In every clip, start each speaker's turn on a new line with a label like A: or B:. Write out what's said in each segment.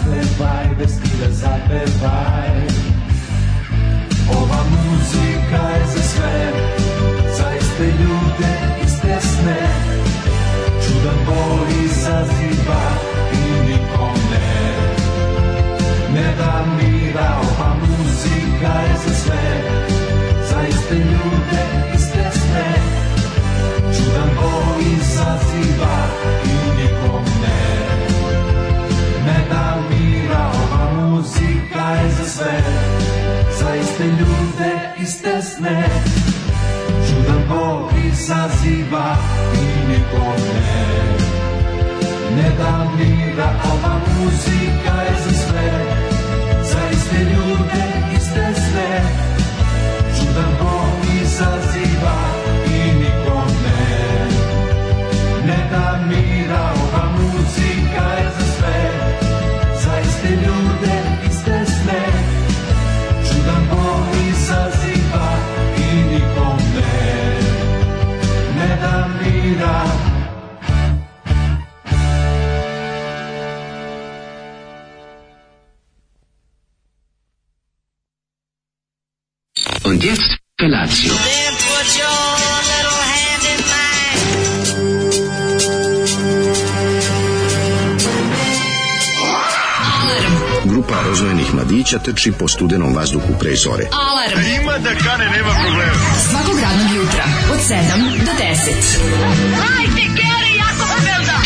A: stvar bez ti da zapevaj Ova muzika je za sve Za iste ljude, iste sne Čudan bol izaziva i nikom ne Ne da mira Ova muzika je za sve Za iste ljude, iste sne Čudan bol izaziva i nikom ne Ne da mira Ova muzika je za sve Za iste ljude, iste sne Čudan bol izaziva i nikom ne Ne da mira, ova muzika je za sve Za iste ljude, iste sve Čudan bol izaziva i nikom ne Ne da mira, ova muzika je za sve Za iste ljude, iste sne Čudan bol izaziva i nikom ne Ne da mira,
B: Und jetzt Felatio.
C: Then put your little hand in mine.
D: Grupa rozvojenih mladića teči po studenom vazduhu pre zore.
E: Alarm. A ima da kane, nema problema. Svakog radnog jutra, od 7 do 10. Hajde, Geri, jako se velda.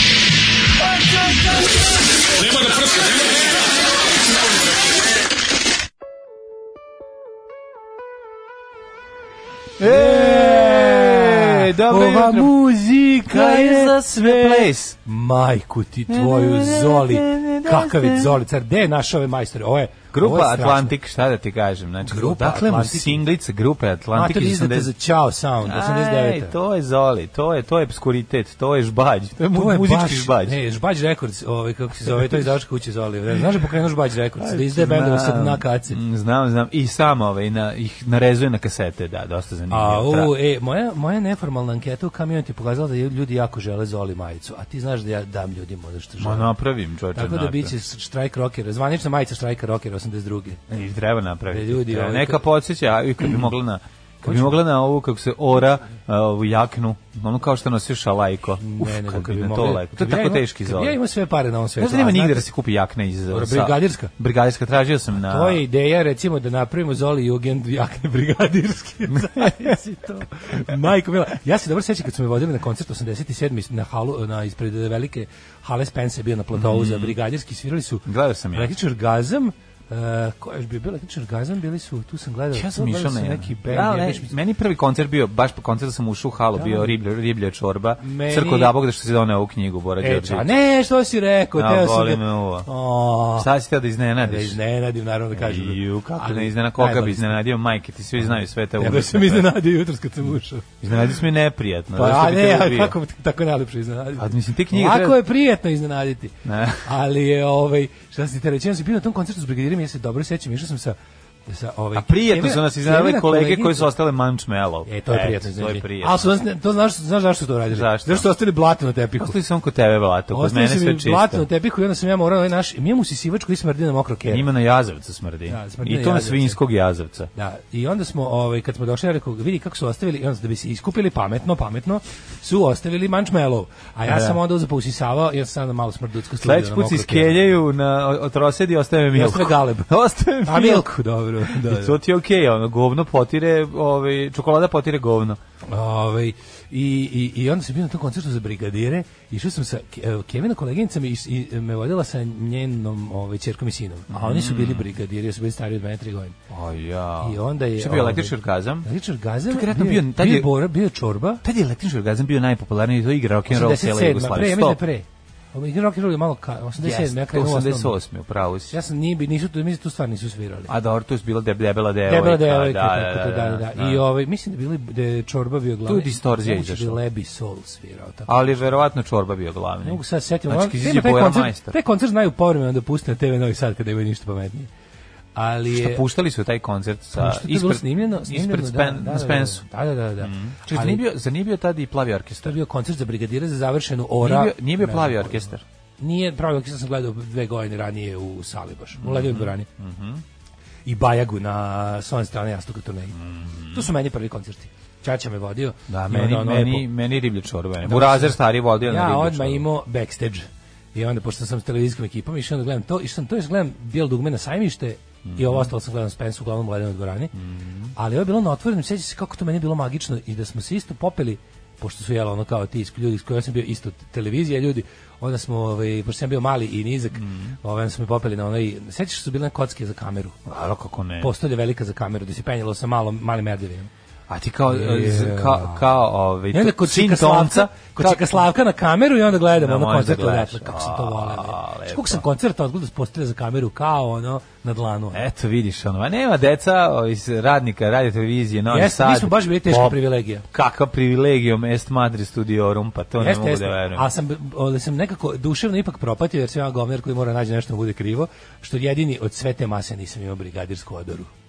F: E, dobro
G: Ova
F: jutro.
G: muzika
F: Kaj
G: je
F: za
G: za
F: sve
G: sve.
F: ples.
G: Majku ti tvoju Zoli. Kakav je Zoli, car, gde je našao ove majstore? Ovo je, ovo je
F: Grupa
G: strašno.
F: Atlantik, šta da ti kažem? Znači,
G: Grupa
F: dakle mu
G: Atlantik.
F: singlica grupe Atlantik
G: Mater
F: iz
G: izdata
F: 80...
G: za Ćao Sound, 89.
F: Aj, to je Zoli, to je, to je obskuritet, to je žbađ, to je, mu- muzički žbađ.
G: Ne, žbađ Records, ovaj, kako se zove, to je izdavačka kuća Zoli. Znaš da pokrenuo žbađ Records, da izdaje bendove sa dna kace.
F: Mm, Znam, znam, i sam ovaj, na, ih narezuje na kasete, da, dosta zanimljivo.
G: A,
F: Tra-
G: u, e, moja, moja neformalna anketa u community pokazala da ljudi jako žele Zoli majicu, a ti znaš da ja dam ljudima ono što
F: Ma
G: žele.
F: napravim, čoče,
G: Tako da biće štrajk rockera, zvanična majica štrajka rockera 82.
F: I treba napraviti.
G: Da ljudi,
F: treba.
G: ovaj,
F: Neka
G: kad-
F: podsjeća, a i kad bi mogla na kad bi mogla na ovu kako se ora a, ovu jaknu, ono kao što nosiš šalajko. Uf,
G: nego
F: kako
G: bi
F: bi to
G: mogli-
F: lepo. To
G: kad
F: je
G: bi ja
F: tako
G: imao-
F: teški
G: kad bi
F: zove.
G: Ja imam sve pare na ovom svetu.
F: Ne znam, nema
G: a
F: nigde
G: znate,
F: da se kupi jakne iz...
G: Dobro,
F: sa-
G: brigadirska.
F: Brigadirska, tražio sam na...
G: To je ideja, recimo, da napravimo Zoli Jugend jakne brigadirske. Zavisi to. Majko Mila, ja se dobro sećam kad su me vodili na koncert 87. na halu, na, ispred velike hale Spence je bio na platovu za brigadirski, svirali su
F: Mm. Gledao sam ja.
G: električni orgazam, Uh, ko je još bio bio električni orgazam, bili su, tu sam gledao.
F: Ja
G: to
F: sam
G: gledao
F: išao na
G: sam
F: jedan.
G: neki band,
F: Da,
G: ja
F: ne,
G: baš mislim-
F: meni prvi koncert bio, baš po koncertu sam ušao u halu, bio riblja, riblja čorba,
G: Meni-
F: crko da bog da što si doneo ovu knjigu, Bora
G: E,
F: Đorđević.
G: ča, ne, što si rekao,
F: A,
G: teo sam
F: boli
G: da-
F: me uvo.
G: O,
F: Šta si teo da
G: da
F: iznenadiš?
G: iznenadim, naravno da kažem.
F: Ju, kako
G: Ali
F: ne iznena, koga bi
G: najbolji sam.
F: iznenadio, majke, ti svi znaju sve te pa-
G: Nego
F: umetne.
G: sam iznenadio jutros kad sam ušao.
F: Iznenadi si mi neprijatno.
G: Pa,
F: zašto
G: a
F: bi
G: ne,
F: te
G: a
F: ubio?
G: kako bi te- tako je najlepše iznenaditi.
F: A, mislim, te knjige
G: Lako
F: treba-
G: je prijetno iznenaditi.
F: Ne.
G: Ali je, ovaj, šta si te reći, ja sam bio na tom koncertu s Brigadirima, ja se dobro sećam, išao sam sa... sa ovaj,
F: A prijetno su nas iznenadili
G: Kevina
F: kolege koji
G: koleginica-
F: su ostale mančmelo.
G: E, to je prijetno.
F: To je
G: iznenađenje.
F: prijetno.
G: Ali su nas, ne- to znaš, znaš zašto su to radili?
F: Zašto?
G: Zašto su ostali blatno na tepihu.
F: Ostali sam kod tebe, Vlato, kod
G: Ostavio
F: mene
G: sam im
F: sve
G: blatno
F: čisto.
G: na tepihu i onda sam ja morao ovaj naš... Imam usisivač koji smrdi na mokro kero.
F: Njima na jazavca smrdi.
G: Da, smrdi na
F: I to na
G: jazavca.
F: svinjskog jazavca.
G: Da, i onda smo, ovaj, kad smo došli, ja rekao, vidi kako su ostavili, i onda da bi se iskupili pametno, pametno, su ostavili mančmelov. A ja
F: Da.
G: sam onda uzapao usisavao, ja sam onda malo smrducko sludio.
F: Sledeći put se iskeljaju na od rosedi i ostaje mi
G: ono I
F: milku.
G: ostave galeb.
F: Ostaje mi
G: A milku, dobro. Da,
F: I to
G: da.
F: ti je okej, ono, govno potire, ovaj, čokolada potire govno.
G: Ovaj, i, i, I onda sam bio na tom koncertu za brigadire, išao sam sa Ke- evo, Kevina koleginica mi, is- i, me vodila sa njenom ovaj, čerkom i sinom. A oni su bili brigadiri, su bili stariji od mene tri godine.
F: Mm. A ja.
G: I onda je... ovaj-
F: Šta je bio električni orgazam?
G: Električar Gazem,
F: To je vjerojatno bio- tad
G: bio,
F: je-
G: je Bora, bio je Čorba.
F: Tad je električni orgazam bio najpopularniji, to igra rock'n'roll cijela
G: 87. Pre,
F: Jugoslavija.
G: ja mislim da je
F: Stop.
G: pre. Ovo je rock and roll je malo ka, 87.
F: Jeste,
G: ja krenuo u osnovnu.
F: 88. upravo si.
G: Ja sam nije, bi- nisu, tu- mislim, tu stvar nisu svirali.
F: A dobro, tu je bila deb- debela devojka.
G: Debela devojka, tako to, da, da, da. I ovaj, mislim da, bili, da je Čorba bio glavni.
F: Tu je distorzija
G: Moguće da je
F: izašla.
G: Lebi Soul svirao, tako.
F: Ali verovatno čorba bio glavni.
G: Ne mogu sad se setim.
F: Znači,
G: Znači,
F: kad
G: ima
F: izađe
G: taj,
F: Bojan
G: koncert,
F: Majstor.
G: taj koncert znaju povremeno da puste na TV Novi Sad kada imaju ništa pametnije. Ali je... Pa
F: Puštali su taj koncert sa
G: Što je to bilo
F: ispred
G: snimljeno? snimljeno
F: ispred
G: da,
F: Spen,
G: da, da,
F: na Spensu. Mhm.
G: Da, da, da. da. Mm.
F: Čekaj, nije bio, zar nije bio tada i plavi
G: To je
F: orkestar?
G: bio koncert za brigadire za završenu ora.
F: Nije bio, nije bio
G: Ne
F: plavi
G: znam.
F: orkestar.
G: Nije pravi orkestar sam gledao dve godine ranije u sali baš.
F: Mhm,
G: U Ledevoj dvorani. I Bajagu na s one strane jastuka turneji. To su meni prvi koncerti. Čača me vodio.
F: Mhm. Da,
G: i
F: meni,
G: onda ono
F: meni,
G: lepo-
F: meni riblje čorbe. Da, Burazer stari vodio na
G: ono Ja
F: riblje
G: odmah
F: čorbe.
G: imao backstage. I onda, pošto sam s televizijskom ekipom, išao da gledam to, išao sam to, još gledam bijel dugme na sajmište, i ovo ostalo sam gledam Spence, uglavnom u Ledenoj dvorani.
F: Mhm.
G: Ali ovo je bilo na otvorenom, sjećam se kako to meni je bilo magično i da smo se isto popeli, pošto su jela ono kao ti isk- ljudi s kojima sam bio isto televizija ljudi, onda smo, ovaj, pošto sam bio mali i nizak,
F: Mhm.
G: ovaj, onda smo me popeli na onaj, sjećaš su bile one kocke za kameru?
F: Naravno, kako ne.
G: Postolje velika za kameru, da se penjalo sa malom, malim merdevinom.
F: A ti kao,
G: Je.
F: z- kao, kao ovaj,
G: I onda kod Čika Slavka, kod
F: kao-
G: Čika Slavka na kameru i onda gledamo
F: Da,
G: ono
F: možeš da
G: koncert
F: gledaš.
G: odatle, kako sam to
F: A,
G: voleo.
F: lepo.
G: Kako sam koncert odgledao s postelje za kameru kao ono na dlanu. ono.
F: Eto, vidiš, ono, a nema deca o, iz radnika, radio televizije, Novi
G: Jeste,
F: Sad.
G: mi smo baš bili teška
F: Pop-
G: privilegija.
F: Kakav privilegijom est Madri studiorum, pa to ne
G: Jeste,
F: mogu
G: jeste.
F: da verujem.
G: Ali sam, ali sam nekako duševno ipak propatio, jer sam ja govner koji mora nađe nešto da mu bude krivo, što jedini od sve te mase nisam imao brigadirsku odoru.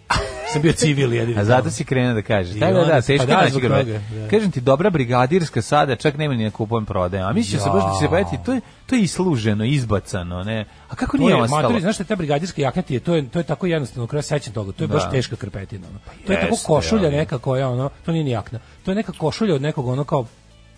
G: sam bio civil jedini.
F: A zato si krenuo da kažeš. Da, da, da,
G: onda-
F: teško
G: pa da,
F: naći
G: zbog
F: grbe.
G: toga, da.
F: Kažem ti, dobra brigadirska sada, čak nema ni na kupujem prodajem. A mislio se baš da će se
G: Ja.
F: pojeti, to je, to je isluženo, izbacano, ne? A kako
G: To
F: nije
G: je,
F: ostalo?
G: maturi, znaš šta je ta brigadirska jakna ti je, to je, to je tako jednostavno, kraj sećam toga, to je
F: Da. Pa
G: baš teška krpetina. Ono. To je tako
F: jeste,
G: košulja
F: ali-
G: neka koja, ono, to nije ni jakna, to je neka košulja od nekog ono kao,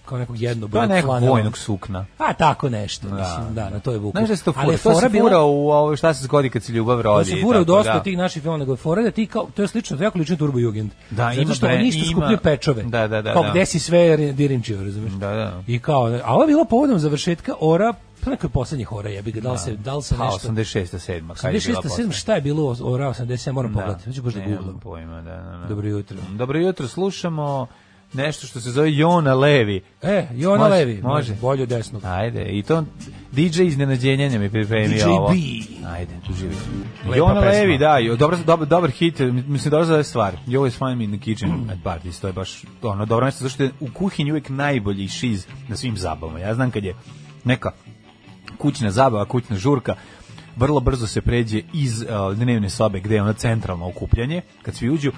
G: kao nekog jednog ono.
F: to je nekog vojnog sukna.
G: A tako nešto, mislim, da, na to je vuku.
F: Znaš da se to
G: Ali
F: fura?
G: je
F: To
G: fora
F: se
G: bila-
F: fura u ovo šta se zgodi kad se ljubav
G: To
F: rodi.
G: se
F: i
G: fura u
F: tako,
G: dosta
F: da.
G: tih naših filmova, nego je fora da ti kao, to je slično, to je jako lično Turbo Jugend.
F: Da, ima
G: Zato što
F: bre-
G: oni isto
F: ima-
G: skupljaju pečove.
F: Da, da, da,
G: Kao
F: da.
G: gde si sve re- dirinčio, razumiješ?
F: Da, da.
G: I kao, a ovo je bilo povodom završetka Ora, pa neko je poslednji Ora, jebi ga, da li se, da li se
F: Pa,
G: nešto...
F: 86. 7. Kad je
G: 86.
F: bila
G: 7. šta je bilo o- Ora 87, moram pogledati. Hoću baš da
F: nemam
G: googlam.
F: Pojma, da, da, da.
G: Dobro jutro.
F: Dobro jutro, slušamo nešto što se zove Jona Levi.
G: E, Jona
F: Može,
G: Levi,
F: može.
G: bolje od desnog.
F: Ajde, i to DJ iznenađenja mi pripremio
G: DJ
F: ovo.
G: B.
F: Ajde, tu živi.
G: Lepa
F: Jona
G: pesma.
F: Levi, da, jo, dobar, dobar, dobar hit, mislim dobro zove stvar. You always find me in the kitchen at parties, to je baš ono dobro mesto, zašto je u kuhinji uvijek najbolji šiz na svim zabavama. Ja znam kad je neka kućna zabava, kućna žurka, vrlo brzo se pređe iz uh, dnevne sobe gde je ono centralno okupljanje, kad svi uđu,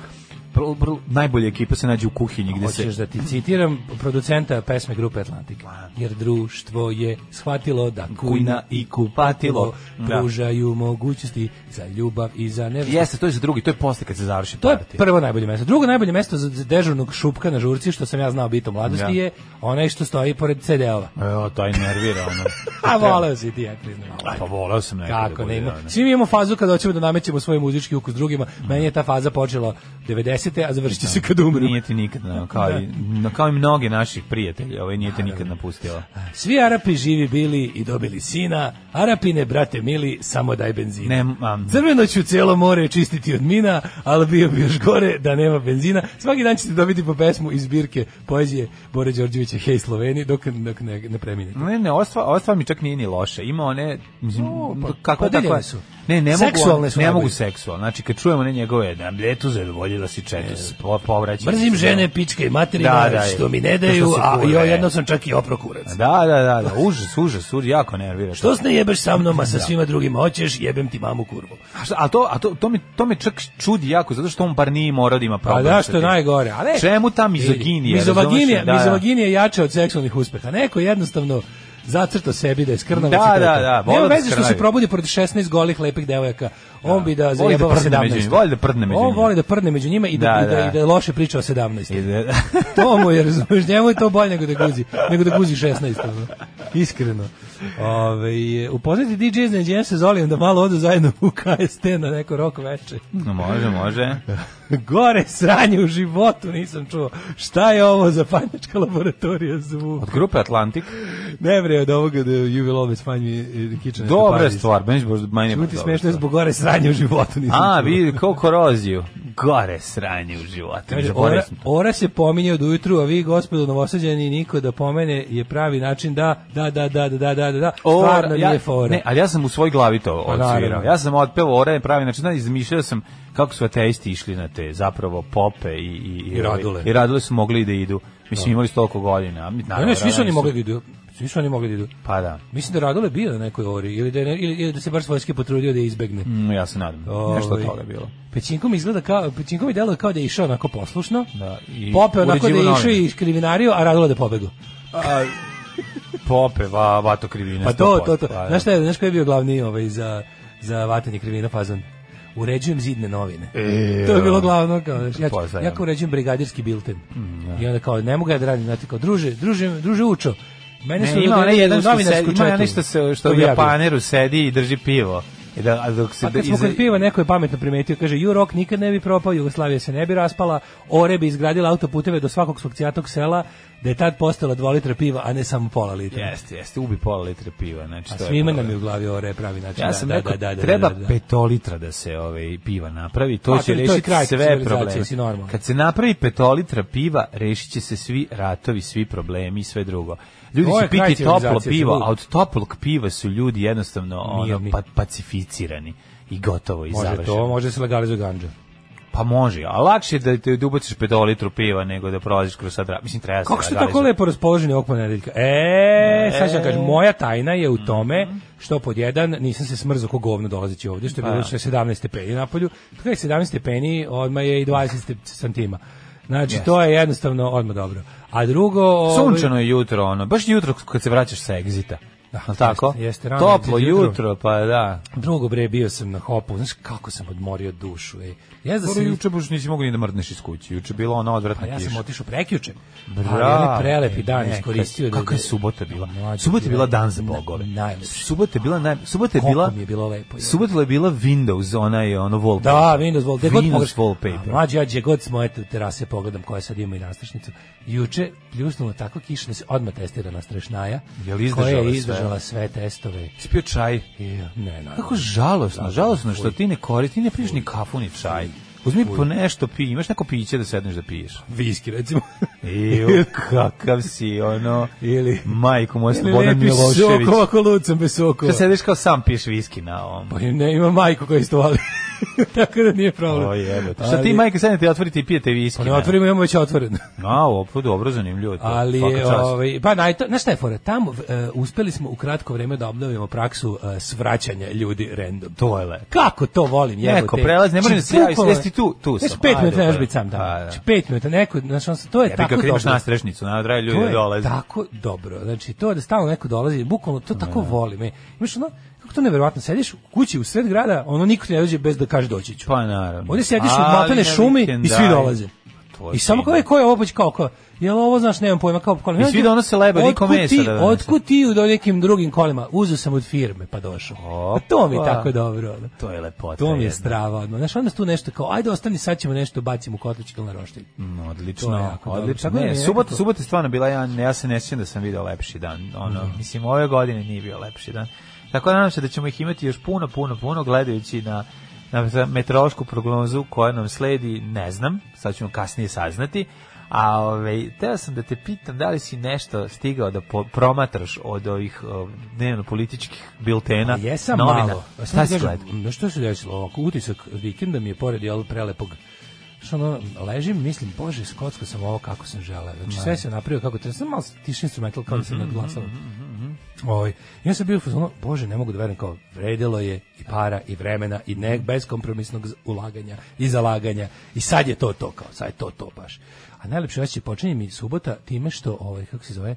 F: prvo- prvo najbolje ekipe se nađu u kuhinji gde se
G: Hoćeš da ti citiram producenta pesme grupe Atlantik. Jer društvo je shvatilo da kujna i kupatilo
F: Da.
G: pružaju mogućnosti za ljubav i za nevjestu.
F: Jeste, to je za drugi, to je posle kad se završi
G: To je
F: partija.
G: prvo najbolje mesto. Drugo najbolje mesto za za dežurnog šupka na žurci, što sam ja znao biti u mladosti,
F: Da.
G: je onaj što stoji pored CD-ova.
F: Evo, to je nervira, ono.
G: A voleo si ti, ja priznam.
F: Pa volao sam nekada.
G: Kako ne
F: ono.
G: ima. Svi mi imamo fazu kada hoćemo da namećemo svoj muzički ukus drugima. Meni je ta faza počela 90. a završit će se kad umru.
F: Nije ti nikad, no, kao, i, no, kao i mnogi naših prijatelja, ovaj nije te nikad napustila.
G: Svi Arapi živi bili i dobili sina, Arapine, brate mili, samo daj benzina.
F: Ne, am,
G: Crveno ću cijelo more čistiti od mina, ali bio bi još gore da nema benzina. Svaki dan ćete dobiti po pesmu iz zbirke poezije Bore Đorđevića Hej Sloveni, dok, dok ne, ne preminete.
F: ne, ne, ova stvar, ova stvar mi čak nije ni loše. Ima one, mislim, kako
G: pa podeljene
F: tako...
G: su.
F: Ne, ne mogu,
G: Seksualne su
F: ne mogu
G: najbolje.
F: seksualne. Znači, kad čujemo ne njegove, da, gdje tu zadovoljila si četus, po, povraćaj.
G: Mrzim žene, pičke i materina,
F: Da, da,
G: što mi
F: to
G: ne
F: što
G: daju,
F: se
G: a
F: kure.
G: joj, jedno sam čak i oprokurac.
F: Da, da, da, da, užas, užas, užas, jako nervira.
G: Što se ne jebeš sa mnom, a sa svima drugima hoćeš, jebem ti mamu kurvu.
F: A, šta, a, to, a to, to, mi, to me čak čudi jako, zato što on bar nije morao da ima
G: Pa
F: problem.
G: da,
F: sa
G: što je
F: tim.
G: najgore. A ne,
F: Čemu ta mizoginija,
G: Mizovaginija,
F: razumeš? Da, da.
G: mizovaginija je jača od seksualnih uspeha. Neko jednostavno zacrto sebi da je skrnavac
F: Da,
G: i to je
F: da,
G: to.
F: da,
G: Nema
F: voli da
G: veze što se
F: skrnavi.
G: probudi pored 16 golih lepih devojaka. On bi da
F: Voli da
G: zajebava
F: prdne
G: 17.
F: među njima, voli da prdne među
G: On
F: njima.
G: voli da prdne među njima i da,
F: Da,
G: i da,
F: da.
G: i da loše priča o 17.
F: Ide-
G: to mu je, razumeš, njemu je to bolje nego da guzi, nego da guzi 16. ono. Iskreno. Ove, upoznati DJ iznenađenja se Zolijem da malo odu zajedno u KST na neko rok veče.
F: No, može, može.
G: Gore sranje u životu nisam čuo. Šta je ovo za panjačka laboratorija zvuk?
F: Od grupe Atlantik.
G: Ne bre od ovoga da you will always find me in the kitchen. at the
F: Dobra
G: parties.
F: stvar, meni je baš meni je
G: Čemu
F: baš
G: ti
F: dobra
G: smešno
F: stvar.
G: je zbog gore sranje u životu nisam
F: A,
G: čuo.
F: vidi, kao koroziju. Gore sranje u životu.
G: Kaže,
F: Zaboravio
G: ora,
F: sam to.
G: ora se pominje od ujutru, a vi, gospodo novosađani, niko da pomene je pravi način da, da, da, da, da, da, da, da, stvarno
F: ja,
G: nije fora. Pa
F: Ne, ali ja sam u svoj glavi to odsvirao.
G: naravno.
F: Ja sam otpeo ora je pravi način, da izmišljao sam kako su ateisti išli na te zapravo pope i i
G: I radule.
F: I radule su mogli da idu. Mislim imali su toliko godina. a mi-
G: ne,
F: naravno,
G: ne, svi su oni
F: radili
G: mogli da idu. Svi su oni mogli da idu.
F: Pa da.
G: Mislim da Radule bio na nekoj ori ili da, je ne- ili, ili da se bar svojski potrudio da je izbegne.
F: Mm, ja se nadam. Nešto od
G: Ovaj,
F: toga je bilo.
G: Pećinko mi izgleda kao, Pećinko mi deluje kao da je išao onako poslušno,
F: Da, i
G: pope onako da
F: uređivo
G: je išao
F: novine.
G: i skrivinario, a radilo da je pobegao.
F: pope va, vato krivine.
G: Pa to,
F: 100%,
G: to, to.
F: pa da.
G: Znaš šta je, znaš koji je bio glavni ovaj, za, za vatanje krivina fazon? Uređujem zidne novine.
F: E,
G: to je bilo glavno. Kao, znaš, ja, ću-
F: Pozdravljam.
G: ja kao uređujem brigadirski bilten.
F: Mm,
G: I onda kao, ne mogu ja da radim. Znate, kao, druže, druže, druže učo. Mene
F: Ne,
G: su
F: ima
G: ljudi
F: onaj
G: u
F: jedan što
G: novinarsku
F: sedi, ima onaj
G: četu.
F: što, se, što
G: To
F: u
G: bi ja bio.
F: Japaneru sedi i drži pivo. I da, a dok se,
G: A Pa kad smo
F: iza-
G: kod piva, neko je pametno primetio, kaže, ju rok nikad ne bi propao, Jugoslavija se ne bi raspala, Ore bi izgradila autoputeve do svakog svog cijatog sela, da je tad postala dva litra piva, a ne samo pola litra.
F: Jeste, jeste, ubi pola litra piva. Znači,
G: A
F: to je
G: svima
F: problem.
G: nam je u glavi Ore pravi način.
F: Ja
G: da,
F: sam
G: da,
F: rekao,
G: da, da, da,
F: treba
G: da, da.
F: petolitra da se ovaj, piva napravi, to
G: A,
F: će
G: to- to je
F: rešiti
G: kraj
F: sve
G: civilizacije,
F: probleme.
G: si normalan.
F: Kad se napravi petolitra piva, rešit će se svi ratovi, svi problemi i sve drugo. Ljudi
G: Ovo
F: će
G: je kraj
F: piti toplo
G: civilizacije,
F: pivo,
G: sigurno.
F: a od toplog piva su ljudi jednostavno ono,
G: Mirni.
F: pa, pacificirani i gotovo i
G: Može
F: završeno.
G: to, može se legalizuje ganđa.
F: Pa može, a lakše je da te da ubaciš petolitru piva nego da prolaziš kroz sad ra- Mislim, treba se
G: Kako ste tako
F: legalizovati.
G: lepo raspoloženi ovog ponedeljka? E, sad ću vam kažem, moja tajna je u tome
F: Mhm.
G: što pod jedan nisam se smrzao ko govno dolazeći ovdje, što je
F: Pa.
G: bilo što je 17 stepeni na polju. Tako je 17 stepeni, odmah je i 20 ste- santima. Znači, to je jednostavno odmah dobro. A drugo... ovaj,
F: Sunčano je jutro, ono, baš jutro kad se vraćaš sa egzita. Da, tako?
G: jeste, jeste, rano
F: Toplo
G: exit jutro.
F: jutro, pa da.
G: Drugo bre, bio sam na hopu, znaš kako sam odmorio dušu. Ej. Ja da
F: Skoro
G: sam
F: juče baš nisi mogao ni da mrdneš iz kuće. Juče je bila ona odvratna
G: Pa ja sam
F: kiša.
G: otišao prekjuče.
F: Bravo.
G: ali onaj prelepi dan
F: Ne,
G: iskoristio.
F: kak-
G: da-
F: Kakva je subota bila?
G: Mlađe,
F: subota je bila
G: bila
F: dan za
G: na-
F: bogove.
G: najlepše.
F: subota je bila naj... Subota je
G: Koliko
F: bila...
G: mi je bilo lepo, je.
F: Subota je bila Windows, ona je ono wallpaper.
G: Da, Windows Wall, gde god
F: Windows
G: pogreš-
F: wallpaper.
G: A, Mlađe, ja gde god s moje terase pogledam koja sad ima i nastrašnicu. Juče pljusnulo tako kiša da se odmah testira nastrašnaja.
F: Jel izdržala
G: koja je
F: sve?
G: izdržala sve, testove.
F: Ispio čaj.
G: I, ne, naravno.
F: Kako žalosno, žalosno što ti ne koristi, ti ne piješ ni kafu, ni čaj. Uzmi po nešto pi, imaš neko piće da sedneš da piješ.
G: Viski, recimo.
F: Iju, kakav si, ono...
G: Ili-
F: Majko moja,
G: Ili
F: Slobodan
G: lepi
F: Milošević.
G: soko, ovako lucom bez sokova.
F: Šta sediš kao sam piješ viski na ovom?
G: Pa ne, ima majku koja isto vali. Tako da nije problem.
F: O jebote. Šta ti
G: Ali-
F: majka sednete i otvorite i pijete viski?
G: Pa ne
F: ne?
G: otvorimo, imamo već otvoreno.
F: A, opo, dobro, zanimljivo je to.
G: Ali,
F: Svaka čast.
G: ovaj, pa naj, to, znaš šta je fora? Tamo e, uspeli smo u kratko vreme da obnovimo praksu e, svraćanja ljudi random.
F: To je lepo.
G: Kako to volim, jebote. Znači,
F: Neko prelazi, ne može da se javi,
G: Bukvalno-
F: jesi ti tu? Tu
G: Znaš,
F: sam. pa-
G: pet
F: A,
G: minuta
F: dobro.
G: ne možeš biti sam tamo.
F: A, da.
G: Znači, pet minuta, neko, znaš, on, se- to je
F: Ja bih
G: tako
F: kako
G: dobro.
F: imaš nastrešnicu, na dragi ljudi
G: to je
F: dolaze.
G: tako dobro. Znači, to da stalno neko dolazi, bukvalno to tako volim. E, imaš ono, kako to neverovatno, sediš u kući u sred grada, ono niko ti ne dođe bez da kaže doći ću.
F: Pa naravno.
G: Ovdje sjediš u
F: Ali
G: matane
F: na
G: šumi i
F: vikendaj.
G: svi dolaze.
F: To je
G: I samo kao,
F: fino.
G: e, ko je ovo, Pa kao, kao, jel ovo, znaš, nemam pojma, kao, kao,
F: I svi donose ono leba, niko
G: Otkud
F: mesa
G: ti-
F: da donese.
G: Otkud ti u do nekim drugim kolima? Uzeo sam od firme, pa došao.
F: Opa.
G: To mi je tako dobro. ono.
F: To je lepota.
G: To mi je
F: jedna.
G: strava odmah. Znaš, onda tu nešto kao, ajde ostani, sad ćemo nešto bacimo u kotlić ili na roštilj.
F: Mm,
G: To je
F: Odlično,
G: jako dobro.
F: odlično.
G: Tako da
F: Ne,
G: mi je
F: subota,
G: nekako-
F: subota je stvarno bila, ja, ja se ne sjećam da sam video lepši dan. Ono, Mislim, ove godine nije bio lepši dan. Tako da nadam se da ćemo ih imati još puno, puno, puno, gledajući na na meteorološku prognozu koja nam sledi, ne znam, sad ćemo kasnije saznati, a ovaj, teo sam da te pitam da li si nešto stigao da po- promatraš od ovih o, dnevno-političkih biltena,
G: A Pa jesam
F: novina.
G: malo.
F: Šta
G: A sad
F: si
G: ti
F: gledao?
G: kažem, Na što se desilo? Ovako, utisak vikenda mi je pored jel, prelepog što ono, ležim, mislim, bože, skocko sam ovo kako sam želeo. Znači, sve sam napravio kako treba. Sam malo tiši instrumental kao da
F: Mhm,
G: sam nadglasao. Ovaj, ja sam bio u fazonu, bože, ne mogu da verujem kao vredilo je i para i vremena i ne
F: Mhm.
G: beskompromisnog z- ulaganja i zalaganja i sad je to to kao, sad je to to baš. A najlepše osjećaj počinje mi subota time što ovaj kako se zove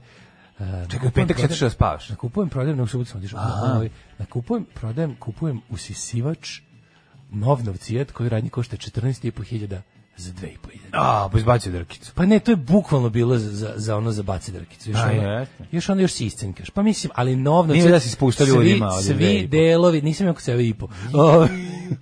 G: e,
F: Čekaj, u petak sad ćeš da spavaš.
G: Nakupujem, prodajem, nego subotu sam otišao. Ovaj, Nakupujem, prodajem, kupujem usisivač nov novcijet koji radnji košta 14,5 hiljada za 2,5 hiljada.
F: A, pa izbacio drkicu.
G: Pa ne, to je bukvalno bilo za, za, za ono za baci drkicu. Još,
F: A,
G: ono,
F: jeste.
G: još ono još si iscenkaš. Pa mislim, ali nov
F: Nije
G: novcijet...
F: da si spuštao ljudima od
G: Svi,
F: dve i
G: svi
F: po.
G: delovi, nisam jako ceo i po. Ovaj,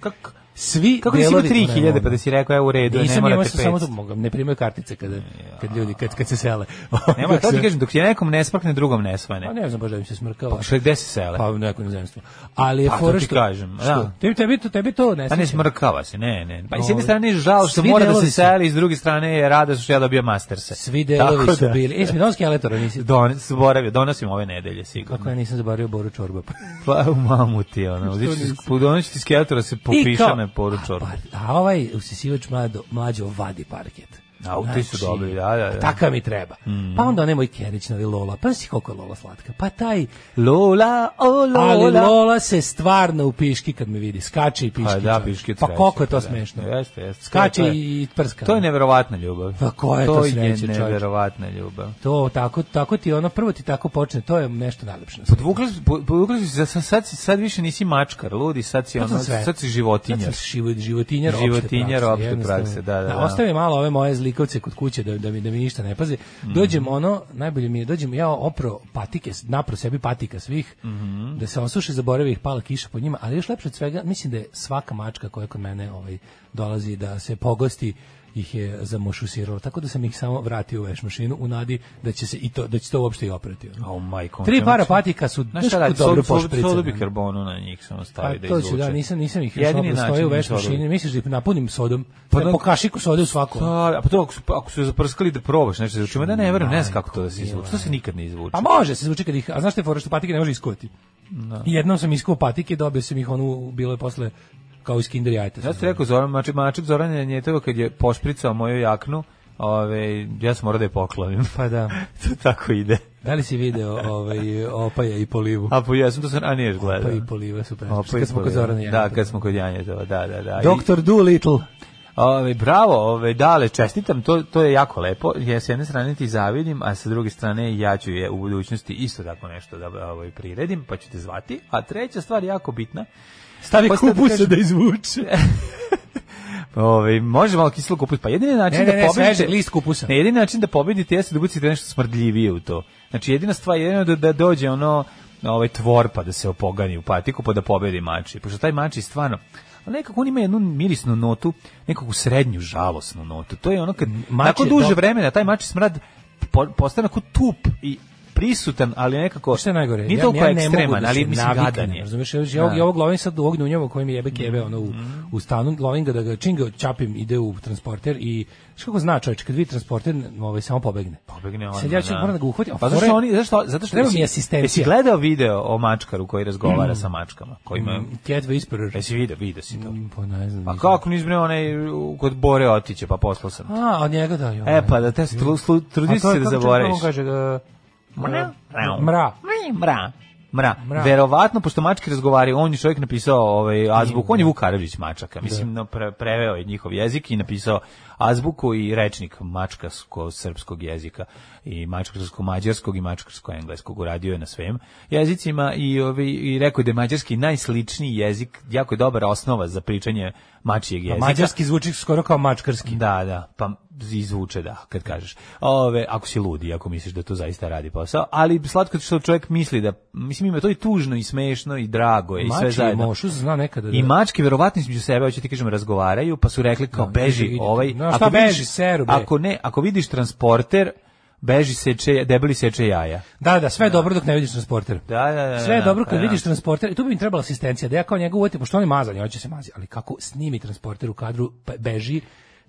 F: Kako?
G: svi
F: Kako nisi imao
G: delovi...
F: 3000 pa da si rekao, evo u redu, je, ne
G: Nisam imao
F: morate
G: sam
F: 500.
G: samo da mogu, ne primaju kartice kada, kad ljudi, kad, kad se sele.
F: Nema, to
G: Kako
F: ti
G: se-
F: kažem, dok je nekom ne smrkne, drugom ne svane.
G: Pa ne znam baš da im se smrkava.
F: Pa što je gde se sele?
G: Pa u neko inozemstvo. Ali je
F: Pa, to
G: fora
F: ti
G: što...
F: kažem,
G: što?
F: da.
G: Tebi, tebi, to, tebi to ne
F: Pa ne
G: sviđa.
F: smrkava se, ne, ne. Pa i s jedne
G: Ovaj,
F: strane je žal što
G: svi
F: mora da se
G: delovi su-
F: seli, s druge strane je rada što ja dobio masterse.
G: Svi delovi
F: Tako
G: su
F: da,
G: bili. E, Smidonski eletora nisi...
F: Don, zaboravio, donosim ove nedelje
G: Kako
F: sigurno.
G: ja nisam zaboravio Boru Čorba.
F: Pa u mamu ti, ono, uzići ti- donosi ti skeletora se
G: I kao-
F: popiša me poru čorbu.
G: A, pa, a ovaj usisivač mlado, mlađo vadi parket.
F: A, u, ti su dobri, da, da, Mm. da.
G: Taka mi treba. Pa onda onaj moj Kerić, ali Lola. Pa si koliko je Lola slatka. Pa taj...
F: Lola, o Lola.
G: Ali Lola se stvarno upiški kad me vidi. Skače i piški.
F: Pa da,
G: čovječe.
F: piški je
G: Pa
F: treće,
G: koliko je to
F: da.
G: smešno.
F: Jeste, jeste.
G: Skače
F: To je-
G: i prska.
F: To je neverovatna ljubav.
G: Pa ko je to sreće,
F: To je
G: čovječe?
F: neverovatna ljubav.
G: To tako, tako ti ono, prvo ti tako počne, to je nešto najlepše. na svijetu.
F: Podvukli, su- po- podvukli su se, sad, sad, si- sad više nisi mačkar, ludi, sad si,
G: Sad sam
F: ono,
G: Pa sve.
F: sad si životinja.
G: Sad sam život, životinjar,
F: Životinjar opšte
G: opšte
F: prakse, da, da, da.
G: Ostavi malo ove moje zlikovce kod kuće da, da, mi, da mi ništa ne pazi.
F: Mhm.
G: Dođem ono, najbolje mi je, dođem ja opro patike, napro sebi patika svih,
F: Mhm.
G: da se osuše, zaboravi ih, pala kiša po njima, ali još lepše od svega, mislim da je svaka mačka koja kod mene ovaj, dolazi da se pogosti ih je zamošusiralo, tako da sam ih samo vratio u veš mašinu u nadi da će se i to, da će to uopšte i oprati. ono.
F: Oh my
G: Tri para patika su
F: Znaš šta
G: daš
F: radi,
G: kod dobro
F: sol, sol,
G: pošpricane. ono.
F: bikarbonu na njih samo stavi da
G: Pa to
F: izvuče.
G: ću, da, nisam, nisam ih još
F: Pa Jedini
G: Jedini
F: način
G: stoje u
F: je
G: veš mašini.
F: sodom.
G: Misliš da ih napunim sodom?
F: Pa
G: Pa
F: da-
G: po kašiku sode u svakom.
F: Pa, a pa to ako su, ako su zaprskali da probaš nešto, znači da ne verujem, ne znam kako to da se
G: Majko
F: izvuče. To se nikad ne izvuče.
G: Pa može se zvuči kad ih, a znaš te fore što patike ne može iskuvati. Jednom sam iskuo patike, dobio sam ih onu, bilo je posle kao iz kinder jajeta.
F: Ja sam rekao Zoran Mačip, Mačip Zoran je njetovo kad je pošpricao moju jaknu, ove, ja sam morao da je poklonim.
G: Pa da.
F: to tako ide.
G: Da li si video ovaj, opaja i polivu?
F: A po ja sam to sam, a nije gledao.
G: Pa i poliva su
F: A,
G: prešli.
F: pa i
G: Kad smo kod
F: poliva.
G: Zorana Janjeta.
F: Da, kad smo kod Janjetova, da, da, da. I-
G: Doktor Doolittle.
F: Ove, bravo, ove, dale, čestitam, to, to je jako lepo. Ja s jedne strane ti zavidim, a sa druge strane ja ću je u budućnosti isto tako nešto da ovaj, priredim, pa ću te zvati. A treća stvar je jako bitna.
G: Stavi
F: Pa sad
G: kubusa
F: kažem- Pa,
G: da izvuče.
F: Ove, može malo kiselo kupus, pa jedini način
G: Ne,
F: da
G: ne, ne,
F: pobedite...
G: svežeg, list kupusa.
F: Ne, jedini način da pobedite jeste da budete nešto smrdljivije u to. Znači, jedina stvar je da, da dođe ono ovaj tvor pa da se opogani u patiku pa da pobedi mači. Pošto taj mači stvarno a nekako on ima jednu mirisnu notu, nekakvu srednju žalosnu notu. To je ono kad
G: Mači
F: nakon
G: je
F: duže
G: dobar.
F: vremena taj mači smrad po, postane onako tup i prisutan, ali nekako
G: Pa Šta je najgore?
F: Nije toliko
G: ne mogu
F: ekstreman,
G: da se
F: ali mislim
G: naviknem,
F: gadan je.
G: Razumeš, ja, ja, ovog- ja ovog lovim sad u ognju njevo kojim jebe kebe ono, u,
F: Mhm.
G: u stanu, lovim ga da ga čim ga čapim ide u transporter i što kako zna čovječ, kad vidi transporter, ovaj, samo pobegne.
F: Pobegne on.
G: Sad ja ću moram da ga uhvatim. a
F: Pa zašto
G: fore-
F: oni zašto zato što
G: Treba mi Mm.
F: jesi-
G: asistencija.
F: Jesi gledao video o mačkaru koji razgovara sa mačkama, koji ima
G: Cat Whisperer.
F: Jesi video, video E, si to.
G: Pa ne znam.
F: Pa
G: nisam.
F: kako nisi bre onaj u- kod Bore otiće, pa poslao sam. ti.
G: A, od njega da. joj.
F: E pa da te stru, slu,
G: A
F: trudi
G: to je
F: se da
G: kako-
F: zaboraviš.
G: kako on kaže da...
F: Mra.
G: Mra.
F: Mra. Mra.
G: Mra.
F: Verovatno, pošto mački razgovaraju, on je čovjek napisao ovaj azbuk, on je Vuk Karadžić mačaka, mislim, no, pre- preveo je njihov jezik i napisao azbuku i rečnik mačkarsko-srpskog jezika i mačkarsko-mađarskog i mačkarsko-engleskog, uradio je na svim jezicima i, ovaj, i rekao je da je mađarski najsličniji jezik, jako je dobra osnova za pričanje mačijeg
G: A
F: jezika.
G: mađarski zvuči skoro kao mačkarski.
F: Da, da, pa izvuče da, kad kažeš. Ove, ako si ludi, ako misliš da to zaista radi posao, ali slatko je što čovjek misli da, mislim ima to i tužno i smešno i drago je i sve
G: Mači i
F: zajedno.
G: mošus zna nekada da...
F: I mačke verovatno između sebe, hoće ti kažem, razgovaraju, pa su rekli kao
G: Da,
F: beži
G: idite, idite.
F: ovaj,
G: No, šta beži, seru, bre.
F: ako ne, ako vidiš transporter, beži seče, debeli seče jaja.
G: Da, da, sve je dobro dok ne vidiš transporter.
F: Da, da, da,
G: Sve je
F: da,
G: dobro
F: pa
G: kad
F: da.
G: vidiš transporter, i tu bi mi trebala asistencija, da ja kao njega uvatim, pošto on je mazan, i on će se mazi, ali kako snimi transporter u kadru, pa beži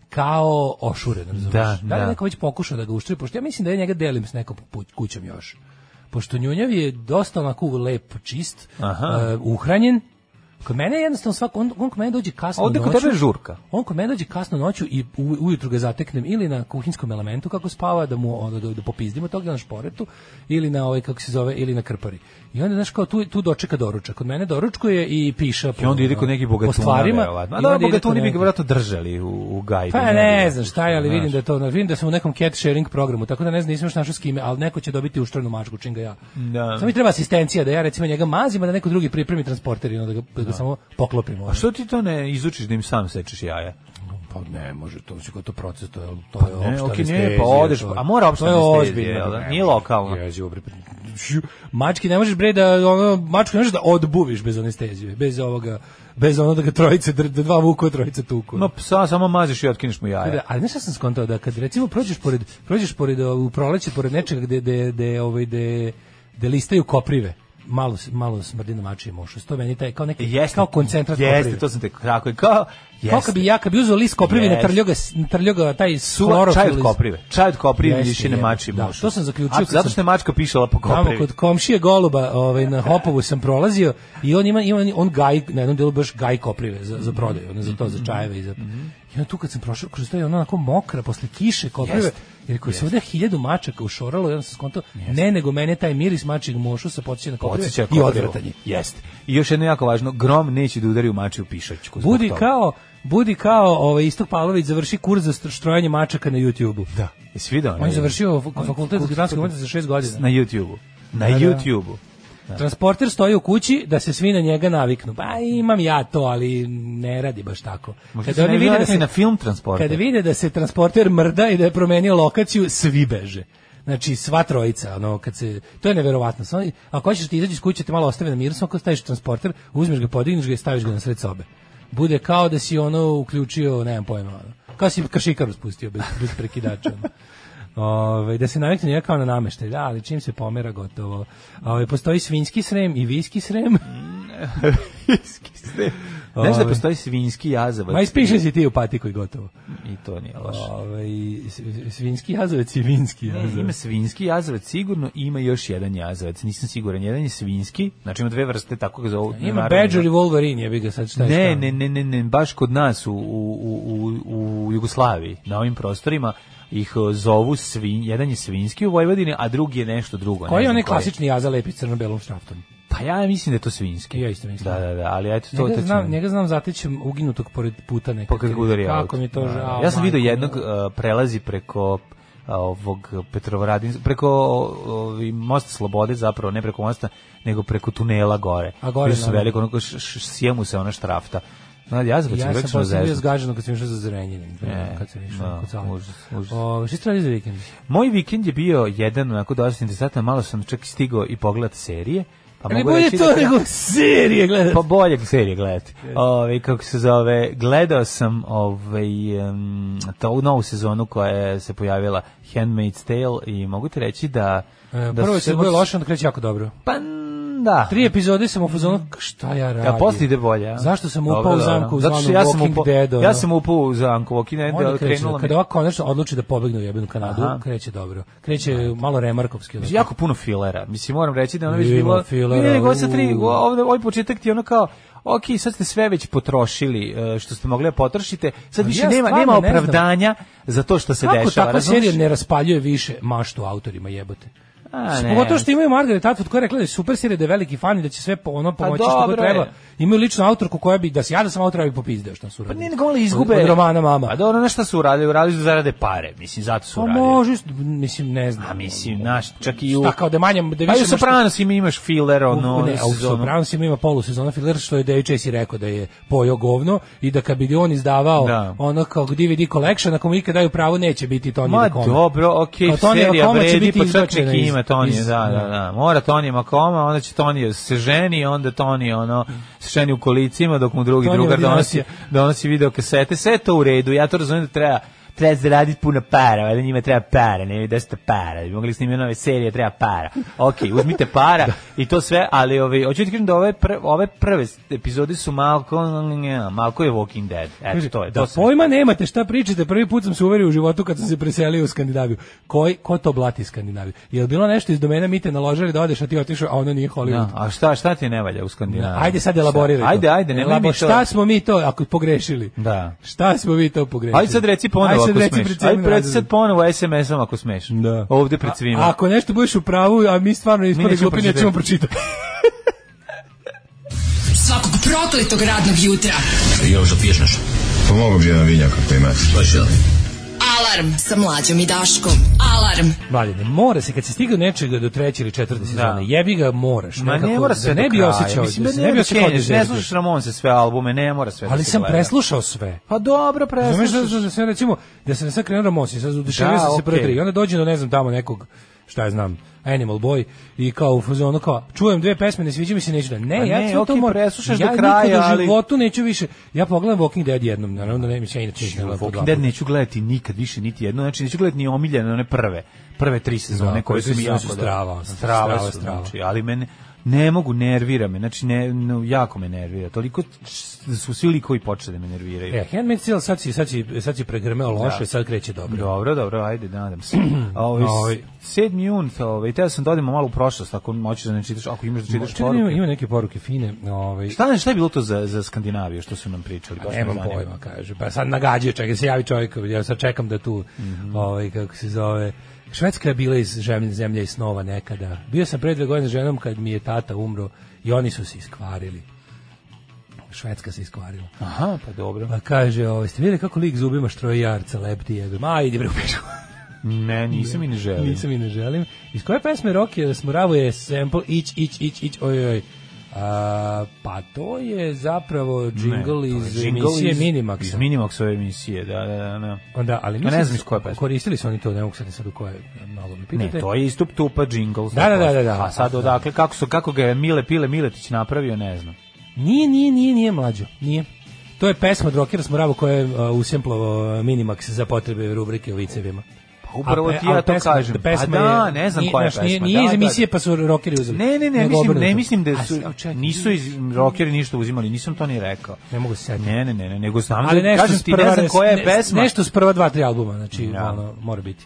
G: kao ošuren, razumiješ?
F: Da,
G: Da, da. li
F: da.
G: je neko već pokušao da ga uštri, pošto ja mislim da ja njega delim s nekom po pu- kućom još. Pošto Njunjav je dosta onako lep, čist,
F: Aha.
G: uh, uhranjen, Kod mene je jednostavno svako, on, on kod mene dođe kasno
F: Ovde kod
G: noću.
F: tebe je žurka.
G: On kod mene dođe kasno noću i u, ujutru ga zateknem ili na kuhinskom elementu kako spava da mu ono, da, da popizdimo toga na šporetu ili na ovaj kako se zove ili na krpari. I onda znaš kao tu tu dočeka doručak. Kod mene doručkuje i piša
F: I onda ide kod nekih
G: po
F: bogatuna,
G: stvarima.
F: verovatno. A
G: i
F: da,
G: onda ide
F: bogatuni
G: kod
F: bi
G: nekih.
F: ga vjerojatno držali u, u gajdu.
G: Pa ne znam šta je, ali
F: Znaš.
G: vidim da je to, vidim da sam u nekom cat sharing programu, tako da ne znam, nisam još našao s kime, ali neko će dobiti uštranu mačku, čim ga ja.
F: Da.
G: Samo mi treba asistencija da ja recimo njega mazim, a da neko drugi pripremi transporter i onda ga, da ga samo poklopimo.
F: A što ti to ne izučiš da im sam sečeš jaja?
G: Pa ne, može to, znači kao to proces, to je, to je
F: ne,
G: opšta
F: ok, ne,
G: anestezija,
F: pa odeš,
G: to je-
F: a mora opšta
G: to je
F: anestezija,
G: ozbiljno,
F: jel da?
G: ne,
F: Nije
G: može.
F: lokalno.
G: Jezivo, bre, pa- pre- šu. Mački ne možeš bre da ono mačku ne možeš da odbuviš bez anestezije, bez ovoga, bez onoga da ga trojice dr- da dva vuku, a trojice tuku. ono.
F: Ma psa samo maziš i otkineš mu
G: pa Da,
F: jaja.
G: ali znaš šta sam skontao da kad recimo prođeš pored prođeš pored o, u proleće pored nečega gde gde gde ovaj gde gde listaju koprive malo s- malo smrdi na mačije mošus to meni taj kao neki
F: Jeste.
G: kao koncentrat
F: Jeste,
G: koprive.
F: to sam te tako je kao
G: Kao
F: jeste.
G: kad bi ja, kad bi uzeo list koprive
F: Jeste.
G: na trljoga, na trljoga taj
F: Suva
G: slorofil.
F: čaj od
G: iz-
F: koprive. Čaj od koprive
G: Jeste,
F: više ne
G: jebe.
F: mači
G: Da,
F: mošu.
G: to sam zaključio
F: A,
G: kad
F: zato
G: sam-
F: što je mačka pišala po
G: Tamo
F: koprivi.
G: kod komšije Goluba, ovaj na Hopovu sam prolazio
F: Mhm.
G: i on ima ima on gaj na jednom delu baš gaj koprive za za prodaju, ono za to za čajeve i za. I onda tu kad sam prošao kroz to je ona onako mokra posle kiše kao prve.
F: Jeste.
G: Jer koji se ovde hiljadu mačaka ušoralo, jedan sam skonto, ne nego mene taj miris mačeg mošu se podsjeća na koprive
F: Podsjeća
G: i
F: koprivu.
G: odvratanje.
F: Jeste. I još jedno jako važno, grom neće da udari u mačiju pišačku. zbog
G: Budi
F: toga.
G: kao, budi kao ovaj Istok Pavlović završi kurs za str- štrojanje mačaka na YouTubeu.
F: Da. Jesi video?
G: On je završio
F: Ovaj,
G: fak- fakultet za grafanske umetnosti za šest
F: Na
G: godina.
F: YouTube-u. Na
G: Da, da.
F: YouTube-u.
G: Transporter stoji u kući da se svi na njega naviknu. Pa imam ja to, ali ne radi baš tako.
F: Možda
G: Kada
F: se
G: oni
F: ne
G: vide da
F: vidi
G: se
F: na film transporter.
G: Kada vide da se transporter mrda i da je promenio lokaciju, svi beže. Znači, sva trojica, ono, kad se, to je neverovatno. Samo, ako hoćeš ti izađi iz kuće, te malo ostavi na miru, samo kad staviš transporter, uzmeš ga, podigneš ga i staviš ga na sred sobe. Bude kao da si ono uključio, nemam pojma, ono. kao si kašikaru spustio bez, bez prekidača. Ono. Ove, da se navikne nije kao na nameštaj, da, ali čim se pomera gotovo. Ove, postoji svinjski srem i viski srem.
F: Znaš da
G: Ovaj.
F: postoji svinjski jazavac?
G: Ma ispiše si ti u patiku i gotovo.
F: I to nije loše.
G: Ove, svinjski jazavac i vinski jazavac.
F: Ima svinjski jazavac sigurno, i ima još jedan jazavac. Nisam siguran, jedan je svinjski, znači ima dve vrste, tako ga zovu.
G: Ima
F: narodni-
G: Badger i Wolverine, jebi ga sad šta je
F: Ne,
G: šta.
F: ne, ne, ne, ne, baš kod nas u, u, u, u- u Jugoslaviji, na ovim prostorima, ih eh, zovu svin, jedan je svinjski u Vojvodini, a drugi je nešto drugo. ne
G: Koji je
F: znam
G: onaj klasični jaza lepi crno-belom šraftom?
F: Pa ja mislim da je to svinjski.
G: Ja isto mislim.
F: Da, da, da, ali eto to...
G: Njega
F: to ću-
G: znam, njega znam zatećem uginutog pored puta nekako.
F: Pokad udari
G: Kako
F: auto.
G: mi je to
F: Da,
G: žao.
F: Ja sam vidio
G: majko
F: jednog
G: moja.
F: eh, prelazi preko a, ovog Petrovaradin preko ovi most slobode zapravo ne preko mosta nego preko tunela gore.
G: A gore,
F: Bio su
G: naravno.
F: veliko onako š- š- sjemu se ona štrafta. Znači, ja zbog
G: Ja
F: čega
G: sam
F: sam
G: posle bio
F: zeznuo.
G: zgaženo kad sam išao za zrenjenim.
F: E,
G: Kad sam
F: da,
G: išao kod Sale.
F: užas, užas.
G: O, Šta ste radili za vikend?
F: Moj vikend je bio jedan onako dosta interesantan, malo sam čak stigao i pogledat serije. Pa
G: Ne
F: mogu
G: bolje
F: reći
G: to
F: da-
G: nego serije gledati.
F: Pa bolje serije gledati. Ove, kako se zove, gledao sam ovaj, em, to novu sezonu koja je se pojavila Handmaid's Tale i mogu ti reći da...
G: E,
F: da
G: Prvo
F: su
G: je
F: se
G: se bilo
F: moć-
G: loše, onda kreće jako dobro.
F: Pa n- da.
G: Tri epizode sam u fazonu, k- šta ja radim?
F: A posle ide bolje. a?
G: Zašto sam upao
F: Dobro,
G: u
F: dobro.
G: zamku u
F: Zato što
G: zvanu
F: ja sam
G: Walking
F: upao-
G: Dead, ono.
F: Ja sam upao u zamku Walking
G: Onda
F: Dead,
G: kreće,
F: krenulo mi...
G: kada ova konačno odluči da pobegne u jebenu Kanadu,
F: Aha.
G: kreće dobro. Kreće malo remarkovski. onako.
F: jako puno filera. Mislim, moram reći da je ono već
G: Ima
F: bilo...
G: filera,
F: Ne, nego sa tri,
G: uuu.
F: ovde, ovaj početak ti je ono kao, ok, sad ste sve već potrošili e, što ste mogli da potrošite, sad
G: Ali
F: više
G: ja
F: nema,
G: stvarno
F: nema
G: ne znam.
F: opravdanja za to što se
G: Kako
F: dešava.
G: takva
F: razumeš?
G: serija ne raspaljuje više maštu autorima jebote?
F: A, ne.
G: Pogotovo što imaju Margaret Atwood koja je rekla da je super serija, da je veliki fan i da će sve po, ono pomoći što god
F: Pa dobro je.
G: treba. Imaju ličnu autorku koja bi, da se ja da sam autor, ja bi popizdeo što su
F: Pa
G: uradili.
F: ne, nego oni izgube...
G: Od, od romana mama.
F: Pa dobro, na šta su uradili? Uradili su da zarade pare, mislim, zato su
G: Pa
F: uradili.
G: može, mislim, ne znam.
F: A mislim, znaš, čak i u...
G: Šta kao da je manje, da
F: Pa i
G: više
F: u Sopranosima imaš filer, ono,
G: ne, a u
F: sezonu.
G: Sopranosima ima polusezona filer što je Dave Chase i rekao da je pojao govno i da kad bi on izdavao
F: Da.
G: ono kao DVD collection, ako mu ikad daju pravo, neće biti Tony
F: Ma
G: Dacoma.
F: dobro, okej,
G: Kao Tony
F: serija
G: Dacoma će
F: vredi,
G: biti
F: pa čak
G: izbačena
F: nek
G: iz-
F: ima Tony,
G: iz-
F: da, da, da. Mora Tony Makoma, onda će Tony se ženi, onda Tony ono, se ženi u kolicima, dok mu drugi
G: Tonyjeva
F: drugar donosi,
G: dinastija.
F: donosi video kasete. Sve je to u redu, ja to razumijem da treba treba zaraditi puno para, valjda njima treba para, ne da ste para, da bi mogli snimiti nove serije, treba para. Ok, uzmite para i to sve, ali ovaj, hoću ti kažem da ove, pr ove prve epizode su malko, malko je Walking Dead. Eto,
G: Kaže,
F: to je.
G: da
F: to sam-
G: pojma nemate šta pričate, prvi put sam se uverio u životu kad sam se preselio u Skandinaviju. Koji, ko to blati Skandinaviju? Je li bilo nešto iz domena mite naložili da odeš, a ti otišao, a ono nije Hollywood?
F: Da, a šta, šta ti ne valja u Skandinaviji?
G: Ajde sad elaboriraj.
F: Šta? Ajde, ajde, nemoj mi
G: Elabo-
F: to.
G: Šta smo mi to, ako pogrešili?
F: Da.
G: Šta smo mi to pogrešili?
F: Ajde sad reci ponovo
G: Ajde sad
F: ako
G: reci
F: smeš.
G: pred svima
F: Ajde pred
G: razredom.
F: sad ponovo SMS-om ako smeš.
G: Da.
F: Ovde pred svima.
G: A, ako nešto budeš u pravu, a mi stvarno ispod
F: nećemo
G: glupi nećemo pročitati.
E: Svakog prokletog radnog jutra.
B: Pomogao bi jedan vinjak ako imate.
E: Alarm sa mlađom i Daškom. Alarm.
G: Mladine, mora se kad se stigne do nečega do treće ili četvrte sezone. Jebi ga, moraš.
F: Ma
G: nekako,
F: ne mora sve
G: da ne
F: do
G: bi
F: kraja.
G: osjećao,
F: Mislim,
G: da
F: da
G: se ne bi
F: da
G: osjećao
F: kenješ,
G: da
F: Ne
G: je
F: slušaš Ramon sve albume, ne mora sve da
G: Ali
F: se
G: sam
F: gleda.
G: preslušao sve.
F: Pa dobro,
G: Znaš
F: preslušaš.
G: da, da sve recimo, da sam sad krenuo Ramosi, sad uduševio
F: Da,
G: sam se prve
F: okej.
G: tri. I onda dođe do ne znam tamo nekog, šta ja znam, Animal Boy i kao u fazonu ono kao čujem dve pesme ne sviđa mi se neću da ne
F: Pa
G: ja
F: ne,
G: ću to
F: okej,
G: moram
F: preslušaš do
G: ja
F: kraja,
G: nikad u
F: ali-
G: životu neću više ja pogledam Walking Dead jednom naravno da ne mislim ja inače ne gledam po dva
F: Walking Dead neću gledati nikad više niti jedno, znači neću gledati ni omiljene one prve, prve tri sezone
G: Da,
F: koje
G: prve
F: su
G: tri
F: mi
G: sezone
F: jako
G: su
F: dobre.
G: strava, ono,
F: strava,
G: strava,
F: su,
G: strava.
F: znači, ali mene Ne mogu, nervira me, znači ne, no, jako me nervira. Toliko s- su svi likovi počeli da me nerviraju.
G: E, Handmaid's Tale sad si, sad si, sad si pregrmeo loše, sad kreće dobro.
F: Dobro, dobro, ajde, nadam se. A ovaj,
G: Mm. Ovaj.
F: 7. jun, to, ovaj, teo sam da odemo malo u prošlost, ako moćeš da ne čitaš, ako imaš da čitaš
G: Čekaj, ima,
F: poruke.
G: ima neke poruke fine. Ovaj,
F: Šta, je- šta je bilo to za, za Skandinaviju što su nam pričali? Baš me
G: Nemam
F: zanima.
G: pojma, kaže. Pa sad nagađaju, čekaj, se javi čovjek, ja sad čekam da tu,
F: Mhm.
G: ovaj, kako se zove, Švedska je bila iz žemlje, zemlje i snova nekada. Bio sam pre dve godine s ženom kad mi je tata umro i oni su se iskvarili. Švedska se iskvarila.
F: Aha, pa dobro.
G: Pa kaže, ovaj, ste vidjeli kako lik zubima štrojarca lepti jebe? Ma, idi bre u pičku.
F: Ne, nisam i ne želim.
G: Nisam i ne želim. Iz koje pesme Rocky da smuravo je sample ić, ić, ić, ić, oj, oj. A, pa to je zapravo
F: to
G: jingle
F: je
G: iz
F: jingle
G: emisije
F: iz- Iz
G: Minimaxa. Pa
F: Minimaxove emisije, da, da, da. da.
G: Onda, ali
F: Ja ne
G: mislim-
F: znam iz koje pesme.
G: Koristili su oni to, ne mogu sad ni sad u koje, e, malo mi pitate.
F: Ne, to je istup tupa jingle.
G: Da, da, da, da, da.
F: A sad odakle, kako, su, kako ga je Mile Pile Miletić napravio, ne znam.
G: Nije, nije, nije, nije mlađo, nije. To je pesma od Rockera Smoravo koja je uh, usemplovao Minimax za potrebe rubrike o vicevima.
F: Pa upravo
G: A pe-
F: ti ja
G: ali
F: to
G: pesma-
F: kažem.
G: Pesma
F: A pa da,
G: je,
F: ne znam
G: nije-
F: koja je
G: znaš, Nije,
F: pesma.
G: nije
F: Da,
G: iz
F: da,
G: emisije
F: da.
G: pa su rockeri uzeli.
F: Ne, ne, ne,
G: Nego
F: mislim, ne
G: obrnuto.
F: mislim da
G: A,
F: su,
G: a, čekaj,
F: nisu iz rockeri ništa uzimali, nisam to ni rekao.
G: Ne mogu se setiti.
F: Ne, ne, ne, ne, nego znam
G: Ali
F: da
G: nešto
F: kažem
G: s
F: ti,
G: prva
F: ne znam
G: res-
F: koja je
G: ne-
F: pesma.
G: Nešto s prva dva, tri albuma, znači,
F: Ja.
G: ono, mora biti.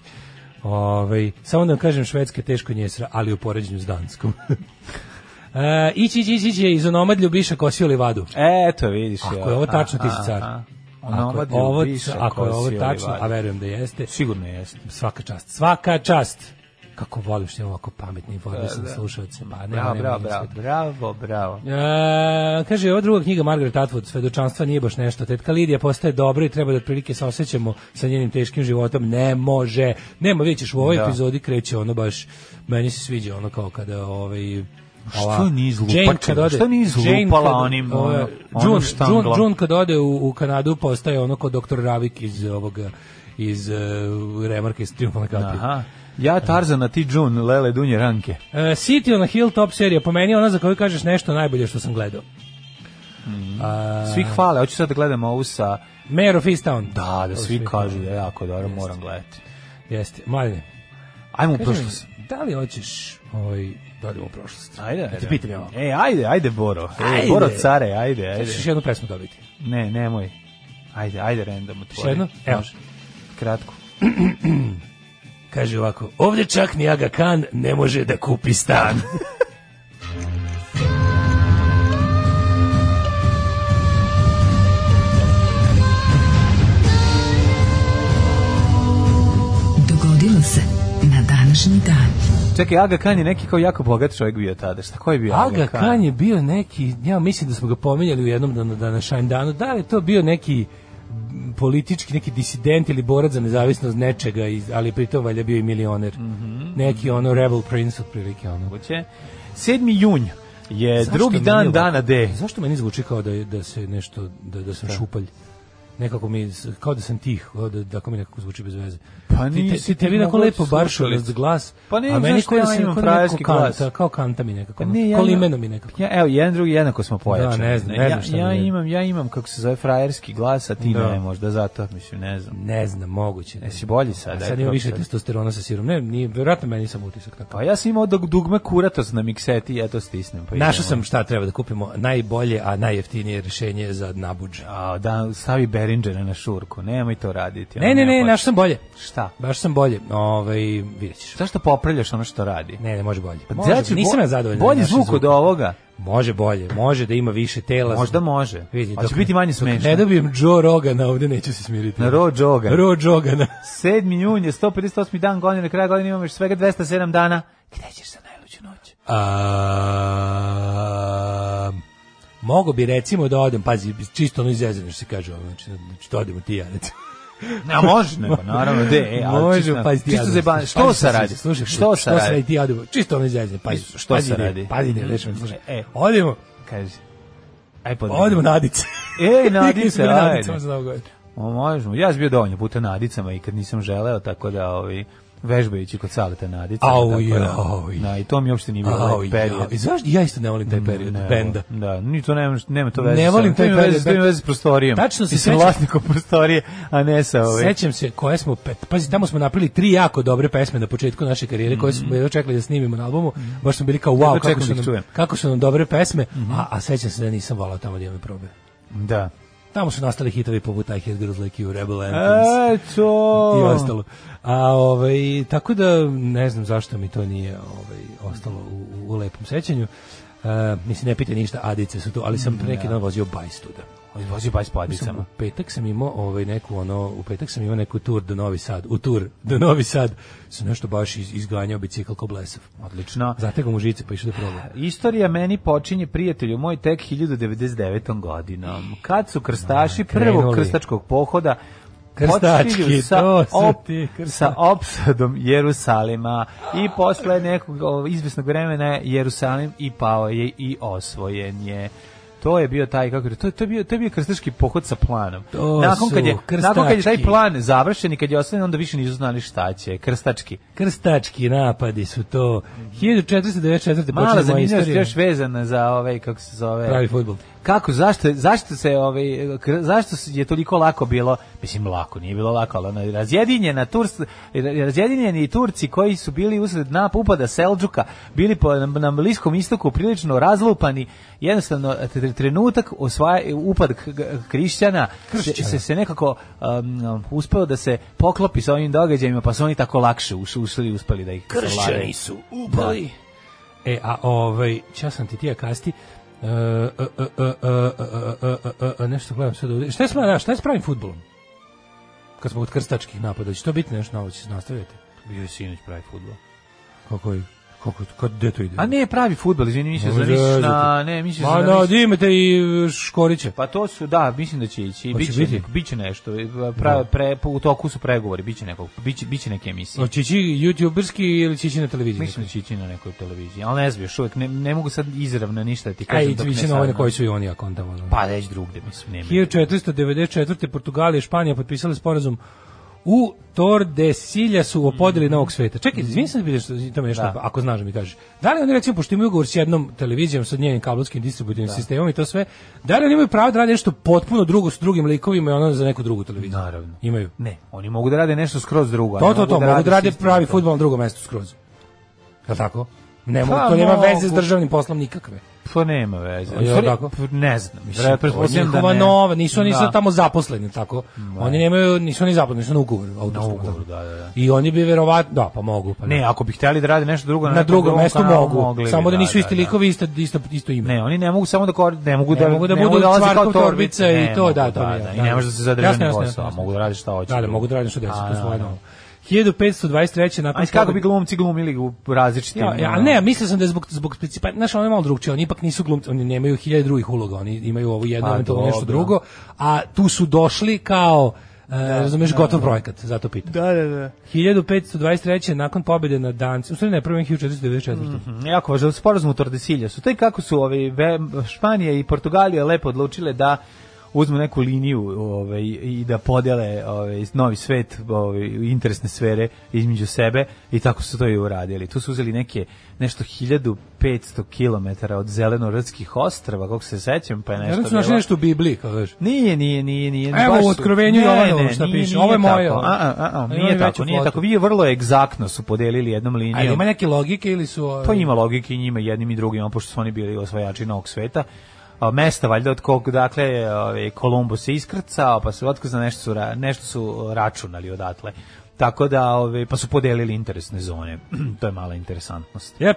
G: Ovaj, samo da vam kažem, Švedska je teško njesra, ali u poređenju s Danskom. Uh, ići, ići, ići, ići je iz onomad Ljubiša kosio livadu. E,
F: E, Eto, vidiš.
G: Ako
F: ja.
G: je ovo tačno, ti si
F: Aha,
G: car.
F: aha.
G: Ako je
F: Onomad
G: ovo,
F: Ljubiša
G: ako je ovo
F: Kosio
G: tačno,
F: Livada.
G: a verujem da jeste,
F: Sigurno jeste.
G: svaka čast, svaka čast. Kako volim što imam ovako pametni informisani da, slušalce. Pa, nema,
F: Bravo,
G: nema,
F: bravo,
G: nema
F: bravo,
G: sveta.
F: bravo, bravo.
G: E, kaže, ova druga knjiga Margaret Atwood, Svedočanstva nije baš nešto. Tetka Lidija postaje dobra i treba da otprilike se osjećamo sa njenim teškim životom. Ne može. Nema, vidjet ćeš, u ovoj
F: Da.
G: epizodi kreće ono baš, meni se sviđa ono kao kada ovaj...
F: Što nije izlupačila? Što nije izlupala onim, ono,
G: ova,
F: onom
G: June-
F: štanglom?
G: June- June kad ode u, u Kanadu postaje ono kao doktor Ravik iz ovoga iz uh, remarke iz Triumfa na kapiju.
F: Aha. Ja Tarzan, a ti June, Lele Dunje Ranke.
G: E, City on a Hill top serija, po meni je ona za koju kažeš nešto najbolje što sam gledao.
F: Svi hvale, hoću sad da gledam ovu sa...
G: Mayor of Easttown.
F: Da, da
G: To
F: svi kažu da je jako dobro,
G: Jeste.
F: moram gledati.
G: Jeste, mladine.
F: Ajmo u
G: kaži
F: prošlost.
G: mi, Da li hoćeš ovaj, da odemo u prošlost?
F: Ajde,
G: Da
F: ajde.
G: te pitam ja ovo.
F: E, ajde, ajde, Boro. E,
G: Ajde.
F: Boro care, ajde, ajde.
G: Hoćeš jednu pesmu dobiti.
F: Ne, nemoj. Ajde, ajde, random
G: Još
F: otvori.
G: jednu? Evo.
F: Može. Kratko.
G: Kaže ovako, ovdje čak ni Aga Khan ne može da kupi stan.
E: Dogodilo se na današnji dan.
F: Čekaj, Aga Khan je neki kao jako bogat čovjek bio tada. Šta, ko je bio Aga,
G: Aga Khan je bio neki, ja mislim da smo ga pominjali u jednom danu, da na Shine danu, da li je to bio neki m, politički neki disident ili borac za nezavisnost nečega, iz- ali pritom valjda bio i milioner. Neki ono rebel prince otprilike ono.
F: Hoće. 7. junj je
G: Zašto
F: E, drugi
G: meni
F: dan
G: ovako-
F: dana D.
G: Zašto meni zvuči kao da je- da se nešto da da sam šupalj? Nekako mi s- kao da sam tih, kao da, da kao mi nekako zvuči bez veze.
F: Pa
G: ti, te,
F: nisi
G: ti,
F: ti
G: tebi tako
F: mogao
G: lepo baršo
F: slušalicu.
G: glas,
F: Pa ne,
G: a meni
F: znaš
G: kao da
F: šta, ja
G: sam
F: imam
G: kao da neko
F: frajerski glas.
G: kanta, kao kanta mi nekako, ono,
F: Pa ne, ja
G: kao
F: imam-
G: limeno mi nekako.
F: Ja, evo, jedan drugi jednako smo pojačani.
G: Da, ne znam, ne znam šta
F: ja, ja
G: mi je.
F: imam, ja imam, kako se zove, frajerski glas, a ti
G: Da.
F: ne, možda zato, mislim, ne znam.
G: Ne znam, moguće. da je.
F: Jesi bolji sad,
G: A
F: aj,
G: sad ima više
F: profesor.
G: testosterona sa sirom. Ne, nije, verovatno meni sam utisak tako.
F: Pa ja sam imao dug- dugme kuratos na mikseti, ja to stisnem. Pa
G: Našao
F: idemo.
G: sam šta treba da kupimo, najbolje, a najjeftinije rješenje za nabuđ.
F: A, da, stavi Beringera na šurku, nemoj to raditi. ono,
G: Ne, ne, ne,
F: hoću.
G: našao sam bolje.
F: Šta?
G: Baš sam bolje. Ovaj, vidjet ćeš.
F: Zašto popravljaš ono što radi?
G: Ne, ne, može bolje.
F: Pa
G: Može,
F: znači,
G: nisam
F: bo-
G: ja zadovoljan.
F: Bolji
G: našim
F: zvuk od
G: zvukom.
F: ovoga.
G: Može bolje, može da ima više tela.
F: Možda može.
G: Vidi,
F: Hoće
G: dok-
F: biti manje
G: dok
F: smešno.
G: Ne dobijem Joe Rogana, ovdje neću se smiriti.
F: Na Ro Jogan.
G: Ro Jogana.
F: 7. jun je 158. dan godine, na kraju godine imamo još svega 207 dana. Gde ćeš za najluđu noć?
G: A, mogu bi recimo da odem, pazi, čisto ono izjezeno što se kaže, ono, znači, znači da odem u ti ja recimo.
F: A može, nego, naravno, de, e, ali čisto,
G: pazi ti
F: čisto
G: ja,
F: zajebano.
G: znači,
F: Što
G: pazi,
F: se radi?
G: Slušaj,
F: što se radi?
G: ti ja odem, čisto ono izjezeno, pazi,
F: Mislim, što
G: pazi
F: se
G: ne,
F: radi?
G: Pazi ne, lešam, slušaj,
F: E.
G: odemo,
F: Kaži. Aj podaj.
G: odemo na Adice.
F: Ej,
G: Nikad
F: nadice,
G: nismo bili na Adicama
F: ajde.
G: za Novu godinu.
F: O, možemo. Ja sam bio dovoljno puta na Adicama i kad nisam želeo, tako da ovi, vežbajući kod Saleta Nadica.
G: Au,
F: tako da,
G: jao, i-
F: Da, i to mi uopšte nije bilo
G: Au,
F: lep Ovaj period. Mm,
G: jao. I znaš, ja isto ne volim taj period
F: Ne,
G: benda.
F: Da, ni to nema, nema to veze.
G: Ne
F: sa-
G: volim
F: to
G: taj
F: ima
G: period
F: veze- To ima
G: benda.
F: veze s prostorijom.
G: Tačno se
F: I sa
G: sećam.
F: vlasnikom prostorije, a ne sa ove.
G: Sećam se koje smo pet, pazi tamo smo napravili tri jako dobre pesme na početku naše karijere koje smo jedva čekali da snimimo na albumu. Baš smo bili kao wow
F: Mm-hmm. Jedva čekam
G: kako
F: da
G: su
F: ih
G: nam,
F: čujem. Mm-hmm.
G: kako su nam dobre pesme, a a sećam se da nisam volao tamo da imam probe.
F: Da.
G: Tamo su nastali hitovi poput I Hate Girls Like You, Rebel Anthems
F: E,
G: i
F: to...
G: ostalo. A ovaj tako da ne znam zašto mi to nije ovaj ostalo u, u- u lepom sećanju. E, mislim ne pite ništa, adice su tu, ali sam pre neki dan vozio bajs tuda.
F: Izvozio baj s
G: Mislim,
F: padicama.
G: u petak sam imao ovaj neku ono u petak sam imao neku tur do Novi Sad u tur do Novi Sad sam nešto baš iz, izganjao bicikl ko blesav
F: Odlično.
G: zategao mu žice pa išao da probam
F: Istorija meni počinje prijatelju moj tek 1099. godinom. Kad su krstaši
G: krenuli.
F: prvog krstačkog pohoda
G: Krstački,
F: počinju sa,
G: to su
F: op-
G: ti krsta-
F: sa opsadom Jerusalima i posle nekog o, izvesnog vremena Jerusalim i pao je i osvojen je. To je bio taj kako je, to, to je bio to je bio krstaški pohod sa planom.
G: To
F: nakon
G: su
F: kad je nakon kad je taj
G: krstački.
F: plan završen i kad je ostavljen onda više nisu znali šta će. Krstački.
G: krstački napadi su to 1494.
F: Mhm. Mala
G: počela moja
F: zanimljivost
G: istorija
F: još vezana za ovaj kako se zove
G: pravi fudbal
F: Kako, zašto, zašto se ovaj kr- zašto se- je toliko lako bilo, mislim lako, nije bilo lako, ali ono, razjedinjena Turs, razjedinjeni Turci koji su bili usred nap upada Selđuka, bili po, na, na Bliskom istoku prilično razlupani, jednostavno t- t- trenutak osvaja, upad k- k- Krišćana se, se, se nekako um, um, uspeo da se poklopi sa ovim događajima, pa su oni tako lakše ušli, ušli i uspeli da ih savladaju.
G: su upali e a ovaj čas sam ti tija kasti E, e, e, e, e, e, e, e, e, nešto gledam sad ovdje. Šta je, s- da, šta je s pravim futbolom? Kad smo od krstačkih napada, će to biti nešto novo, će se nastaviti?
F: Bio je sinoć pravi fudbal.
G: Kako je? Kako, kako, gde to ide?
F: A ne pravi fudbal, izvini, misliš da misliš na, ne, misliš
G: Ma,
F: da
G: da,
F: misliš-
G: da imate i e, Škorića.
F: Pa to su, da, mislim da će ići.
G: Hoće
F: Biće,
G: biti?
F: biće nešto. Pra, pre, po- u toku su pregovori, biće, nekog, biće, biće neke emisije.
G: Hoće ići youtuberski ili će ići na televiziji?
F: Mislim da će ići na nekoj televiziji, ali ne znam još uvijek, ne, ne mogu sad izravno ništa da ti
G: Aj,
F: kažem.
G: ići
F: dok ne
G: više na ovaj na
F: saznam.
G: koji su i oni akontamo. ono.
F: Pa već drugde, mislim, nema.
G: 1494. Portugalija i Španija potpisali sporazum u Tordesilja su opodili novog sveta. Čekaj, izvini sam vidio što tamo nešto,
F: Mhm. Da.
G: ako znaš da mi kažeš. Da li oni recimo, pošto imaju ugovor s jednom televizijom, sa njenim kablovskim distributivnim sistemom i to sve, da li oni imaju pravo da rade nešto potpuno drugo s drugim likovima i ono za neku drugu televiziju?
F: Naravno.
G: Imaju.
F: Ne, oni mogu da rade nešto skroz drugo. a
G: To,
F: ne
G: to, to, mogu da rade
F: sistem.
G: pravi futbol na drugom mestu skroz. Je li tako? Ne, mogu,
F: Pa,
G: to nema
F: mogu.
G: veze s državnim poslom nikakve.
F: To nema veze.
G: Je li
F: Sorry,
G: tako?
F: p- Ne znam.
G: Mislim,
F: Mislim,
G: to je
F: Pretpostavljam da
G: njihova
F: ne.
G: nova, nisu oni
F: Da.
G: sad tamo zaposleni, jel tako? Oni nemaju, nisu oni zaposleni, nisu na ugovoru.
F: Na
G: autorskom,
F: ugovoru,
G: tako.
F: da, da, da.
G: I oni bi verovatno, da, pa mogu. Pa
F: Ne, ako bi htjeli da rade nešto drugo na,
G: na
F: nekom
G: drugom mestu
F: kanalu,
G: mogu,
F: mogli bi,
G: samo da nisu isti
F: da.
G: likovi, isto, isto, isto ime.
F: Ne, oni ne mogu samo da kor, ne mogu
G: Ne
F: da
G: mogu da
F: ne
G: budu
F: mogu da laze kao
G: Cvarkov
F: torbice
G: torbica i
F: Ne
G: to,
F: mogu,
G: da, to mi je,
F: I
G: da.
F: ne može da se zadrži
G: Jasno,
F: na
G: jasno,
F: posao, a
G: jasno.
F: mogu da radi šta hoće.
G: Da, da, mogu da radim što deset,
F: A,
G: to
F: da,
G: svoje
F: da.
G: novo. 1523. nakon
F: A iz kako
G: pobjede-
F: bi glumci glumili u različitim?
G: Ja, ja,
F: ono,
G: ne, mislio sam da je zbog, zbog principa, znaš, ono je malo drugčije, oni ipak nisu glumci, oni nemaju hiljade drugih uloga, oni imaju ovo jedno,
F: Pa,
G: eventualno nešto
F: dobro.
G: drugo, a tu su došli kao, e, razumeš, gotov projekat, zato pitam.
F: Da, da, da.
G: 1523. nakon pobjede na Dancima, u stvari ne, prvo je 1494.
F: Mhm, Jako važno, sporazum u Tordesilja su. Taj kako su ovi, Španija i Portugalija lepo odlučile da uzmu neku liniju ovaj, i da podele ovaj, novi svet, ovaj, interesne sfere između sebe i tako su to i uradili. Tu su uzeli neke nešto 1500 km od zelenorodskih ostrava, kako se sećam, pa je
G: Ja
F: nešto...
G: sam su našli
F: bilo-
G: nešto u Bibliji, kao veš.
F: Nije, nije, nije, nije.
G: Evo,
F: baš
G: u
F: su-
G: Otkrovenju
F: Ne,
G: Jovanovom
F: ne,
G: šta
F: nije,
G: piše.
F: nije
G: Ovo je moje,
F: tako.
G: ovo.
F: A, a, a, a,
G: Ali
F: nije
G: oni
F: tako,
G: veću
F: nije
G: flotu.
F: tako. Vi vrlo egzaktno su podelili jednom linijom.
G: Ali ima neke logike ili su... ovaj,
F: Pa ima logike i njima jednim i drugima, pošto su oni bili osvajači novog sveta. A, mesta valjda od kog dakle je, ovaj Kolumbus se iskrcao, pa su otko za nešto su ra- nešto su računali odatle. Tako da ovaj pa su podelili interesne zone. to je mala interesantnost.
G: Je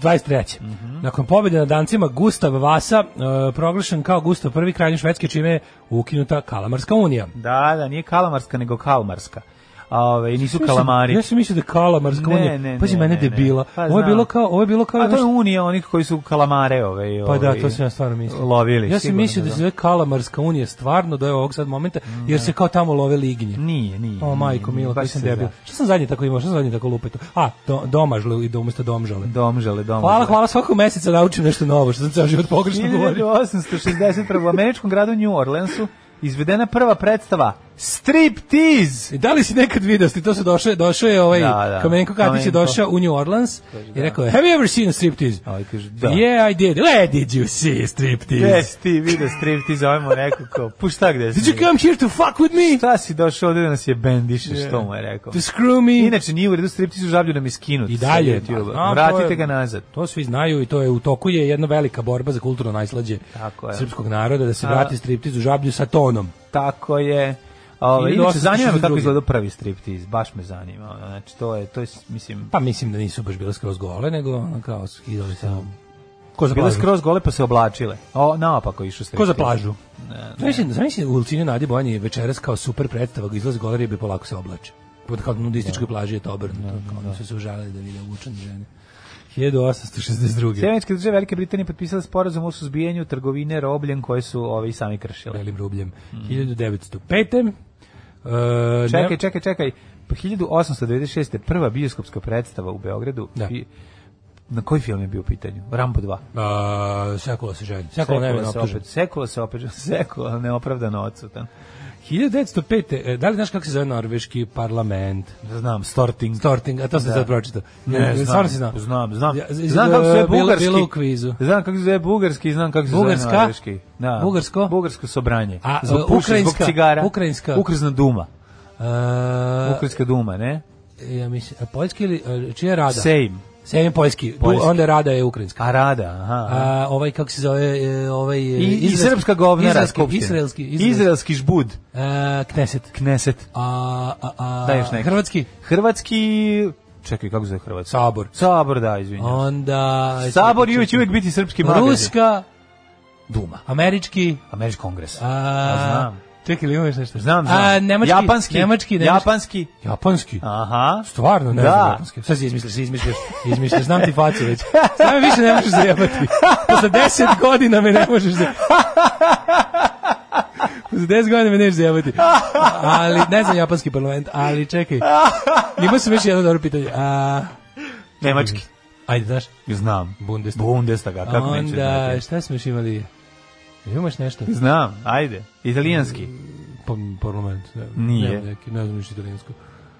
G: 523.
F: Mhm.
G: Nakon pobjede na Dancima Gustav Vasa e, proglašen kao Gustav prvi kralj Švedske čime je ukinuta Kalamarska unija.
F: Da, da, nije kalamarska nego kalmarska. A ovaj nisu
G: Ja sam-
F: kalamari.
G: Ja sam mislio da je kalamarska
F: Ne,
G: unija.
F: ne,
G: Pazi,
F: ne,
G: mene
F: ne, ne.
G: debila.
F: Pa,
G: ovo je
F: znam.
G: bilo kao, ovo je bilo kao...
F: A to je unija onih koji su kalamare ovaj, ove.
G: Pa
F: ove
G: da, to sam ja stvarno mislio.
F: Lovili.
G: ja sam
F: sigurno
G: mislio da se zove Kalamarska unija stvarno do ovog sad momenta, jer se kao tamo love lignje.
F: Nije, nije.
G: O,
F: nije,
G: majko,
F: nije,
G: milo,
F: baš
G: koji sam
F: se
G: debil.
F: zna.
G: Šta sam zadnje tako imao, šta sam zadnje tako lupeto? A, do, domažle i umesto domžale.
F: Domžale, domžale.
G: Hvala, hvala, svakog meseca naučim nešto novo, što sam ceo život pogrešno govorio.
F: 1861. u američkom gradu New Orleansu izvedena prva predstava Striptease!
G: I Da li si nekad video, sti to se došao, došao je ovaj
F: Da, da.
G: Komenko Katić je
F: Komenko.
G: došao u New Orleans i rekao je, have you ever seen a striptease?
F: A ovaj kaže, da.
G: Yeah, I did. Where did you see a striptease?
F: Gde si ti video striptease, ovaj mu rekao kao, puš šta gde si?
G: Did you come here to fuck with me?
F: Šta si došao ovde da nas je bendišeš, što mu je rekao.
G: To screw me?
F: Inače, nije u redu striptease u žablju nam je skinut.
G: I dalje.
F: sa YouTube-a.
G: A, to
F: Vratite
G: je-
F: ga nazad.
G: To svi znaju i to je u toku je jedna velika borba za kulturno najslađe
F: Tako je.
G: srpskog naroda da se vrati striptiz u žablju sa tonom.
F: Tako je. Ove,
G: Ili
F: inače,
G: dosta
F: zanima me kako
G: 1062.
F: izgleda prvi striptease, baš me zanima. ono, Znači, to je, to je, mislim,
G: Pa mislim da nisu baš bile skroz gole, nego ono kao skidali samo... Ko za
F: bile
G: plažu?
F: skroz gole pa se oblačile. O, naopako išao striptease.
G: Ko za plažu? Zamisli, zamisli u Ulcinu Nadi Bonji je večeras kao super predstava, izlaz golari i polako se oblače. Pod kao na nudističkoj plaži je to obrnuto. kao oni su se užalili da vide učene žene. 1862.
F: Sjedinjske države Velike Britanije potpisale sporazum o suzbijanju trgovine robljem koje su ovi sami kršile.
G: Belim rubljem. 1905. Uh,
F: Mm. Čekaj, čekaj, čekaj. Pa Po 1896. prva bioskopska predstava u Beogradu.
G: Da.
F: I- na koji film je bio u pitanju? Rambo 2.
G: Uh, sekula se ženi. Sekula ne
F: Sekula
G: vjerojatno
F: se
G: optužen.
F: opet, sekula se opet, sekula neopravdano odsutan.
G: 1905. e, Da li znaš kako se zove norveški parlament?
F: Znam, Storting.
G: Storting, a to sam
F: Da.
G: sad pročitao.
F: Ne, znam,
G: Stvarno si znao.
F: znam, znam.
G: Ja, e,
F: Znam kako se zove
G: bilo-
F: bugarski.
G: Bilo u kvizu.
F: Znam kako se zove bugarski, znam kako se
G: Bugarska?
F: zove norveški. Da.
G: Bugarsko?
F: Bugarsko sobranje.
G: A,
F: zbog
G: e,
F: puše,
G: ukrajinska?
F: Zbog cigara.
G: Ukrajinska?
F: Ukrzna duma.
G: Uh,
F: Ukrajinska duma, ne?
G: E, ja mislim, a poljski ili, a, čija je rada?
F: Sejm.
G: Sejm je poljski, Du-
F: Poljski.
G: onda rada je ukrajinska.
F: A rada, aha.
G: A, ovaj, kako se zove, e, ovaj... e,
F: I, I
G: izraelski-
F: srpska govnara
G: izraelski,
F: skupština.
G: Izraelski, izraelski.
F: izraelski. žbud.
G: E, Kneset.
F: Kneset.
G: A, a, a,
F: Da, još neki.
G: Hrvatski.
F: Hrvatski... Čekaj, kako se zove Hrvatski?
G: Sabor.
F: Sabor, da, izvinjam.
G: Onda...
F: Sabor i uvijek, uvijek biti srpski magazin.
G: Ruska,
F: Duma.
G: američki...
F: Američki kongres.
G: A,
F: A, znam.
G: Čekaj, ili imaš nešto?
F: Znam, znam.
G: A, nemački,
F: japanski.
G: Nemački, nemački.
F: Japanski.
G: Japanski.
F: Aha.
G: Stvarno, ne
F: Da.
G: znam japanski. Sad si izmisliš, izmisliš, izmisliš, znam ti facu već. Sada me više ne možeš zajebati. Posle 10 godina me ne možeš zajebati. Posle 10 godina me nećeš zajebati. Ali, ne znam japanski parlament, ali čekaj. Imao sam više jedno dobro pitanje. A,
F: Nemački.
G: ajde, znaš.
F: Znam.
G: Bundestag.
F: Bundestaga, kako neće
G: Onda,
F: znati.
G: šta smo još imali? Imaš nešto?
F: Znam, ajde. Italijanski.
G: Pa, parlament. Ne,
F: Nije.
G: Nema neki, ne znam ništa italijansko.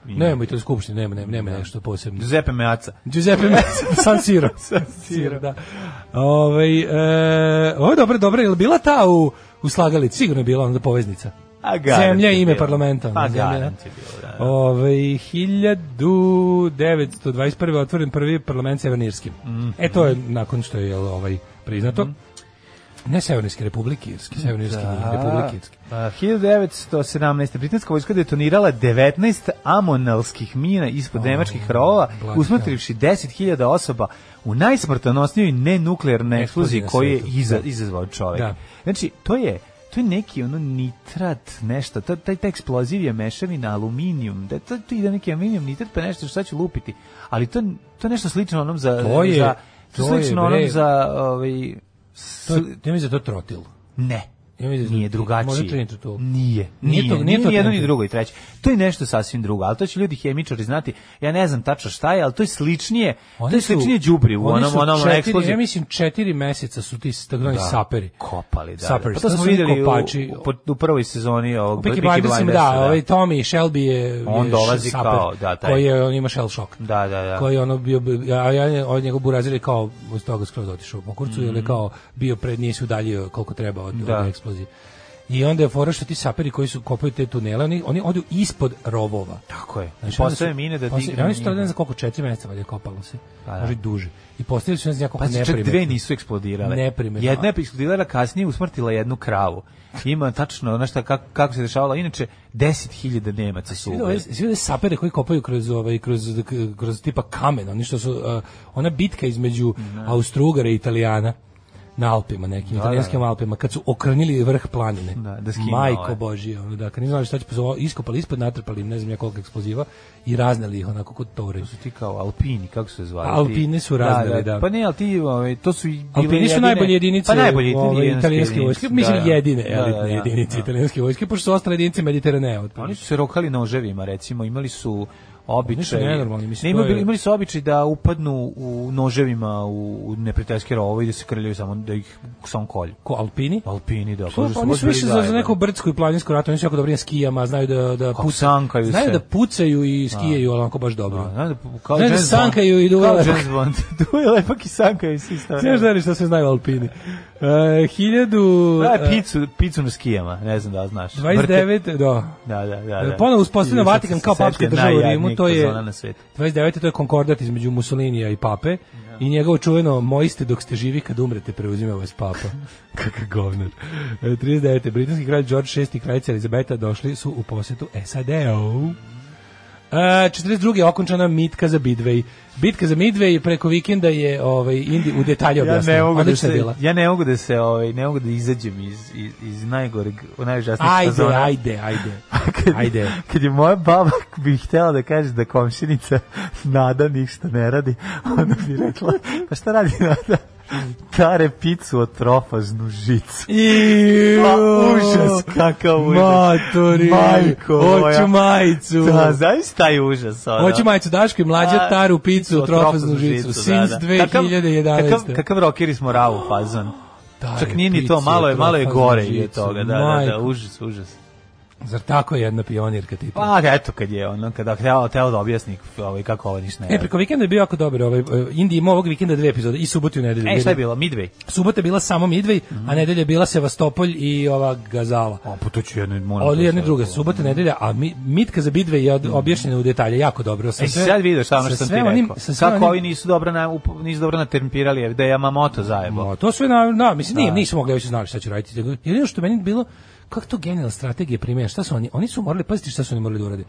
G: Nema i to skupštine, nema, nema, nema nešto posebno.
F: Giuseppe Meaca.
G: Giuseppe Meazza, San Siro. San
F: Siro.
G: da. Ovaj e, ovo je dobro, dobro, je li bila ta u, u slagalici? Sigurno je bila onda poveznica.
F: A
G: Zemlja
F: je
G: i ime
F: bilo.
G: parlamenta.
F: Pa
G: ono, zemlja.
F: garant je bilo, da, da.
G: Ovaj, 1921. otvoren prvi parlament Severnirski.
F: Mhm.
G: E, to je nakon što je jel, ovaj, priznato. Ne Severnirski, Republiki Irski. Severnirski, da. Republiki Irski.
F: A, 1917. Britanska vojska detonirala 19 amonalskih mina ispod nemačkih rovova,
G: blagi
F: usmatrivši 10.000 osoba u najsmrtonosnijoj nenuklearnoj
G: Eksploziji
F: eksploziji koju
G: na
F: je
G: svetu.
F: iza, izazvao čovjek.
G: Da.
F: Znači, to je to je neki ono nitrat, nešto, to, taj, taj eksploziv je mešani na aluminijum, da to, to ide neki aluminijum nitrat, pa nešto šta će lupiti, ali to, to je nešto slično onom za...
G: To je-
F: za, to
G: to je,
F: slično onom
G: bre.
F: za... Ovaj, s-
G: To, ja mislim da je to trotil.
F: ne.
G: Ja mislim da-
F: Nije drugačije.
G: Možda Trinity Tool.
F: Nije.
G: Nije
F: Nije,
G: to-
F: nije,
G: nije
F: nije,
G: to
F: ni jedno
G: Trinity.
F: ni drugo i treće. To je nešto sasvim drugo, ali to će ljudi hemičari znati. Ja ne znam tačno šta je, ali to je sličnije. to je sličnije đubrivu,
G: oni
F: onom
G: su
F: onom
G: četiri-
F: eksploziji.
G: Ja mislim četiri meseca su ti takozvani saperi.
F: kopali, da.
G: Saperi,
F: Pa to
G: to
F: smo
G: su
F: videli
G: kopači.
F: u, u, u prvoj sezoni ovog
G: Peaky
F: Peaky
G: Blindersima,
F: Blindersa,
G: da, ovaj Tommy Shelby je
F: On
G: je
F: dolazi
G: saper,
F: kao, da, taj.
G: koji je on ima shell shock.
F: Da, da, da.
G: Koji je ono bio ja ja on njegov burazir je kao od toga skroz otišao po kurcu ili kao bio pred nije se udaljio koliko treba od,
F: Mm. Da.
G: od eksplozije. I onda je fora što ti saperi koji su kopaju te tunele, oni, oni odu ispod rovova.
F: Tako je. I
G: Znači, onda
F: postoje
G: su-
F: mine da
G: postoje-
F: digne.
G: Oni su to ne znam koliko, četiri meseca valjda je kopalo se.
F: da.
G: Može i duže. I postavili su ne znam ja koliko
F: Pa čak
G: neprimetno.
F: dve nisu eksplodirale.
G: Neprimetno.
F: Jedna je eksplodirala, kasnije usmrtila jednu kravu. Ima tačno, znaš šta, kako, kako se dešavalo. Inače, 10.000 Nemaca su
G: Svi ove,
F: ubili.
G: svi ove sapere koji kopaju kroz ovaj kroz kroz tipa kamen, oni što su uh, ona bitka između Austrugara i Italijana na Alpima nekim, italijanskim Alpima, kad su okrnili vrh planine.
F: Da, da skinula
G: Majko
F: ovaj.
G: Božje, ono, da, kad nisu znali šta će, pozo- iskopali ispod, natrpali im ne znam ja koliko eksploziva i raznali ih onako kod tore.
F: su ti kao alpini, kako su se zvali?
G: Alpine su raznali, da.
F: Pa ne, ali ti, ovaj, to su i bile
G: Alpini su
F: jedine-
G: najbolje jedinice
F: pa najbolje
G: ove,
F: jedinice
G: italijanske vojske, mislim
F: da, da.
G: jedine
F: Da,
G: elitne
F: da, da,
G: jedinice
F: da.
G: italijanske vojske, pošto su ostale jedinice Mediteranea.
F: Oni su se rokali noževima, recimo, imali su običaj.
G: Nešto nenormalni, mislim,
F: ne,
G: to
F: imali,
G: je-
F: imali su običaj da upadnu u noževima u u neprijateljske rovove i da se krljaju samo da ih samo kolju.
G: Ko Alpini?
F: Alpini da
G: To,
F: kažu
G: pa oni
F: baš
G: su više
F: bili
G: za, za
F: zajebani.
G: neko brdsko i planinsko ratovanje, oni su jako dobri na skijama, znaju da, da pucaju.
F: sankaju
G: znaju
F: se.
G: da pucaju i skijaju, ali onako baš dobro.
F: A, znaš da kao
G: Znaš da
F: James
G: sankaju
F: Bond.
G: i duje
F: Kao
G: lepak.
F: James Bond. Duje lepak i sankaju i svi stavljaju.
G: Sve što se znaju Alpini. E, hiljadu...
F: Pravi picu, picu na skijama, ne znam da li znaš.
G: e, 29, da.
F: Da, da, da. Pa da.
G: Ponovo uspostavljen
F: Juče sam
G: Vatikan
F: se
G: kao papska
F: setio
G: država u Rimu,
F: najjadnijeg
G: to je-
F: fazona na svetu.
G: 29. to je konkordat između Mussolinija i pape i njegovo čuveno moji ste dok ste živi kad umrete preuzima vas papa. Kakav govnar. E, 39. Britanski kralj George VI i kraljica Elizabeta došli su u posetu SAD-u. E, 42. je okončana bitka za Midway. Bitka za Midway preko vikenda je ovaj, Indi u detalje
F: Ja
G: objasnila.
F: ne mogu da
G: Odlična je
F: se,
G: bila.
F: ja ne mogu da se, ovaj, ne mogu da izađem iz, iz, iz najgoreg, u najžasnijeg
G: Ajde,
F: fazona.
G: ajde, ajde. Ajde.
F: Kad je moja baba bi htjela da kaže da komšinica Nada ništa ne radi, onda bi rekla, pa šta radi Nada? Kare picu od trofaznu žicu. Pa užas, kakav užas.
G: Maturi,
F: Majko moja.
G: hoću majicu.
F: Da, znaš taj užas. Ono.
G: Hoću majicu Daško i mlađe
F: A,
G: taru picu u trofaznu žicu. Since
F: da, da. Kakav,
G: 2011.
F: kakav, kakav rockeri smo ravu fazon.
G: Taru
F: Čak nije ni
G: picu
F: to,
G: u
F: malo je, malo je
G: trofaznu
F: gore
G: žicu.
F: je toga, da, da, da,
G: Majko,
F: užas, užas.
G: Zar tako je jedna pionirka tipa?
F: Pa eto kad je ono, kada htjela, htjela da objasni ovaj, kako ovo ništa ne
G: E,
F: radi.
G: preko vikenda je bio jako dobar. Ovaj, eh, Indi ima ovog vikenda dve epizode, i subotu i nedelju.
F: E, šta je Mhm. bilo? Midway?
G: Subota je bila samo Midway, a nedelja je bila Sevastopolj i ova Gazala.
F: A, pa to ću jedno moram.
G: Od
F: to
G: jedne
F: sad.
G: druge, subota, nedelja, a mi, mitka za bidve je od- objašnjena u detalje, jako dobro. Sa
F: E,
G: sve-
F: sad vidiš šta ono
G: sa
F: što sam ti
G: sve onim-
F: rekao.
G: sa sve
F: Kako
G: onim-
F: ovi nisu dobro, na, up- nisu dobro natempirali, da je Yamamoto zajebo.
G: Ma, to sve na, na mislim, nije, nisu mogli, ja su znali šta će raditi. Jedino što je meni bilo, kako to genijalna strategija primjena, šta su oni, oni su morali, paziti šta su oni morali da urade.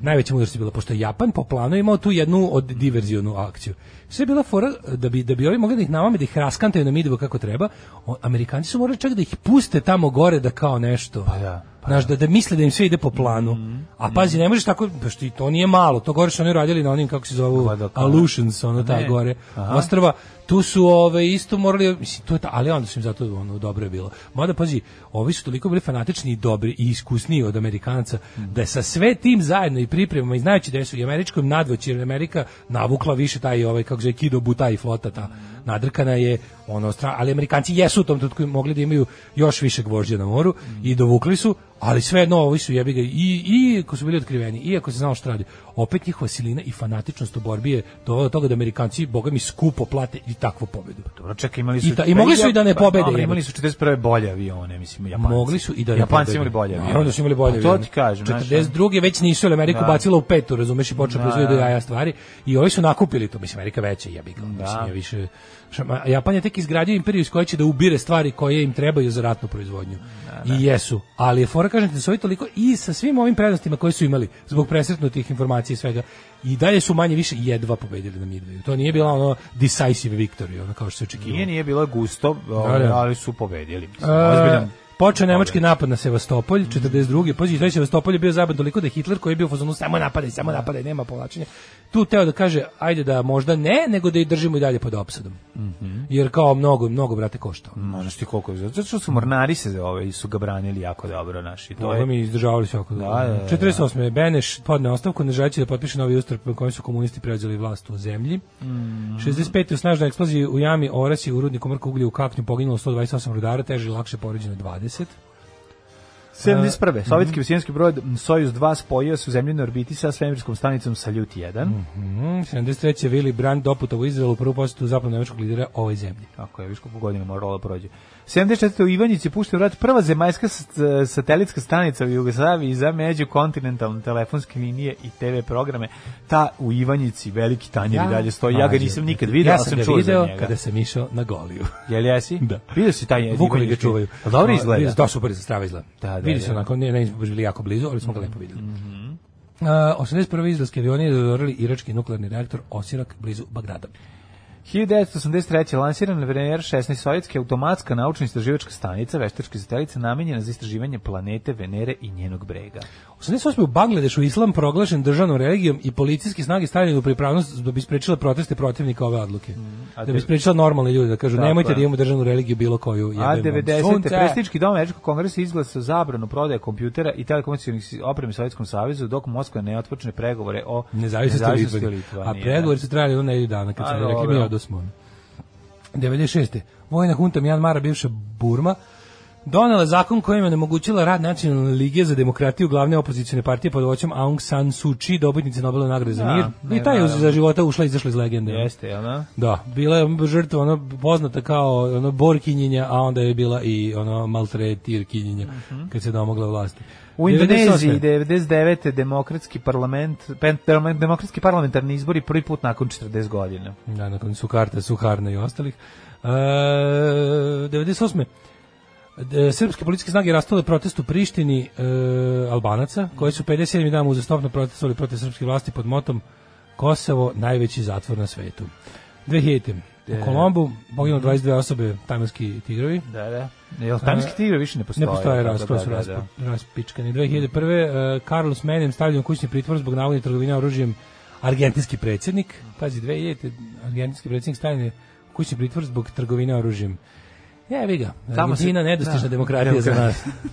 G: Najveća mudrost je bila, pošto je Japan po planu imao tu jednu od diverzionu akciju. Sve je bila fora, e, da bi, da bi ovi mogli da ih navame, da ih raskantaju na midivu kako treba, o- Amerikanci su morali čak da ih puste tamo gore da kao nešto. Pa Mhm.
F: da,
G: Znaš, da, da misle da im sve ide po planu. A pazi, ne možeš tako, pošto i to nije malo. To gore što oni radili na onim, kako se zovu,
F: Pa da, pa da.
G: Aleutians, ono ta gore ostrva. Tu su ove isto morali, mislim, to je ta, ali onda su im zato ono dobro je bilo. Mada pazi, ovi su toliko bili fanatični i dobri i iskusniji od Amerikanaca da je sa sve tim zajedno i pripremama i znajući da su i američkom nadvoći, jer je Amerika navukla više taj ovaj kako se zove, Kido Buta i flota ta nadrkana je ono stra- ali Amerikanci jesu u tom trenutku mogli da imaju još više gvožđa na moru i dovukli su, ali svejedno ovi su jebi ga i i ako su bili otkriveni, iako se znalo šta radi, opet njihova silina i fanatičnost u borbi je dovela do toga da Amerikanci boga mi skupo plate i takvu pobedu.
F: Dobro, čekaj, imali su...
G: I ta- i mogli su i da ne
F: Pa,
G: pobede,
F: dobro,
G: jebote.
F: imali su 41. bolje avione, mislim, Japanci.
G: Mogli su i da ne
F: Japanci
G: pobede.
F: imali bolje avione.
G: Naravno da su imali bolje
F: Pa
G: avione.
F: To ti kažem. znaš,
G: 42. već nisu, jer Amerika
F: Da.
G: bacila u petu, razumeš, i počela
F: Da,
G: proizvoditi do
F: da.
G: jaja stvari. I ovi su nakupili to, mislim, Amerika veća jebi ga, mislim, je više... Ša- ma- Japan je tek izgradio imperiju iz koje će da ubire stvari koje im trebaju za ratnu proizvodnju. I jesu. Ali je fora, kažem ti, da su ovi toliko i sa svim ovim prednostima koje su imali, zbog presretnutih informacija i svega, i dalje su manje više jedva pobedili na Midwayu. To nije bila ono decisive victory, ono kao što se očekivalo.
F: Nije, nije bilo gusto, ovaj,
G: da.
F: ali su pobedili. Mislim,
G: E,
F: ozbiljan Mhm.
G: Počeo nemački napad na Sevastopolj, 42. Pazi, taj Sevastopolj je bio zaban toliko da je Hitler koji je bio u fazonu samo napadaj, samo napadaj, nema povlačenja. Tu teo da kaže, ajde da možda ne, nego da i držimo i dalje pod opsadom.
F: Mhm.
G: Jer kao mnogo, mnogo, brate, košta.
F: Možda ti koliko je zato što su mornari se ove su ga branili jako dobro naši. To
G: Ovo
F: je
G: mi izdržavali se oko.
F: Da, da, da.
G: 48. je Beneš podne ostavku, ne želeći da potpiše novi ustav po kojem su komunisti preuzeli vlast u zemlji.
F: Mhm.
G: 65. u snažnoj eksploziji u jami Orasi u rudniku Mrka uglja u Kaknju poginulo 128 rudara, teže i lakše poređeno 20.
F: 71.
G: Mhm.
F: Sovjetski vesijanski brod Sojuz 2 spojio se u zemljinoj orbiti sa svemirskom stanicom Saljut 1.
G: Mm, 73. Willy Brandt doputa u Izraelu u prvu posetu zapadno nemačkog lidera ovoj zemlji.
F: Tako je, viš koliko godina morala prođe. 74. u Ivanjici je pušten u rad prva zemaljska s- satelitska stanica u Jugoslaviji za međukontinentalne telefonske linije i TV programe. Ta u Ivanjici, veliki tanjer i dalje stoji. Ja ga
G: Mlađe,
F: nisam nikad vidio,
G: ja
F: ali
G: sam
F: sam
G: ga
F: čuo
G: video
F: za njega.
G: kada sam išao na Goliju.
F: Jel jesi?
G: Da.
F: Vidio si taj
G: Vukovi ga
F: Ivanjički?
G: čuvaju. Ono,
F: Jel Dobro
G: A,
F: izgleda.
G: Da, super, za strava izgleda.
F: Da, da,
G: Vidi se
F: da. Mhm.
G: onako, ne, ne, nismo bili jako blizu, ali smo ga lepo vidjeli. Uh, 81. izraelski avioni dodorili irački nuklearni reaktor Osirak blizu Bagdada.
F: 1983. lansiran na Venera 16 sovjetske automatska naučno-istraživačka stanica, veštačka satelica namenjena za istraživanje planete Venere i njenog brega.
G: 88. u Bangladešu islam proglašen državnom religijom i policijski snage stavljene u pripravnost da bi sprečila proteste protivnika ove odluke.
F: Mm, a
G: da bi
F: de-
G: sprečila normalne ljude da kažu
F: Tako
G: nemojte
F: je.
G: da imamo državnu religiju bilo koju.
F: A
G: jebem vam sunce.
F: 90.
G: e,
F: prestički dom Američkog kongresa izglasao zabranu prodaje kompjutera i telekomunikacijalnih si- opreme Sovjetskom savezu, dok Moskva ne otpočne pregovore o
G: Nezavisnosti u Litvaniji. A pregovori su trajali ono nedelju dana, kad
F: A,
G: smo rekli
F: dobro.
G: mi odosmo. 96. Vojna hunta Mjanmara, bivša Burma, donela zakon kojim je onemogućila rad Nacionalne lige za demokratiju glavne opozicione partije pod voćom Aung San Suu Kyi, dobitnice Nobelove nagrade za
F: Da,
G: mir. I
F: ne,
G: taj je uz-
F: naravno.
G: za života ušla i izašla iz legende.
F: Jeste, jel da?
G: Da, bila je žrtva ono poznata kao ono borkinjenja, a onda je bila i ono maltretirkinjenja kad se domogla vlasti.
F: Mhm. U
G: 98.
F: Indoneziji 99. demokratski parlament, pen- parlament- demokratski parlamentarni izbori prvi put nakon 40 godina.
G: Da, nakon su karte, Suharna i ostalih. E, 98. D- Srpske policijske snage rastale protest u Prištini e, Albanaca, koji su 57 dana uzastopno protestovali protiv srpske vlasti pod motom Kosovo, najveći zatvor na svetu. 2000.
F: E.
G: U Kolombu poginulo 22 osobe, tajmanski tigrovi.
F: Da, da. Jel tamijski tigre više ne postoje?
G: Ne postoje
F: Tako
G: raskroz,
F: da, da, da.
G: raspičkani. 2001. Uh, Carlos Menem stavljen u kućni pritvor zbog navodne trgovine oružjem argentinski predsjednik. Pazi, 2000. argentinski predsjednik stavljen je u kućni pritvor zbog trgovine oružjem. Ja, vi ga.
F: Tamo se-
G: Argentina nedostižna
F: da,
G: demokratija za
F: demokratija.
G: nas.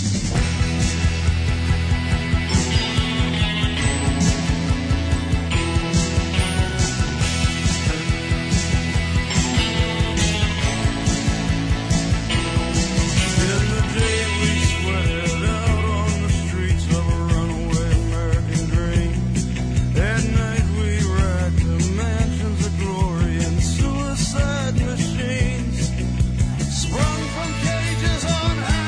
A: Suicide machines sprung from chaos.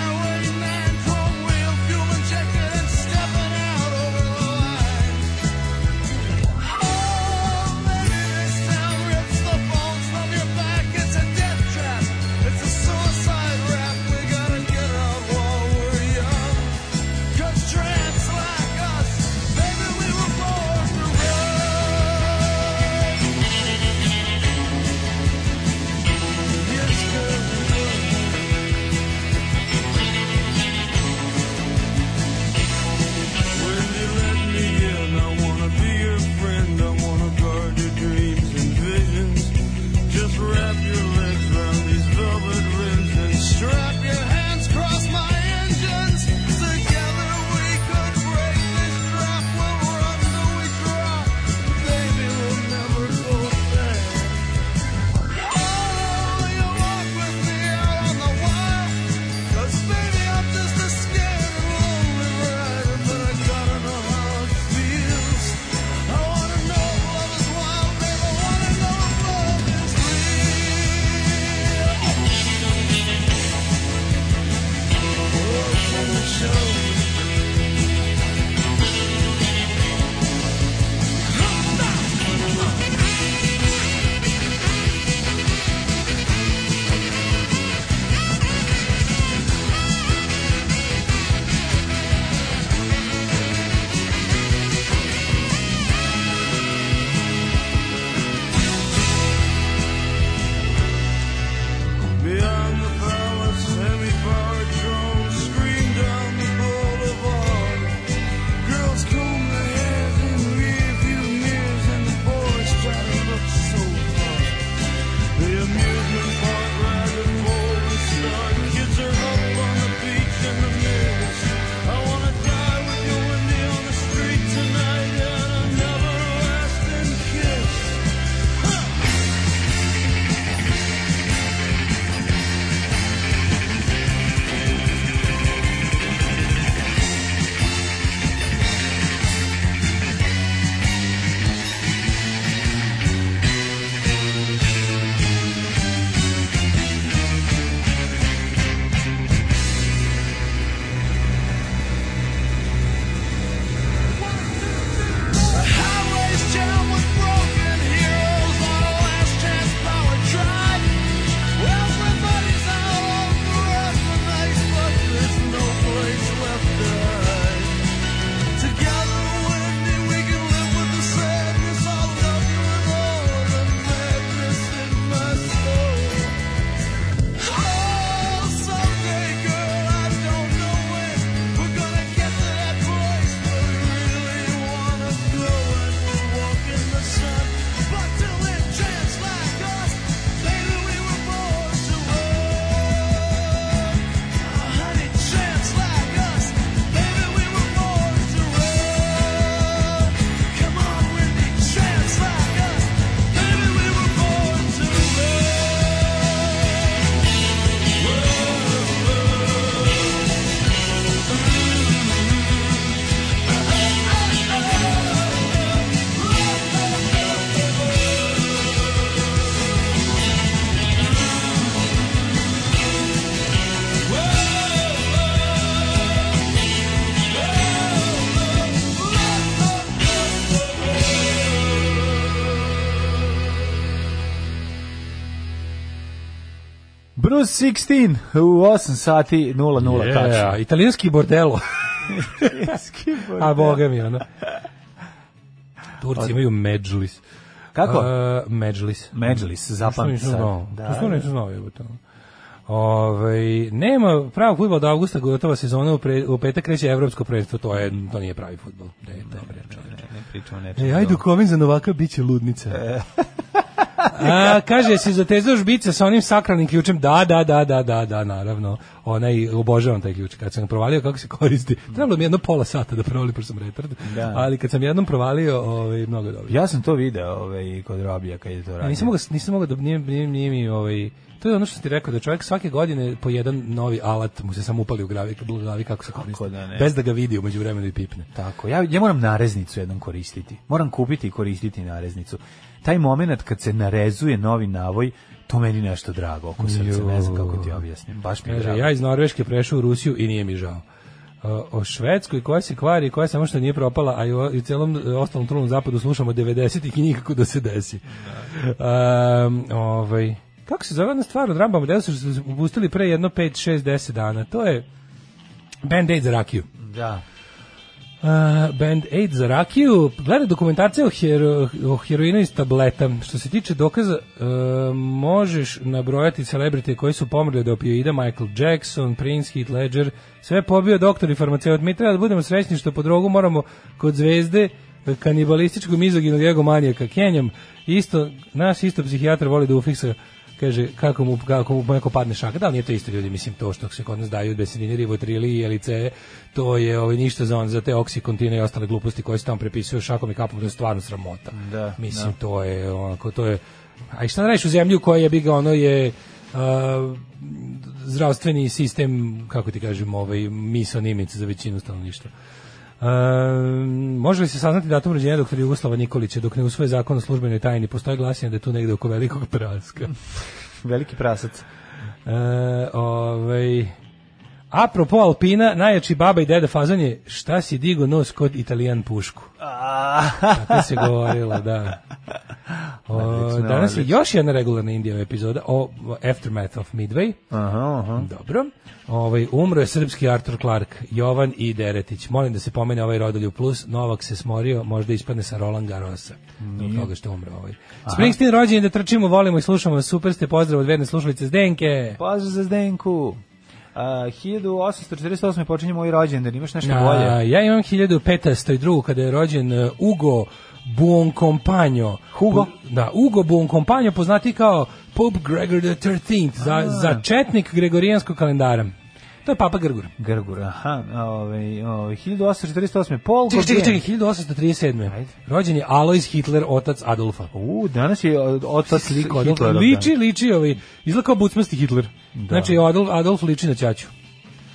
H: Oh,
F: Bruce 16 u 8 sati 00 yeah. tačno.
G: Yeah, italijanski bordelo. A boga mi, ono. Turci imaju medžlis.
F: Kako?
G: Uh, medžlis.
F: Medžlis, zapamti
G: Što
F: pa sad.
G: nisam znao.
F: Da,
G: Što nisam znao, jebote. Ovaj nema pravog fudbala od avgusta, gotova sezona u, pre, u petak kreće evropsko prvenstvo, to je to nije pravi fudbal. Ne, dobro, čoveče.
F: Ne pričamo o nečemu.
G: E, ajde u komin za Novaka biće ludnica.
F: E.
G: A, kaže, si zatezao žbice sa onim sakralnim ključem? Da, da, da, da, da, da, naravno. Onaj, obožavam taj ključ. Kad sam ga provalio kako se koristi, trebalo mi jedno pola sata da provalim, pošto sam retard.
F: Da.
G: Ali kad sam jednom provalio, ovaj, mnogo je dobro.
F: Ja sam to video ovaj, kod Robija kad je to radio.
G: Ja nisam mogao, nisam mogao da nije, nije, nije mi ovaj To je ono što ti rekao da čovjek svake godine po jedan novi alat mu se samo upali u glavi, u glavi kako se koristi.
F: da ne.
G: Bez da ga vidi u međuvremenu i pipne.
F: Tako, ja, ja moram nareznicu jednom koristiti. Moram kupiti i koristiti nareznicu. Taj moment kad se narezuje novi navoj, to meni nešto drago oko srca, ne znam kako ti objasnim. Baš mi je
G: Kaže,
F: drago.
G: ja iz Norveške prešao u Rusiju i nije mi žao. Uh, O Švedskoj koja se kvari, koja samo što nije propala, a i u, i u celom e, ostalom trulom zapadu slušamo 90-ih i nikako da se desi. Um, ovaj, kako se zove jedna stvar od Ramba Amadeus što su upustili pre jedno 5, 6, 10 dana? To je Band-Aid za rakiju.
F: Da.
G: Uh, band Aid za rakiju gleda dokumentarce o, hero, o heroinu iz tableta. Što se tiče dokaza, uh, možeš nabrojati celebrite koji su pomrli od opioida, Michael Jackson, Prince, Heath Ledger, sve pobio doktor i farmaceut. Mi treba da budemo srećni što po drogu moramo kod zvezde kanibalističkog mizoginog egomanijaka Kenjom. Isto, naš isto psihijatar voli da ufiksa kaže kako mu kako mu neko padne šaka da ali nije to isto ljudi mislim to što se kod nas daju besedini rivotrili i elice to je ovaj ništa za on za te oksikontine i ostale gluposti koje se tamo prepisuju šakom i kapom to je stvarno sramota
F: Da,
G: mislim to je onako to je a i šta da radiš u zemlji u kojoj je biga ono je a, zdravstveni sistem kako ti kažem ovaj misonimic za većinu stanovništva Um, može li se saznati datum rođenja doktora Jugoslava Nikolića dok ne usvoje zakon o službenoj tajni? Postoje glasine da je tu negde oko velikog praska.
F: Veliki prasac.
G: E, ovaj, apropo Alpina, najjači baba i deda fazan je šta si digo nos kod italijan pušku. Tako se govorilo, da. O,
F: Odlično,
G: danas je
F: odlično.
G: još jedna regularna Indijeva epizoda o Aftermath of Midway.
F: Aha, aha.
G: Dobro. Ovaj umro je srpski Artur Clark, Jovan i Deretić. Molim da se pomene ovaj rodoljub plus. Novak se smorio, možda ispadne sa Roland Garrosa. Od toga što je umro ovaj. Springsteen rođen je da trčimo, volimo i slušamo. Super ste, pozdrav od verne slušalice Zdenke.
F: Pozdrav za Zdenku. Uh, 1848. počinje moj rođendan, imaš nešto
G: A,
F: bolje?
G: ja imam 1502. kada je rođen e, Ugo Buoncompagno.
F: Hugo?
G: Da, Ugo Buoncompagno poznati kao Pope Gregor XIII, za, za četnik gregorijanskog kalendara. To je Papa Grgur.
F: Grgur, aha. Ovaj, ovaj, 1848. Paul
G: Čekaj, čekaj,
F: Gauguin.
G: čekaj, 1837.
F: Ajde.
G: Rođen je Alois Hitler, otac Adolfa.
F: U, danas je od- otac
G: Sliko
F: Hitlerov
G: Adolfa.
F: dan.
G: Liči, liči, ovaj, izgleda kao bucmasti Hitler. Znači, Adolf, Adolf liči na ćaću.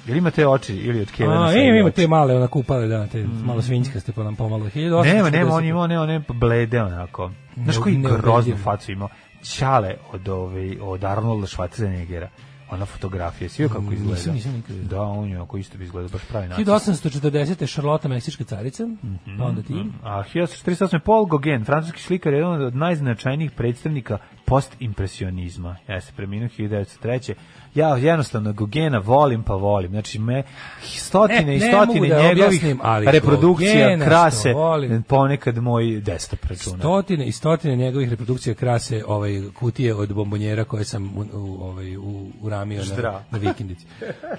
F: Jel imate oči ili od Kevina?
G: A,
F: sa
G: ima, ima
F: oči?
G: te male, onako upale, da, te malo svinjkaste, pa nam pomalo. 1840.
F: Nema, nema, on imao, ne, on je blede onako. Znaš
G: Ne-
F: koji
G: neuvredljiv.
F: groznu facu imao? Ćale od, ove, od Arnolda Schwarzeneggera. Ona fotografija, svi joj kako izgleda.
G: Mm, nisam- nisam nikad vidio.
F: Da, on je ako isto bi izgledao, baš pravi način.
G: 1840. Šarlota, meksička carica,
F: Mhm.
G: pa onda ti.
F: A 1848. Paul Gauguin, francuski slikar, jedan od najznačajnijih predstavnika postimpresionizma. Ja se preminuo 1903. Ja jednostavno Gaugena volim pa volim. Znači, me stotine
G: Ne,
F: i
G: ne
F: stotine
G: mogu da
F: njegovih
G: objasnim, ali
F: reprodukcija
G: Gaugena što
F: krase
G: volim.
F: ponekad moj desktop računa.
G: Stotine i stotine njegovih reprodukcija krase ovaj kutije od bombonjera koje sam u, u, ovaj, u, uramio na,
F: Štra.
G: na vikendici.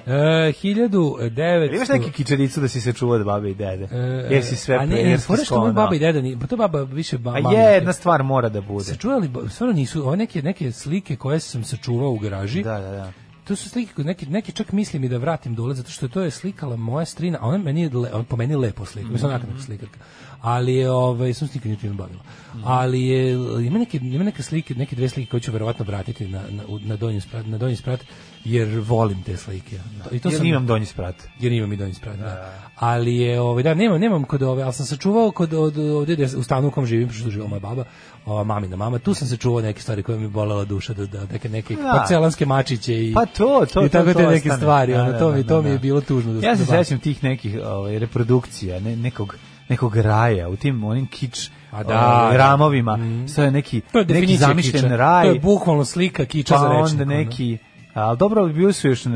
G: E, 1900...
F: Jel Imaš neki kičericu da si se čuvao od babe i dede?
G: E,
F: Jer si sve
G: a ne, ne,
F: prijateljski
G: fora što moj
F: sklonao.
G: baba i deda, ni- pa to baba više ba,
F: A
G: mami.
F: jedna stvar mora da bude.
G: Sačuvali, ba- stvarno nisu, ove neke, neke slike koje sam sačuvao u garaži,
F: Da, da, da.
G: to su slike, koje neke, neke čak mislim i da vratim dole, zato što to je slikala moja strina, a ona meni je le, on po meni je lepo slika, mislim onako
F: Mhm.
G: neka slikarka, ali je, ovaj, sam se nikad nije time bavila,
F: Mhm.
G: ali je, ima neke, ima neke slike, neke dve slike koje ću verovatno vratiti na, na, u- na, donji, sprat, na donji sprat, jer volim te slike. I to
F: Jer
G: sam-
F: imam donji sprat.
G: jer imam i donji sprat, da. Ali je, ovaj, da, nemam, nemam kod ove, ali sam sačuvao kod od, ovde gde, u stanu u kom živim, pošto živela moja baba, ova mamina mama, tu sam sačuvao neke stvari koje mi je bolela duša, da, da, neke, neke
F: Da.
G: porcelanske mačiće i,
F: Pa to, to,
G: i
F: to,
G: tako
F: to
G: te neke
F: ostane.
G: stvari,
F: Da,
G: ono,
F: da,
G: to, mi,
F: da,
G: to
F: da,
G: mi je
F: da.
G: bilo tužno. Da
F: Ja se
G: da bavim.
F: sećam tih nekih ovaj, reprodukcija, ne, nekog, nekog raja u tim onim kič
G: A da,
F: ovaj,
G: da.
F: ramovima. Mm. je neki,
G: To je
F: neki
G: definicija
F: zamišljen
G: kiča.
F: raj,
G: To je bukvalno slika kiča
F: pa
G: za rečnik.
F: onda
G: ono.
F: neki Ali dobro, ali bili su još, ne,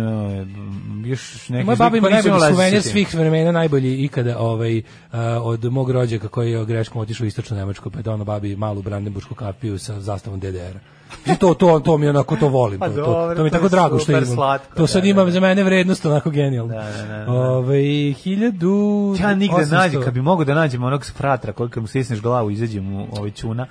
F: još neki...
G: Moja baba ima
F: koji nisu
G: najbolji
F: imali
G: suvenir
F: sa tim.
G: svih vremena, najbolji ikada ovaj, uh, od mog rođaka koji je greškom otišao u istočnu Nemačku, pa je donao babi malu brandenbušku kapiju sa zastavom DDR-a. Mislim, to, to, to mi onako, to volim.
F: Pa
G: to, to,
F: dobro,
G: to mi je
F: to
G: tako
F: je
G: drago što
F: super
G: imam.
F: slatko,
G: to sad
F: da,
G: imam
F: da.
G: za mene vrednost onako genijalno.
F: Da, da, da, da.
G: Ovaj, 1800...
F: Ja nigde nađem, kad bi mogao da nađem onog fratra koji kad mu stisneš glavu izađe mu ovaj čuna,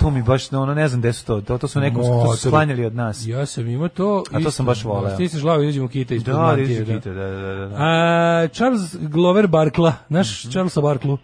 F: to mi baš, no, ono, ne znam gde su to, to, to su nekom, to su
G: Motor.
F: sklanjali od nas.
G: Ja sam imao to.
F: A to sam baš voleo.
G: Ti se glavu izađemo kita ispod
F: Da,
G: mantije,
F: da, da, da, da, da.
G: A, Charles Glover Barkla,
F: Mhm.
G: naš Charlesa Barklu,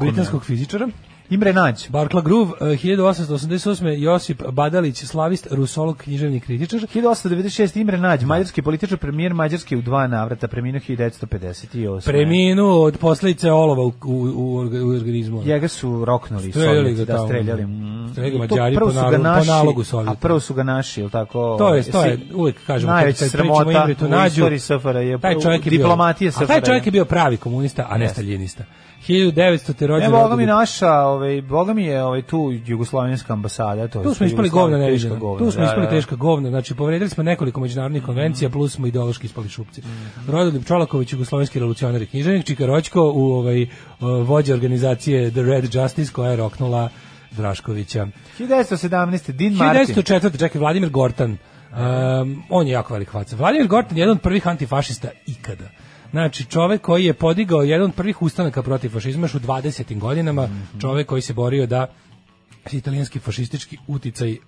G: britanskog fizičara.
F: Imre Nađ.
G: Barkla Groove, eh, 1888. Josip Badalić, slavist, rusolog, književni kritičar.
F: 1896. Imre Nađ, mađarski političar, premijer Mađarske u dva navrata, preminuo 1958.
G: Preminuo od posledice olova u, u, u, orga- u organizmu. ono.
F: Njega su roknuli
G: Streljali
F: Sovjeti,
G: ga
F: da
G: tamo.
F: streljali. Mm.
G: Streljali ga
F: I to
G: Mađari
F: prvo
G: po
F: su ga
G: nalogu- po
F: naši-
G: nalogu Sovjeta.
F: A prvo su ga naši, jel tako?
G: To je, to je,
F: Jesi-
G: uvek kažemo,
F: najveća
G: kad pričamo
F: sramota
G: Ingrid
F: u
G: Nađu,
F: istoriji SFRJ,
G: taj čovjek je bio,
F: diplomatije
G: A taj
F: SFRJ.
G: čovjek je bio pravi komunista, a ne
F: Jeste.
G: staljinista. 1900. te rođen
F: Ne, boga mi
G: Rodoljub
F: naša, ovaj, boga mi je ovaj, tu jugoslovenska ambasada. To je
G: Tu smo ispali
F: Jugoslavija,
G: govna
F: teška
G: neviđena.
F: govna,
G: Tu smo
F: da,
G: ispali
F: da.
G: teška govna. Znači, povredili smo nekoliko međunarodnih konvencija, plus smo ideološki ispali šupci.
F: Mhm.
G: Rodoljub Čolaković, jugoslovenski revolucionar i književnik, Čika Roćko u ovaj, eh, vođi organizacije The Red Justice, koja je roknula Draškovića.
F: 1917. Din Martin.
G: 1904. čekaj, Vladimir Gortan. Um, on je jako velik faca. Vladimir Gortan je jedan od prvih antifašista ikada. Znači, čovek koji je podigao jedan od prvih ustanaka protiv fašizma još u 20. godinama,
F: Mhm.
G: čovek koji se borio da se italijanski fašistički uticaj uh,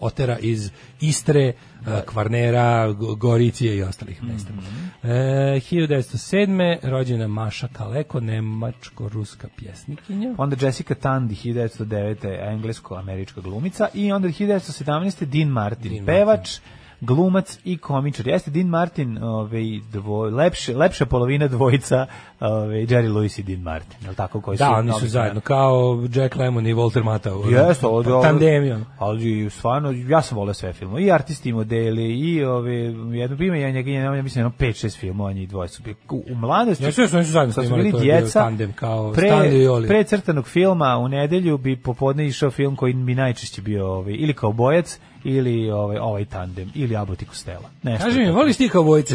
G: otera iz Istre, uh, Kvarnera, G- Goricije i ostalih mesta.
F: Mhm.
G: E, 1907. rođena Maša Kaleko, nemačko-ruska pjesnikinja.
F: Pa Onda Jessica Tandy, 1909. englesko-američka glumica. I onda 1917. Dean Martin, pevač, glumac i komičar. Jeste Dean Martin, ovaj, dvoj, lepše, lepša polovina dvojica ovaj, Jerry Lewis i Dean Martin. Je li tako? Koji
G: Da,
F: su,
G: oni su
F: obično-
G: zajedno, Pa, kao Jack Lemmon i Walter Matthau. ono.
F: Jeste, ovdje ovo-
G: Tandemijom.
F: Ali stvarno, ja sam volio sve filmove. I artisti i modeli, i ove, jedno bime, ja njega, ja mislim, jedno 5-6 filmova, njih dvoje su bili. U, u mladosti,
G: Ja, sve su- oni su zajedno
F: kad su
G: snimali,
F: bili
G: to je bio
F: djeca,
G: tandem, kao
F: pre,
G: Stanley i Oli.
F: pre crtanog filma u nedelju bi popodne išao film koji bi najčešće bio ovaj, ili kao bojac, ili ovaj, ovaj tandem, ili Abbott i Costello. Nešto
G: Kaži mi,
F: tako.
G: voliš ti kavojce?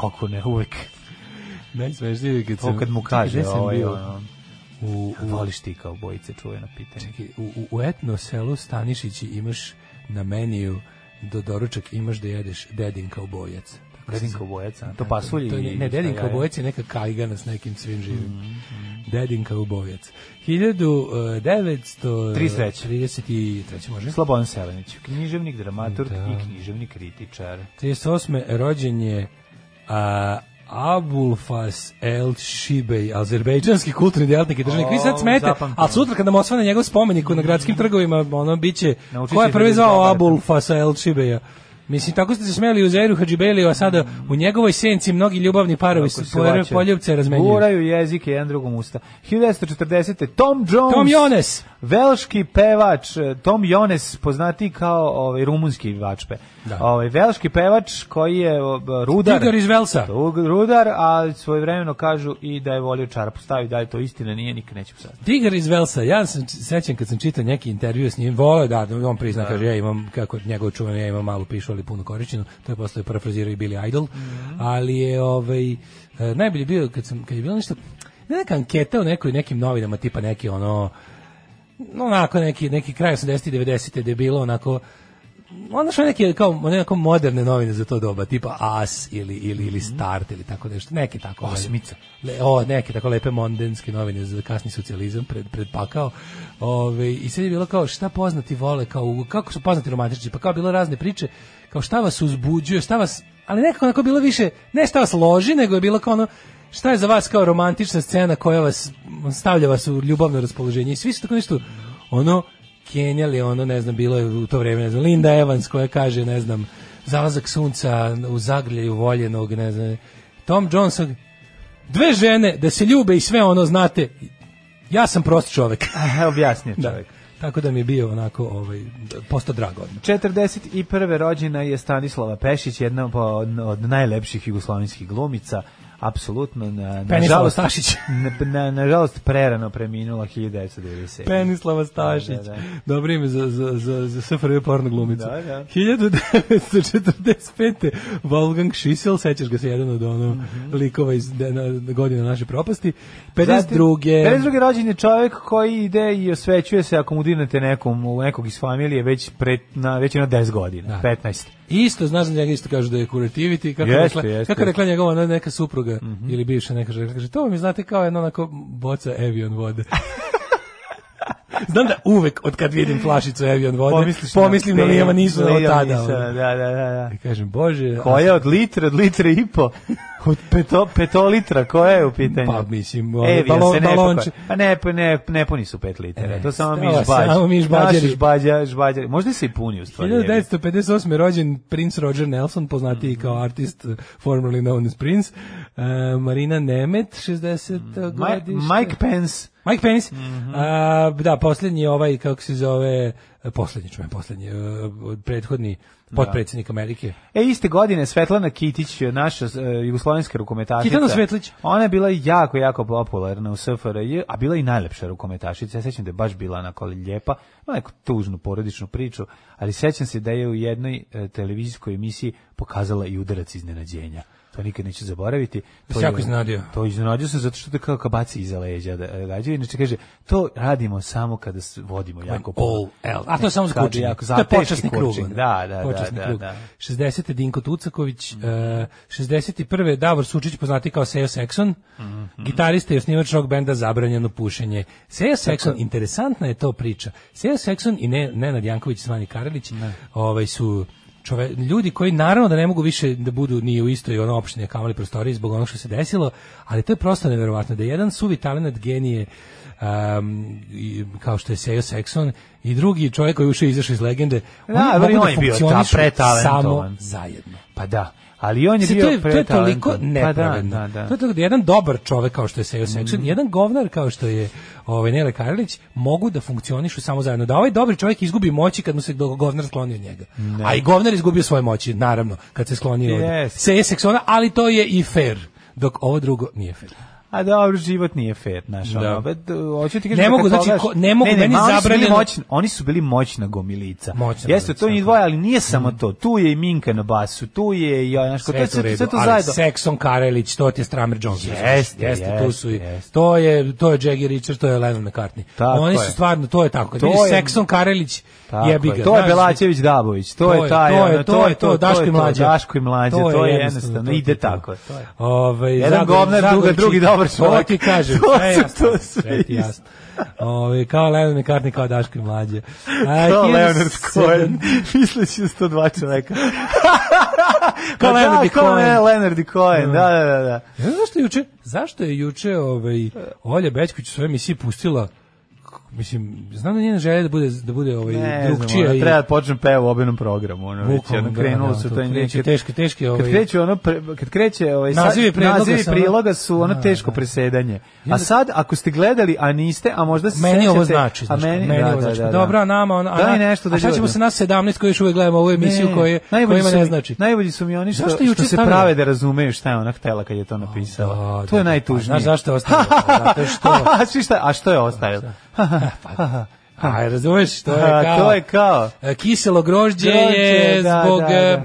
F: Kako ne, uvek.
G: Najsmešnije kad
F: To kad mu kaže, ovaj, ono,
G: u, u,
F: voliš ti kao bojice, čujeno pitanje.
G: u, u etno selu Stanišići imaš na meniju do doručak imaš da jedeš dedin kao bojac.
F: Dedin kaubojac, a? ono, to pasulj
G: To je-
F: i-
G: ne, dedin
F: šta Mhm,
G: kao
F: jaje?
G: bojac je neka kajgana s nekim svim živim. Dedin e, kao bojac. 1933. može?
F: Slobodan Selenić, književnik, dramaturg
G: Da.
F: i književni kritičar.
G: 38. rođen je a, Abulfas El Shibej, azerbejdžanski kulturni djelatnik i državnik. Vi sad
F: O,
G: smete,
F: zapamtimo.
G: ali sutra kad nam osvane njegov spomenik u- na gradskim trgovima, ono bit će,
F: Naučit
G: ko je
F: će
G: prvi
F: da
G: zvao
F: izgovara to.
G: Abulfasa El Šibeja? Mislim, tako ste se smeli u Zairu Hadžibeliju, a sada u njegovoj senci mnogi ljubavni parovi
F: Kako
G: su
F: se vraćaju.
G: poljubce razmenjuju.
F: Guraju jezike jedan drugom usta. 1940. Tom Jones.
G: Tom Jones!
F: Velški pevač eh, Tom Jones poznati kao ovaj rumunski vačpe.
G: Da.
F: Ovaj velški pevač koji je o, b- rudar.
G: Igor iz Velsa.
F: Rug- Rudar, a svojevremeno kažu i da je volio čarapu stavi, da je to istina, nije, nikad nećemo saznati.
G: Tigar iz Velsa, ja sam se sećam kad sam čitao neki intervju s njim, voleo da, on prizna, kaže, ja imam, kako njegov čuvan, ja imam malu pišu, ali puno korišćenu, to je posle parafrazirao i Billy Idol, ali je, ovaj, e, najbolje bio kad, sam, kad je bilo nešto, ne neka anketa u nekoj, nekim novinama, tipa neki ono, no, onako neki, neki kraj 80. i 90. da je bilo onako, ono što je neke kao onako moderne novine za to doba, tipa As ili ili ili Start ili tako nešto, neke tako. Osmica. Le, o, neke tako lepe mondenske novine za kasni socijalizam pred pred pakao. Ove, i sad je bilo kao šta poznati vole, kao kako su poznati romantičari, pa kao bilo razne priče, kao šta vas uzbuđuje, šta vas ali nekako onako bilo više, ne šta vas loži, nego je bilo kao ono šta je za vas kao romantična scena koja vas stavlja vas u ljubavno raspoloženje i svi su tako nešto ono kenjali ono, ne znam, bilo je u to vrijeme, ne znam, Linda Evans koja kaže, ne znam, zalazak sunca u zagrljaju voljenog, ne znam, Tom Johnson, dve žene da se ljube i sve ono, znate, ja sam prost čovek.
F: Objasnije
G: Da.
F: čovjek.
G: Tako da mi je bio onako, ovaj, posto drago. odmah.
F: 41. rođena je Stanislava Pešić, jedna po- od najlepših jugoslovenskih glumica. apsolutno na,
G: Penislava
F: nažalost,
G: Stašić.
F: na, na, nažalost prerano preminula 1997.
G: Penislava Stašić.
F: Da, da.
G: Dobro ime za, za, za, za SFRJ porno glumicu.
F: Da, da.
G: 1945. Wolfgang Schissel, sećaš ga se jedan od ono
F: Mhm.
G: likova iz de- na, godina naše propasti. 52.
F: 52. rođen je čovjek koji ide i osvećuje se ako mu dirnete nekom, u nekog iz familije već, pre, na, već je na 10 godina,
G: Da.
F: 15.
G: Isto, znaš da njega isto kažu da je kurativiti, kako,
F: Jeste,
G: jeste, rekla,
F: jeste. Mhm.
G: kako je rekla njegova ona neka supruga ili bivša neka žena, kaže, to mi znate kao jedna onako boca Evian vode. Znam da uvek od kad vidim flašicu Evian vode, pomislim na Lijema Nisu od
F: Lijema
G: tada.
F: Nisona,
G: ono.
F: Da, da, da. da.
G: I kažem, bože,
F: Koja od litra, od litre i po? Od peto, peto litra, koja je u pitanju?
G: Pa, mislim, ono,
F: Evian
G: balon-
F: E, se ne
G: balonče.
F: pokoj- Pa ne, pa ne, ne puni su pet litera,
G: E,
F: to samo mi
G: stava,
F: žbađa.
G: samo mi žbađeri.
F: Naši žbađa, žbađari. Možda se i puni u stvari. jebi.
G: 1958. rođen princ Roger Nelson, poznatiji
F: Mhm.
G: kao artist, eh, formerly known as Prince. Eh, Marina Nemet, 60
F: Ma-
G: godište.
F: Mike Pence, Mhm.
G: Mike Pence. A, da, posljednji ovaj, kako se zove, eh, posljednji čujem, posljednji, eh, od prethodni potpredsjednik Amerike.
F: E, iste godine Svetlana Kitić, naša e, jugoslovenska rukometašica.
G: Kitana Svetlić.
F: Ona je bila jako, jako popularna u SFRJ, a bila i najlepša rukometašica. Ja sećam da je baš bila onako lijepa, ima neku tužnu porodičnu priču, ali sećam se da je u jednoj e, televizijskoj emisiji pokazala i udarac iznenađenja. To nikad neću zaboraviti. To
G: se jako iznenadio.
F: To iznenadio sam zato što to kao kabaci iza leđa da e, rađaju. Inače kaže, to radimo samo kada s- vodimo jako
G: All L. A to je samo za
F: Kad je
G: kučenje.
F: jako-
G: To je
F: teški
G: počasni krug.
F: kučenje.
G: ono.
F: Da, da, da,
G: Počasni
F: da,
G: krug.
F: da.
G: 60. Dinko Tucaković, eh, 61. Davor Sučić, poznati kao Seo Sekson, gitarista i osnivač rock benda Zabranjeno pušenje. Seo Sekson, interesantna je to priča. Seo Sekson i ne, Nenad Janković, zvani Karelić, ovaj su čove, ljudi koji naravno da ne mogu više da budu ni u istoj ono opštini kao ali prostoriji zbog onog što se desilo, ali to je prosto neverovatno da jedan suvi talenat genije um, i- kao što je Seo Sekson i drugi čovjek koji je ušao i izašao iz legende,
F: Pa Da,
G: oni
F: ali
G: mogu
F: on je bio ta-
G: funkcionišu
F: pretalentovan.
G: samo zajedno.
F: Pa da, ali on je
G: Mislim,
F: bio
G: to, je, to je
F: pretalentovan.
G: toliko nepravedno.
F: Pa da, da, Mhm. da.
G: To je toliko da jedan dobar čovjek kao što je Seo Sekson, jedan govnar kao što je ovaj, Nele Karlić, mogu da funkcionišu samo zajedno. Da ovaj dobri čovjek izgubi moći kad mu se do- govnar skloni od njega. A i govnar izgubio svoje moći, naravno, kad se sklonio od
F: Yes.
G: Seo Seksona, ali to je i fair. Dok ovo drugo nije fair.
F: A dobro, život nije fet, znaš,
G: Da.
F: ono, bet, hoću ti kažem,
G: Ne
F: kad
G: mogu, znači,
F: pogledaš-
G: ko- ne mogu, meni
F: ma, oni su bili
G: zabranjeno-
F: moćni- oni su bili moćna gomilica.
G: Moćna
F: Jeste,
G: gomilica,
F: to njih
G: tako.
F: dvoje, ali nije samo to. Tu je i Minka na basu, tu je i, ja, znaš, kao, to
G: Sve
F: je
G: je to u
F: sve,
G: redu,
F: sve to
G: ali
F: zajedno.
G: Sekson Karelić, to ti je Stramer Jones.
F: Jeste,
G: tu
F: jeste,
G: su i,
F: jeste.
G: to je to je Jagger Richard, to je Lennon McCartney.
F: Tako
G: Oni
F: je.
G: su stvarno to je tako.
F: To
G: Vidiš,
F: je-
G: Sekson Karelić
F: Tako
G: jebi ga.
F: je, to je
G: znaš,
F: Belačević Dabović, to, je taj,
G: to je,
F: ono,
G: to je to, Daško i mlađa.
F: Daško i mlađa, to, je
G: to
F: jednostavno, ide
G: to.
F: tako. To je.
G: Ovaj
F: Jedan
G: Zagor-
F: govnar,
G: Zagor
F: druga- drugi
G: Čikić.
F: dobar čovjek.
G: To ti kažem,
F: To
G: sve
F: su-
G: jasno,
F: to sve
G: sve ti
F: isto.
G: jasno. Ovaj kao Lennon McCartney, kao Daško i mlađe. A,
F: Kao
G: 1700
F: Leonard Cohen, misleći 102 čoveka.
G: Kao
F: Pa da,
G: Leonard i
F: kao
G: Cohen.
F: ne, Leonard i Cohen, da, da, da. da.
G: Ja, zašto je juče, zašto je juče ovaj, Olja Bećković u svojoj emisiji pustila k- mislim, znam da njena želja da bude, da bude ovaj,
F: Ne,
G: drugčija.
F: znam, ono,
G: i-
F: treba da počnem peva u obenom programu, ono, već,
G: Bukvalno,
F: ono,
G: da,
F: krenulo
G: da,
F: su
G: to
F: to
G: kreće
F: neke-
G: teške, teške, ovaj-
F: Kad kreće ono, pre, kad kreće ovaj, sad-
G: Nazivi priloga
F: nazivi
G: su ono-
F: priloga su ono
G: Da,
F: teško
G: da.
F: presedanje. A sad, ako ste gledali, a niste, a možda se
G: Meni ovo
F: sećate-
G: znači,
F: a
G: znači,
F: meni,
G: meni
F: da,
G: ovo
F: da,
G: znači.
F: da, da.
G: Dobro, a nama, on, a,
F: Daj
G: na-
F: nešto da
G: a šta ćemo
F: gledamo.
G: se nas 17 koji još uvek gledamo ovu emisiju
F: Ne,
G: koje,
F: najbolji
G: kojima
F: su
G: ne
F: mi-
G: znači.
F: Najbolji su mi oni što,
G: Zašto je
F: što
G: juče
F: se
G: stavila?
F: prave da razumeju šta je ona htela kad je to napisala.
G: Da,
F: to je
G: da,
F: najtužnije.
G: pa, Znaš zašto je ostavila? Zato što...
F: Svi šta, a što je ostavila?
G: A, razumeš, to je
F: A,
G: kao...
F: to je kao...
G: E, Kiselo grožđe
F: Grožđe,
G: je
F: da,
G: zbog...
F: da, da.
G: e,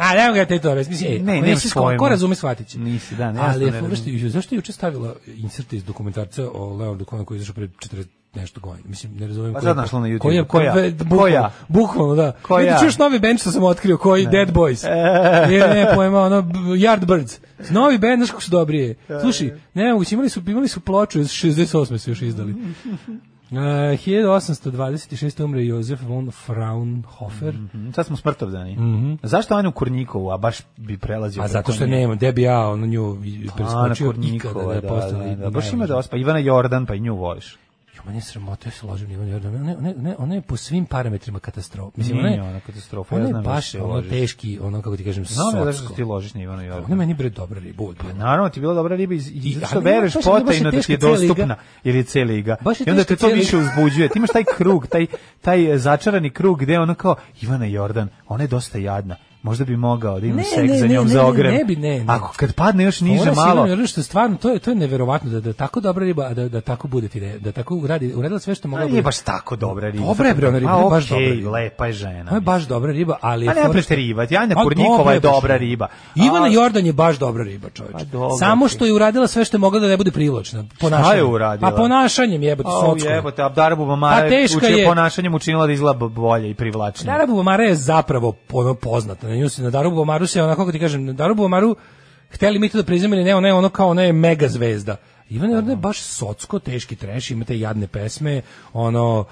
G: A, ne mogu ja te to reći. Mislim, ej,
F: Ne,
G: ne,
F: nemaš
G: nisi sko,
F: pojma.
G: ko razume shvatit će.
F: Nisi, da, ne, jasno
G: Ali je
F: ne
G: fora što
F: razumem.
G: ju- zašto je juče stavila insert iz dokumentarca o Leonardu Cohenu koji je izašao pre 40 nešto godina. Mislim, ne razumijem.
F: Pa
G: koji je-
F: sad našla na YouTubeu.
G: koji je-
F: Koja?
G: ve- bukvalno-
F: Koja?
G: Bukvalno, da.
F: Koja?
G: Vidi, čuješ novi band što sam otkrio, koji Dead Boys. Je, ne, pojma, ono, b- Yardbirds. Novi band, znaš kako su dobri je. Slušaj, ne moguće, imali su, imali su ploču, iz 68. su još izdali. E, 1826. umre Josef von Fraunhofer. Pa
F: Mm, Sad smo smrtovdani. Zašto Anu Kurnikovu, a baš bi prelazio
G: Mhm. A
F: preko
G: zato što
F: nje?
G: nemam, gde bi ja ono nju i
F: Ana
G: preskočio nikada da
F: Kurnikova,
G: je postala.
F: da, da, da. Baš ima da ospa. Ivana Jordan, pa i nju voliš.
G: Jo, meni je sramota, ja se ložim Ivana Jordan. Ona, je- ona, je- ona, je- ona je po svim parametrima katastrofa. Mislim, ona
F: Nije
G: je,
F: ona katastrofa, ja
G: ona je
F: znam da
G: baš
F: se
G: ono
F: ložiš.
G: teški, ono kako ti kažem,
F: Znam ja zašto
G: socko.
F: ti ložiš na Ivana
G: Ona je
F: Jordan.
G: meni bre dobra riba. uvijek bila.
F: Naravno, ti je bila dobra riba iz, iz,
G: I-
F: zato
G: ali
F: što
G: nema,
F: veruješ
G: baš je- baš je
F: potajno da ti je
G: teška cijela
F: dostupna,
G: igra.
F: jer je cijela iga.
G: Baš je
F: I onda
G: teška
F: te to
G: cijela
F: više
G: igra.
F: uzbuđuje. Ti imaš taj krug, taj, taj e, začarani krug gde je ono kao Ivana Jordan, ona je dosta jadna. Možda bi mogao da imam
G: Ne,
F: seks
G: ne,
F: za
G: ne,
F: njom
G: ne,
F: za
G: ne,
F: ogrem.
G: ne bi, ne, ne.
F: Ako kad padne još niže
G: Ona
F: malo.
G: sigurno, jer ono što je stvarno to je to je neverovatno da da tako dobra riba a da da tako bude ti re- da tako uradi uradila sve što
F: A
G: mogla.
F: nije
G: bude.
F: baš tako dobra riba.
G: Dobra je bre ona riba,
F: A,
G: ona je baš
F: okej,
G: dobra riba.
F: lepa je žena.
G: Ona je baš dobra riba, ali je
F: A ne
G: fora što-
F: preterivati, Anja
G: A
F: Kurnikova
G: dobra
F: je
G: baš
F: dobra riba. A-
G: Ivana Jordan je baš dobra riba, čoveče.
F: Pa dobro
G: Samo
F: ti.
G: što je uradila sve što je mogla da ne bude privlačna. Ponašanjem.
F: je uradila?
G: Pa ponašanjem jebote
F: O,
G: socsko.
F: jebote, Abdara Bubamara
G: Pa
F: je
G: teška
F: učio
G: je.
F: ponašanjem učinila da izgleda bolje i privlačnije.
G: Dara Bubamara je zapravo ono poznata. Na nju se na Daru Bubamaru se onako kako ti kažem, na Daru Bubamaru hteli mi to da priznamo ili ne, ona je ono kao ona je mega zvezda. Ivan Jordan je baš socko, teški treš, ima te jadne pesme, ono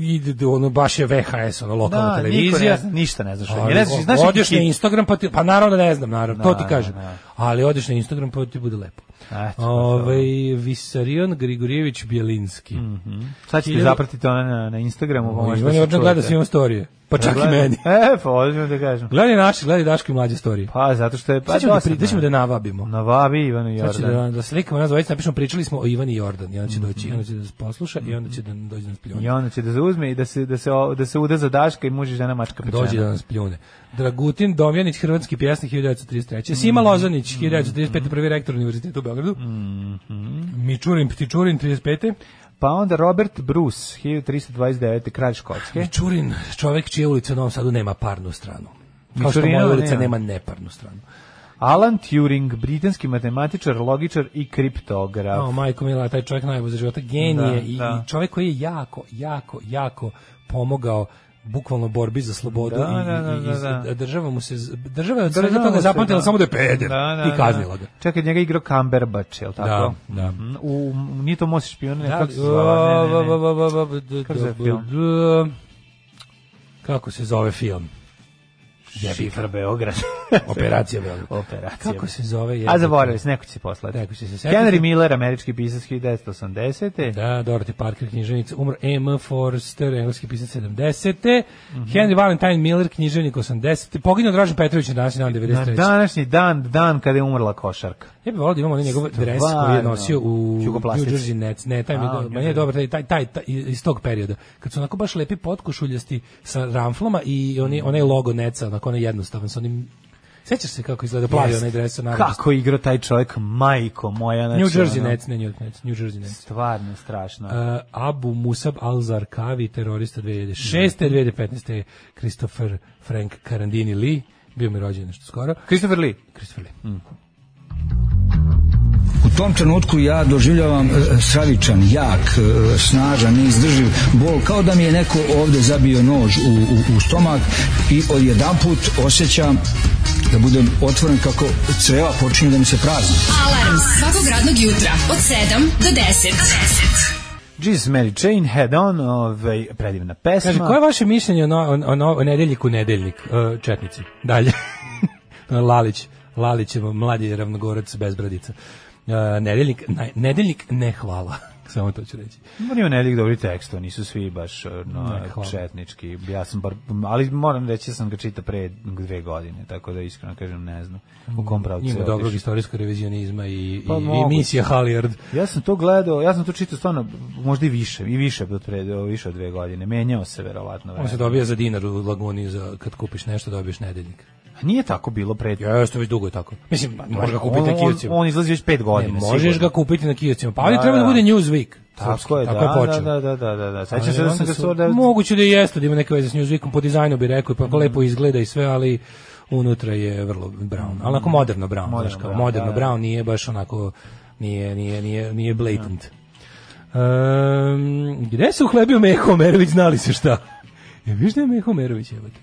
G: ide ono baš je VHS, ono lokalna
F: Da, niko
G: televizija.
F: ne zna, ništa ne znaš.
G: Ali,
F: Ne znaš, znaš neki
G: odeš na
F: hit?
G: Instagram pa ti, pa naravno da ne znam, naravno, to
F: Da,
G: ti kažem.
F: da, da.
G: Ali odeš na Instagram pa ti bude lepo.
F: Eto, pa
G: Ovaj Visarion Grigorijević Bjelinski.
F: Sad ćete
G: Hiljadu-
F: zapratiti ona na, na Instagramu. pa Mhm. možda
G: Ivan
F: se
G: Jordan
F: čujete.
G: gleda svima storije, pa čak i
F: Gleda-
G: meni.
F: E, pa odmah da kažem.
G: Gledaj naši, gledaj Daško i mlađe storije.
F: Pa, zato što je... Pa,
G: Sad ćemo da, pri,
F: dosadno
G: da ćemo
F: je.
G: da navabimo.
F: Na Vavi Ivanu
G: Sad će
F: Jordan. Mhm.
G: da, da slikamo nas dvojica, napišemo, pričali smo o Ivani Jordan. I onda će doći, i onda će da nas posluša i onda će da dođe da nas
F: I
G: pljune.
F: onda će da zauzme i da se, da se, o- da se uda za Daška i muži žena mačka pečena.
G: Dođe da nas pljune. Dragutin Domjanić, hrvatski pjesnik 1933.
F: Mhm.
G: Sima Lozanić, 1935. prvi rektor univerziteta u Beogradu.
F: Mhm.
G: Mičurin Ptičurin, 35.
F: Pa onda Robert Bruce, 1329. kralj Škotske.
G: Mičurin, čovek čija ulica u Novom Sadu nema parnu stranu. Kao što
F: Mičurinova
G: moja ulica
F: nema.
G: nema neparnu stranu.
F: Alan Turing, britanski matematičar, logičar i kriptograf.
G: O, majko mila, taj čovjek najbolji za života, genije
F: Da,
G: i,
F: da.
G: i čovjek koji je jako, jako, jako pomogao bukvalno borbi za slobodu
F: Da,
G: i,
F: da, da,
G: i- i-
F: da, da.
G: država mu se z- država je od
F: Država
G: svega toga
F: se,
G: zapamtila
F: da.
G: samo da je peder i kaznila ga.
F: Čekaj, njega je igrao Kamberbač, je li tako?
G: da.
F: Mhm, U, u- nije to Most špion, ne,
G: Da,
F: kako se zvala, ne, ne, ne. Kako se zove film?
G: ne. Kako se zove film? Jebi ga,
F: Šifra Beograd.
G: operacija Beograd.
F: Operacija.
G: Kako se zove?
F: A
G: jebi
F: zaboravili se, neko će poslati.
G: Neko će se setiti.
F: Henry Miller, američki pisac 1980.
G: Da, Dorothy Parker, književnica, umro M. Forster, engleski pisac 70.
F: Mhm.
G: Henry Valentine Miller, književnik 80. Poginuo Dražen Petrović na današnji dan
F: Na
G: 93. Da.
F: današnji dan, dan kada je umrla košarka.
G: Ja bih volio da imamo onaj njegov dres koji je nosio u New
F: Jugoplastici.
G: Jersey Nets. Ne, taj mi je,
F: A,
G: do-
F: u New
G: meni je
F: Jersey.
G: dobar, taj, taj, taj, taj, iz tog perioda. Kad su onako baš lepi potkošuljasti sa ramflama i oni, onaj logo Netsa, onako onaj jednostavan, sa onim... Sećaš se kako izgleda plavi
F: Jest.
G: onaj dres sa narančastim?
F: Kako je igrao taj čovjek, majko moja. Znači,
G: New Jersey
F: ono,
G: Nets, ne New York Nets, New Jersey Nets.
F: Stvarno strašno.
G: Uh, Abu Musab al-Zarkavi, terorista 2006. 2015. Christopher Frank Carandini Lee, bio mi rođen nešto skoro.
F: Christopher Lee.
G: Christopher Lee.
I: U tom trenutku ja doživljavam e, stravičan, jak, e, snažan, neizdrživ bol, kao da mi je neko ovde zabio nož u, u, u stomak i odjedanput osjećam da budem otvoren kako creva počinju da mi se prazne.
J: Alarm svakog radnog jutra od 7 do 10.
F: Jesus Mary Chain, Head On, ovaj, predivna pesma.
G: Kaže, koje je vaše mišljenje o, no, o, o, no- o nedeljniku nedeljnik? Uh, četnici. Dalje. Lalić. Lalić je mladi ravnogorac bez bradica. Uh, nedeljnik, naj- nedeljnik ne hvala. Samo to ću reći.
F: Moram ima nedeljik dobri teksto, nisu svi baš no,
G: Ne, hvala.
F: četnički. Ja sam bar, ali moram reći da sam ga čita pre dve godine, tako da iskreno kažem ne znam u kom pravcu
G: Ima
F: je
G: dobrog
F: otišao.
G: istorijskog revizionizma i,
F: Pa
G: i, i
F: moguće.
G: misija Halijard.
F: Ja sam to gledao, ja sam to čitao stvarno možda i više, i više od pre, više od dve godine. Menjao se verovatno.
G: On se
F: Vremen.
G: dobija za dinar u laguni za kad kupiš nešto dobiješ nedeljnik.
F: Nije tako bilo pre.
G: Jeste, već dugo je tako. Mislim, možeš ga kupiti na
F: on,
G: kioscima.
F: on, on izlazi već pet
G: Ne,
F: godina.
G: možeš ga
F: sigurno.
G: kupiti na kioscima. Pa ali
F: Da,
G: treba da
F: da.
G: bude Newsweek. srpski,
F: Tako je,
G: tako je
F: da,
G: počeo.
F: da, da, da, da, da.
G: Ali
F: Sećam se da
G: onda
F: sam ga
G: su-
F: svoj da... Mhm.
G: Moguće da i jeste da ima neke veze s Newsweekom, po dizajnu bi rekao, pa lepo izgleda i sve, ali unutra je vrlo brown. Ali onako moderno
F: Moderno
G: brown, moderno, kao,
F: brown,
G: moderno
F: da, da.
G: brown nije baš onako, nije, nije, nije, nije blatant. Ehm, gde se uhlebio Meho Omerović, znali se šta? Ja, viš da je Meho Omerović, jebate?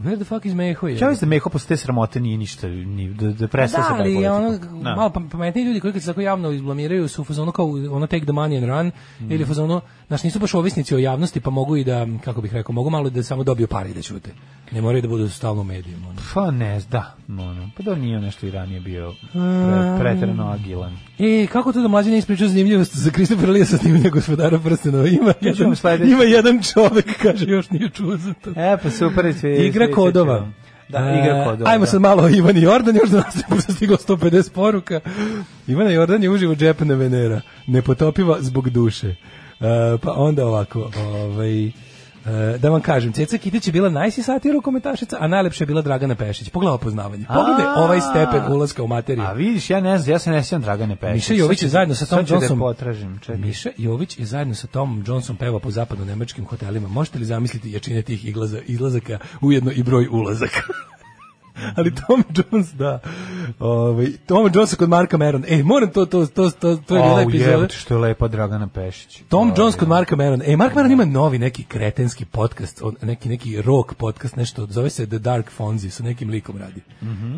G: Where the fuck is Meho, jebate?
F: Ja mislim da Meho posle te sramote nije ništa, ni, da, da prestao
G: Da,
F: sa
G: ali
F: politikom.
G: ono,
F: Da.
G: malo pam- pametniji ljudi koji kad se tako javno izblamiraju su u fazonu kao ono take the money and run
F: Mm.
G: ili u fazonu, znaš, nisu baš ovisnici o javnosti pa mogu i da, kako bih rekao, mogu malo da samo dobiju pare i da ćute. Ne moraju da budu stalno u medijima. ono.
F: Pa ne, da. Ono, pa da nije on nešto i ranije bio pre,
G: Um.
F: pretrano agilan.
G: E, kako to da mlađe ne ispričao zanimljivost za Kristofer Lija sa snimanja gospodara prstenova? Ima, jedan,
F: vam sledeći.
G: ima jedan čovek, kaže, još nije čuo za to.
F: E, pa super. Svi,
G: Igra
F: svi-
G: kodova. E,
F: Da, igra kodova.
G: Ajmo
F: da.
G: sad malo o Ivani Jordan, još da nas je stiglo 150 poruka. Ivana Jordan je uživo džepna Venera, nepotopiva zbog duše. E, pa onda ovako, ovaj, E, da vam kažem, Ceca Kitić je bila najsisatija rukometašica, a najlepša je bila Dragana Pešić. Pogledaj poznavanje. Pogledaj
F: A.
G: ovaj stepen ulaska u materiju.
F: A vidiš, ja ne znam, ja se ne sjećam Dragane Pešić.
G: Miša Jović je zajedno sa Tom
F: Sad ću da je
G: Johnsonom.
F: potražim, čekaj.
G: Miša Jović je zajedno sa Tom Johnson peva po zapadno-nemačkim hotelima. Možete li zamisliti jačine tih iglaza, izlazaka, ujedno i broj ulazaka? Ali Tom Jones, da. Ovaj Tom Jones kod Marka Meron. Ej, moram to, to, to, to, to je bila
F: Au,
G: epizoda.
F: jebote, što je lepa Dragana Pešić.
G: Tom
F: Au,
G: Jones kod Marka Meron. E, Mark Meron ima novi neki kretenski podcast, on, neki neki rock podcast, nešto, zove se The Dark Fonzi, sa nekim likom radi.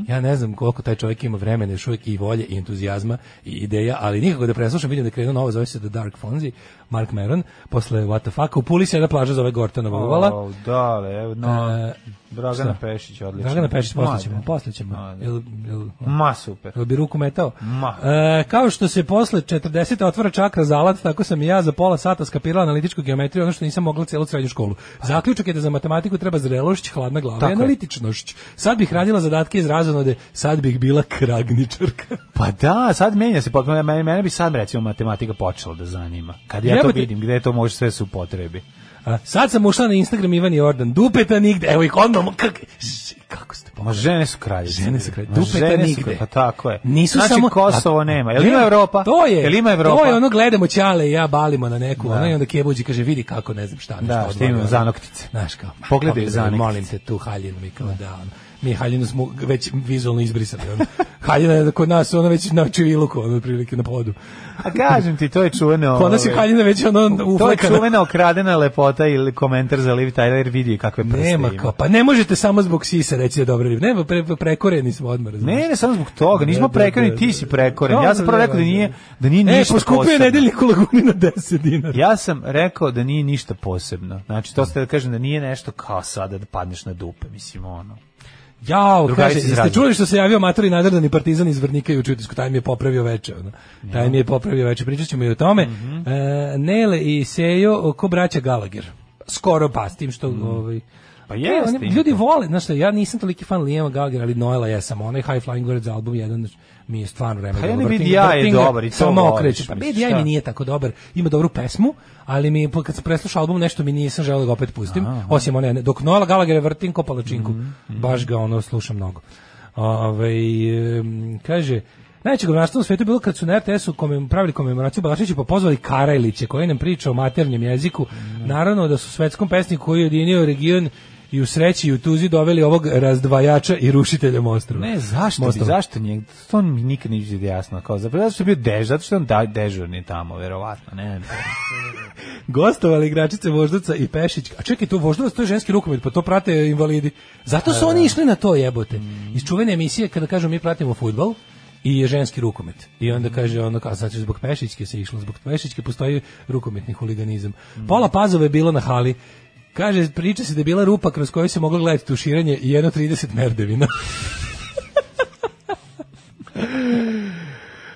G: Ja ne znam koliko taj čovjek ima vremena, još uvijek i volje, i entuzijazma, i ideja, ali nikako da preslušam, vidim da je krenuo novo, zove se The Dark Fonzi, Mark Meron, posle What the Fuck, u Puli se jedna plaža zove Gortanova uvala.
F: Au, dale, evo, no,
G: E,
F: Dragana
G: šta?
F: Pešić, odlično.
G: Dragana Pešić, posle ćemo,
F: Ajde.
G: posle ćemo.
F: Ajde.
G: Jel, jel,
F: Ma, super.
G: Jel bi ruku metao?
F: Ma.
G: E, kao što se posle 40. otvara čakra za alat, tako sam i ja za pola sata skapirala analitičku geometriju, ono što nisam mogla celu srednju školu. Zaključak je da za matematiku treba zrelošć, hladna glava
F: Tako
G: i
F: je.
G: analitičnošć. Sad bih radila zadatke iz razonode, sad bih bila kragničarka.
F: Pa da, sad menja se potpuno, mene, mene bi sad recimo matematika počela da zanima. Kad ja to
G: Jebote.
F: vidim, gde to može sve su potrebi.
G: A, sad sam ušla na Instagram Ivan Jordan, dupeta nigde, evo ih odmah, kak, š, kako ste
F: Ma žene su kraljice.
G: Žene su kralje.
F: Ma,
G: Dupeta
F: žene su
G: nigde.
F: kralje, Pa tako je.
G: Nisu
F: znači,
G: samo
F: Kosovo
G: a-
F: nema. Jel
G: Ne,
F: ima Evropa?
G: To je.
F: Jel ima Evropa?
G: To je ono gledamo ćale i ja balimo na neku, ono i onda Kebuđi kaže vidi kako ne znam šta, ne
F: Da,
G: znam
F: šta ima
G: odvali,
F: zanoktice.
G: Znaš kao. ma,
F: Pogledaj
G: pogledaj,
F: zanoktice.
G: Molim te tu haljinu mi kao da. Ono. Mi haljinu smo već vizualno izbrisali. Ono. Haljina je kod nas ono već na čiviluku, ono otprilike na podu.
F: A kažem ti, to je čuveno.
G: Kod nas je
F: ovaj,
G: haljina već ono
F: To je
G: uflekana.
F: čuvena okradena lepota ili komentar za Liv Tyler vidi kakve prste
G: Nema
F: ima.
G: kao, pa ne možete samo zbog sisa reći da je dobra riba. Nema, pre, prekoreni smo odmah. razumeš?
F: Ne, ne, samo zbog toga, nismo
G: Da, da,
F: prekoreni,
G: da,
F: ti
G: da.
F: si prekoren.
G: Da,
F: Ja sam prvo
G: da,
F: rekao da
G: da,
F: nije,
G: da.
F: da nije
G: E,
F: ništa
G: poskupio je
F: posebno.
G: nedeljnik u Laguni na 10 dinara.
F: Ja sam rekao da nije ništa posebno. Znači, to ste da kažem da nije nešto kao sada da padneš na dupe, mislim, ono.
G: Jao,
F: Drugarice
G: kaže,
F: iz
G: jeste
F: razreda.
G: čuli što se javio amator i nadrdani partizan iz Vrnika i u Čutisku, taj mi je popravio veče, ono. Taj mi je popravio veče, pričat ćemo i o tome.
F: Mhm.
G: E, Nele i Sejo, ko braća Gallagher. Skoro pa, s tim što... Ovaj,
F: Pa jeste,
G: oni-
F: ima
G: ljudi
F: to.
G: vole, znaš šta, ja nisam toliki fan Lijema Gallaghera, ali Noela jesam, onaj High Flying Birds album jedan mi je stvarno vreme.
F: Pa i onaj
G: Vrtinga-
F: BDI je
G: Vrtinga
F: dobar i to
G: Samo
F: voliš,
G: okreće. Pa
F: mislim,
G: BDI
F: šta?
G: mi nije tako dobar, ima dobru pesmu, ali mi, je, pa kad sam preslušao album, nešto mi nisam želeo da ga opet pustim, osim one, dok Noela Gallagher vrtim ko palačinku, baš ga ono slušam mnogo. Ove, kaže, Najveće govnarstvo u svijetu je bilo kad su na RTS-u komem, pravili komemoraciju Balašića pa pozvali Karajliće koji nam priča o maternjem jeziku. Naravno da su svetskom pesniku koji je jedinio region i u sreći i u tuzi doveli ovog razdvajača i rušitelja mostrova.
F: Ne, zašto bi,
G: Mostova.
F: zašto nije, to mi nikad nije bilo jasno, kao zapravo, zato što je bio dež, zato što je on da, dežurni tamo, verovatno, ne, ne.
G: gostovali igračice Voždovca i Pešić. A čekaj, to Voždovac, to je ženski rukomet, pa to prate invalidi. Zato su oni išli na to jebote. Iz čuvene emisije kada kažu mi pratimo fudbal i je ženski rukomet. I onda kaže ono, kao, znači zbog Pešićke se išlo, zbog Pešićke postoji rukometni huliganizam. Pola pazove je bilo na hali. Kaže, priča se da je bila rupa kroz koju se moglo gledati tuširanje i jedno 30 merdevina.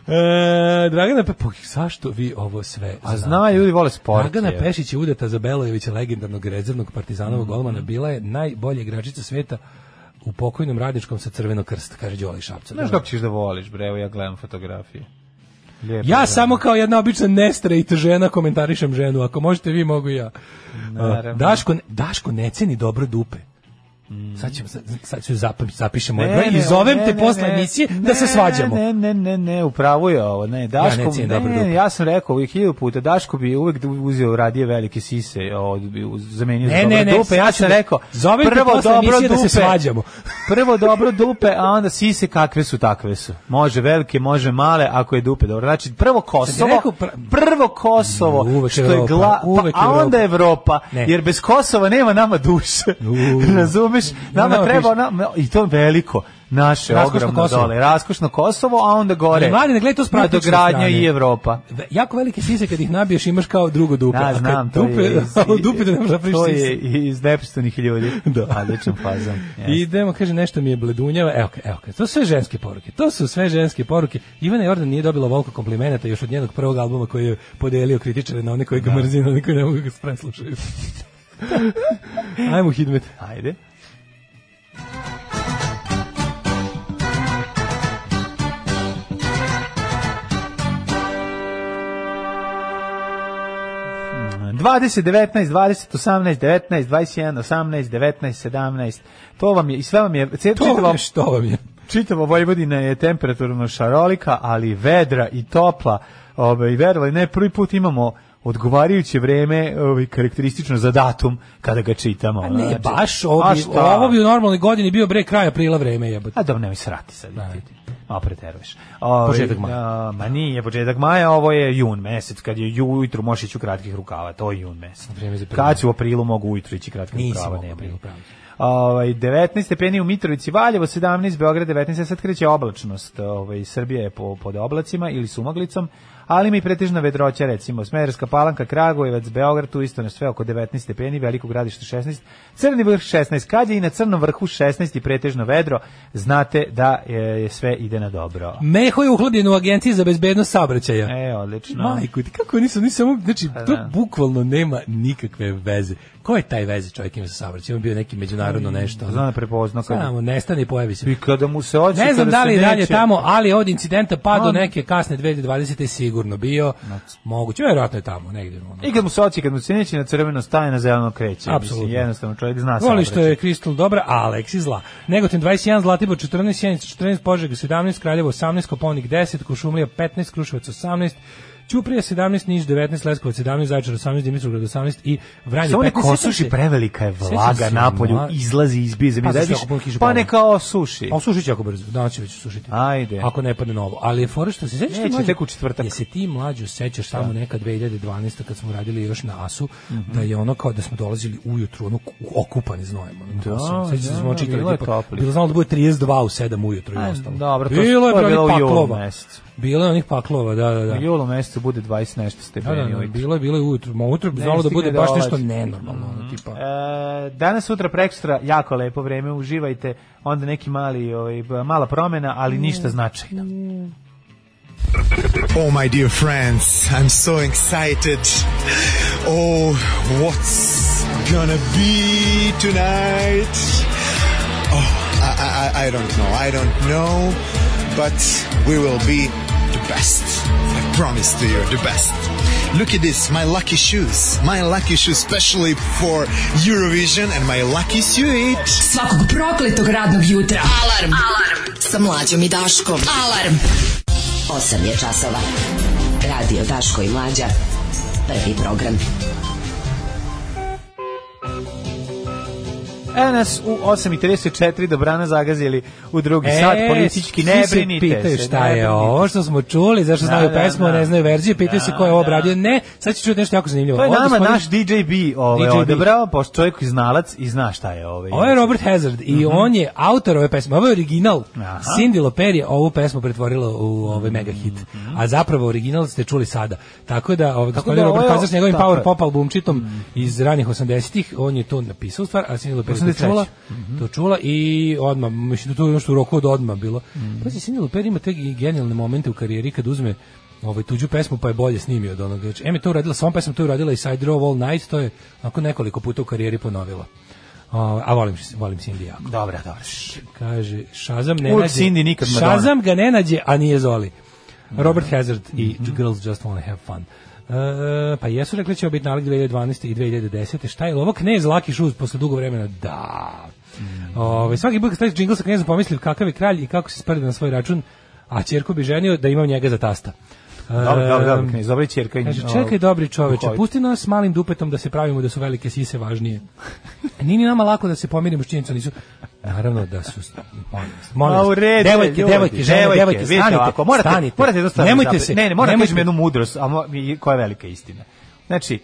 G: E, Dragana Pepović, zašto vi ovo sve
F: A
G: znate?
F: zna, ljudi vole sport.
G: Dragana
F: je. Mhm.
G: Pešić je udata za Belojevića, legendarnog rezervnog partizanovog golmana, bila je najbolja igračica sveta u pokojnom radničkom sa crvenog krsta, kaže Đoli Šapca.
F: Znaš kako ćeš da voliš, bre, evo ja gledam fotografije. Lijepo
G: Ja samo kao jedna obična nestraight žena komentarišem ženu, ako možete vi, mogu i ja.
F: Naravno. Mhm.
G: Daško, Daško ne ceni dobro dupe. Sad ćemo sad, sad ću zapam, zapišem moj
F: Ne,
G: broj
F: ne,
G: i zovem
F: ne,
G: te
F: ne,
G: posle
F: ne.
G: emisije
F: Ne,
G: da se svađamo.
F: Ne, ne, ne, ne, upravo je ovo, ne, Daško,
G: ne cijenim
F: ne,
G: dobro dupe.
F: ja sam rekao ovih hiljadu puta, Daško bi uvek uzeo radije velike sise, od, bi uz- zamenio
G: Ne,
F: za
G: ne,
F: dobro
G: ne,
F: dupe, ja
G: sad ću
F: sam
G: da-
F: rekao,
G: zovem te
F: prvo
G: posle
F: dobro
G: emisije da
F: dupe,
G: se svađamo.
F: prvo dobro dupe, a onda sise kakve su, takve su. Može velike, može male, ako je dupe dobro. Znači, prvo Kosovo,
G: rekao pr-
F: prvo Kosovo,
G: Mm, uvek
F: što
G: Evropa,
F: je gla,
G: uvek
F: pa, a onda Evropa,
G: Ne.
F: jer bez Kosova nema nama duše.
G: U.
F: Razumeš? Nama,
G: nama
F: treba,
G: piše.
F: ona- i to veliko, naše,
G: Raskošno
F: ogromno
G: Kosovo.
F: dole. Raskošno Kosovo, a onda gore.
G: Ali, Mladine, gledaj to s praktične
F: Nadogradnja
G: strane.
F: i Evropa.
G: Ve- Jako velike sise kad ih nabiješ imaš kao drugo dupe.
F: Ja
G: a kad
F: znam, to
G: dupe,
F: je
G: a od dupe da ne možeš napraviš
F: to
G: sise.
F: je iz nepristojnih ljudi.
G: Da.
F: Odličan fazan. Jeste.
G: Idemo, kaže, nešto mi je bledunjava. Evo, ga, evo, ga, to su sve ženske poruke. To su sve ženske poruke. Ivana Jordan nije dobila volko komplimenata još od njenog prvog albuma koji je podelio kritičare na one koji ga mrzinu, na one koji ne mogu ga preslušaju. Ajmo, Hidmet.
F: Ajde. 20, 19, 20, 18, 19, 21, 18, 19, 17. To vam je, i sve vam je, ce-
G: To vam
F: čitavo,
G: je što vam je.
F: čitavo Vojvodina je temperaturno šarolika, ali vedra i topla. Ove, I verovali, ne, prvi put imamo odgovarajuće vreme ovaj, karakteristično za datum kada ga čitamo.
G: A ne,
F: Znači,
G: baš, ovo
F: a
G: bi,
F: šta?
G: ovo bi u normalnoj godini bio bre kraj aprila vreme jebote.
F: A dobro, nemoj srati sad. ti- ti Malo preteruješ. Ovaj,
G: Početak maja.
F: a, ma nije početak maja, ovo je jun mesec, kad je ju- ujutru možeš ići u kratkih rukava, to je jun mesec.
G: Vrijeme za april.
F: Kad ću u aprilu mogu ujutru ići kratkih
G: Nisam
F: rukava,
G: mogao
F: ne
G: u aprilu, pravo.
F: Ovaj 19 stepeni u Mitrovici, Valjevo 17, Beograd 19, sad kreće oblačnost. Ovaj Srbija je po, pod oblacima ili sumaglicom, ali mi pretežna vedroća recimo Smederska Palanka, Kragujevac, Beograd tu isto na sve oko 19 stepeni, Veliko Gradište 16, Crni vrh 16, kad je i na Crnom vrhu 16 i pretežno vedro, znate da e, je sve ide na dobro.
G: Meho je uhlebljen u agenciji za bezbednost saobraćaja.
F: E, odlično.
G: Majku, ti kako nisam, nisam, znači, to
F: Pa da.
G: bukvalno nema nikakve veze. Ko je taj veze čovjek ima sa saobraćajem? On bio neki međunarodno nešto. ono.
F: Znam da prepozna kad-
G: Samo, nestane i pojavi se.
F: I kada mu se odsjeka
G: Ne znam
F: da
G: da
F: se
G: li je dalje
F: neće-
G: tamo, ali je od incidenta pa do
F: Mam.
G: neke kasne 2020. je sigurno bio.
F: Znači.
G: Moguće, vjerojatno je tamo, negdje. Ono.
F: I kad mu se odsjeka, kad mu se neće na crveno staje, na zeleno kreće.
G: Apsolutno.
F: Mislim, jednostavno čovjek zna
G: Voli
F: saobraćaj.
G: što je Kristal dobra, a Aleksi zla. Negotin 21, Zlatibor 14, Sjenica 14, Požega 17, Kraljevo 18, Koponik 10, Kušumlija 15, Kruševac 18, Ćuprija 17, Niš 19, Leskovac 17, Zaječar 18, Dimitrovgrad 18 i Vranje 15.
F: Samo neka
G: Sjećam
F: osuši,
G: se-
F: prevelika je
G: Sjećam
F: vlaga
G: se,
F: napolju,
G: mla-
F: izlazi iz bize.
G: Pa,
F: Pa,
G: zašto ako puno kiše
F: pa
G: pada?
F: neka osuši.
G: A osušit će jako brzo, danas će već osušiti.
F: Ajde.
G: Ako ne padne novo. Ali je fora što se sećaš ti
F: Neće,
G: mlađe-
F: tek u četvrtak.
G: Jesi ti mlađo sećaš samo neka 2012. kad smo radili još na Asu,
F: Mhm.
G: da je ono kao da smo dolazili ujutru, ono ku- okupani znojem. Ono,
F: Da,
G: sećaš se
F: da,
G: da smo čitali.
F: bilo je
G: tipa,
F: toplo.
G: Bilo znalo da bude 32 u 7 ujutru i
F: Aj,
G: ostalo.
F: dobro, to-
G: bilo je
F: to je
G: bilo
F: bilo
G: onih
F: u julu
G: paklova.
F: mesecu.
G: Bilo je onih paklova, da, da, da.
F: U julu mesecu bude 20 nešto
G: Da, da,
F: stepeni.
G: da,
F: ujutru.
G: bilo je, bilo je ujutru. Ma ujutru bi
F: Ne
G: znalo da
F: stigne
G: bude
F: da
G: baš
F: dođe.
G: nešto nenormalno, ono, tipa.
F: E, danas, sutra, prekstra, jako lepo vreme, uživajte, onda neki mali, ovaj, b- mala promena, ali ništa značajno.
H: Oh, my dear friends, I'm so excited. Oh, what's gonna be tonight? Oh, I, I, I- I don't know. I don't know, but we will be the best. I promise to you, the best. Look at this, my lucky shoes. My lucky shoes, specially for Eurovision and my lucky suit.
J: Svakog prokletog radnog jutra. Alarm. Alarm. Sa mlađom i Daškom. Alarm.
K: 8 je časova. Radio Daško i Mlađa. Prvi program.
F: Evo E, nas u 8.34 dobrana zagazili u drugi sat, politički,
G: E, svi
F: ne
G: se
F: brinite
G: pitaju
F: se,
G: šta
F: ne
G: je
F: brinite.
G: ovo što smo čuli, zašto
F: Da,
G: znaju
F: da,
G: pesmu,
F: da.
G: ne znaju verziju, pitaju se ko je ovo
F: Da,
G: obradio. Ne, sad ću čuti nešto jako zanimljivo.
F: To je
G: Ovo
F: nama
G: gospodin-
F: naš DJ B ovaj,
G: DJB.
F: odebrao, pošto čovjek je znalac i zna šta je ovaj.
G: Ovo je Robert Hazard i on je autor ove pesme. Ovo je original.
F: Mhm. Aha.
G: Cindy Loper je ovu pesmu pretvorila u ovaj mega hit. A zapravo original ste čuli sada. Tako da ovaj gospodin
F: Mhm. da, ovo
G: Robert
F: je-
G: Hazard s njegovim
F: tako
G: power
F: je.
G: pop albumčitom iz ranih 80-ih, on je to napisao stvar, a Cindy Loper je to
F: 83..
G: čula, to čula i odma mislim da to je ono što u roku od odma bilo. Pa se Cindy Loper ima te genijalne momente u karijeri kad uzme ovaj tuđu pesmu pa je bolje snimio od onoga. Znači, em je to uradila, svom pesmom to je uradila i Side Row All Night, to je onako nekoliko puta u karijeri ponovila. O, a volim, volim Cindy jako.
F: Dobra, dobra.
G: Kaže, Shazam ne
F: Uvek
G: nađe...
F: Cindy, nikad Madonna. Mm-hmm.
G: Shazam ga ne nađe, a nije Zoli. Robert Hazard i Girls Just Wanna Have Fun. E, pa jesu rekli da će ovo biti nalik 2012. i 2010. Šta je ovo? Knez Lucky Shoes posle dugo vremena. Da.
F: Mm-hmm.
G: Ove, svaki put kad staviš džingl sa knezom pomislim kakav je kralj i kako se sprede na svoj račun, a čerku bi ženio da imam njega za tasta. E,
F: Dobro, dobro, dobro, knez, dobra je ćerka. i-
G: Kaže,
F: ovaj,
G: čekaj dobri čoveče,
F: duhovit.
G: pusti nas s malim dupetom da se pravimo da su velike sise važnije. Nije ni nama lako da se pomirimo s činjenicom, nisu... Naravno da su... Molim vas, molim
F: Ma
G: vas.
F: u redu,
G: devojke,
F: ljudi,
G: devojke, žene, devojke,
F: vidite
G: stanite,
F: ovako, morate,
G: stanite.
F: Morate jednostavno
G: nemojte
F: zapre-
G: se,
F: Ne, ne, morate
G: nemojte-
F: kažem jednu mudrost, a mo, i koja je velika istina. Znači,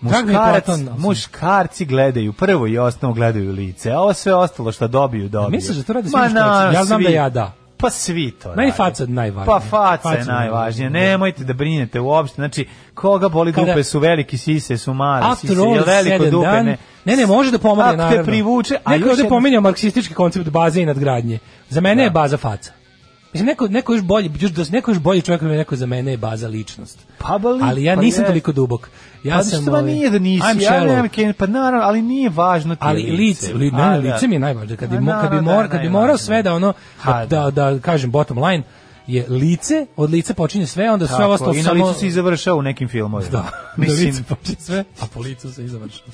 G: Drag mi je
F: muškarac,
G: Platon, ali sam-
F: muškarci gledaju, prvo i osnovno gledaju lice, a ovo sve ostalo što dobiju, dobiju.
G: misliš da to rade svi
F: Ma,
G: muškarci?
F: na,
G: Ja znam da
F: svi.
G: ja da.
F: Pa svi to
G: Meni
F: rade.
G: faca najvažnija.
F: Pa faca,
G: Faca
F: je
G: najvažnija.
F: najvažnija. Nemojte da brinete uopšte. Znači, koga boli
G: Kada-
F: dupe su veliki sise, su male
G: After
F: sise.
G: all,
F: Jel veliko
G: said and
F: dupe
G: done.
F: ne?
G: Ne, ne, može da pomogne,
F: Ako te
G: naravno.
F: privuče, a
G: Neko
F: još
G: ovde
F: jedno-
G: pominjao marksistički koncept baze i nadgradnje. Za mene je baza faca. Mislim, neko, neko još bolji, još, da- neko još bolji čovjek, neko za mene je baza ličnost.
F: Pa boli,
G: Ali ja
F: pa
G: nisam
F: je.
G: toliko dubok. Ja
F: pa
G: sam...
F: što
G: ovaj,
F: nije da nisi,
G: I'm
F: ja
G: shallow.
F: nemam ken- pa naravno, ali nije važno ti
G: ali
F: je
G: lice, li,
F: A,
G: ne,
F: da.
G: lice mi je najvažnije. Kad bi,
F: A,
G: mo- kad bi,
F: naravno,
G: mor,
F: da,
G: kad bi
F: najvažnije.
G: morao sve da ono,
F: Ha,
G: da, da, da kažem bottom line, je lice, od lica počinje sve, onda sve
F: Tako,
G: ostalo
F: I na
G: samo...
F: licu si i završao u nekim filmovima.
G: Da,
F: Mislim,
G: na lice počinje sve, a po licu se i završava.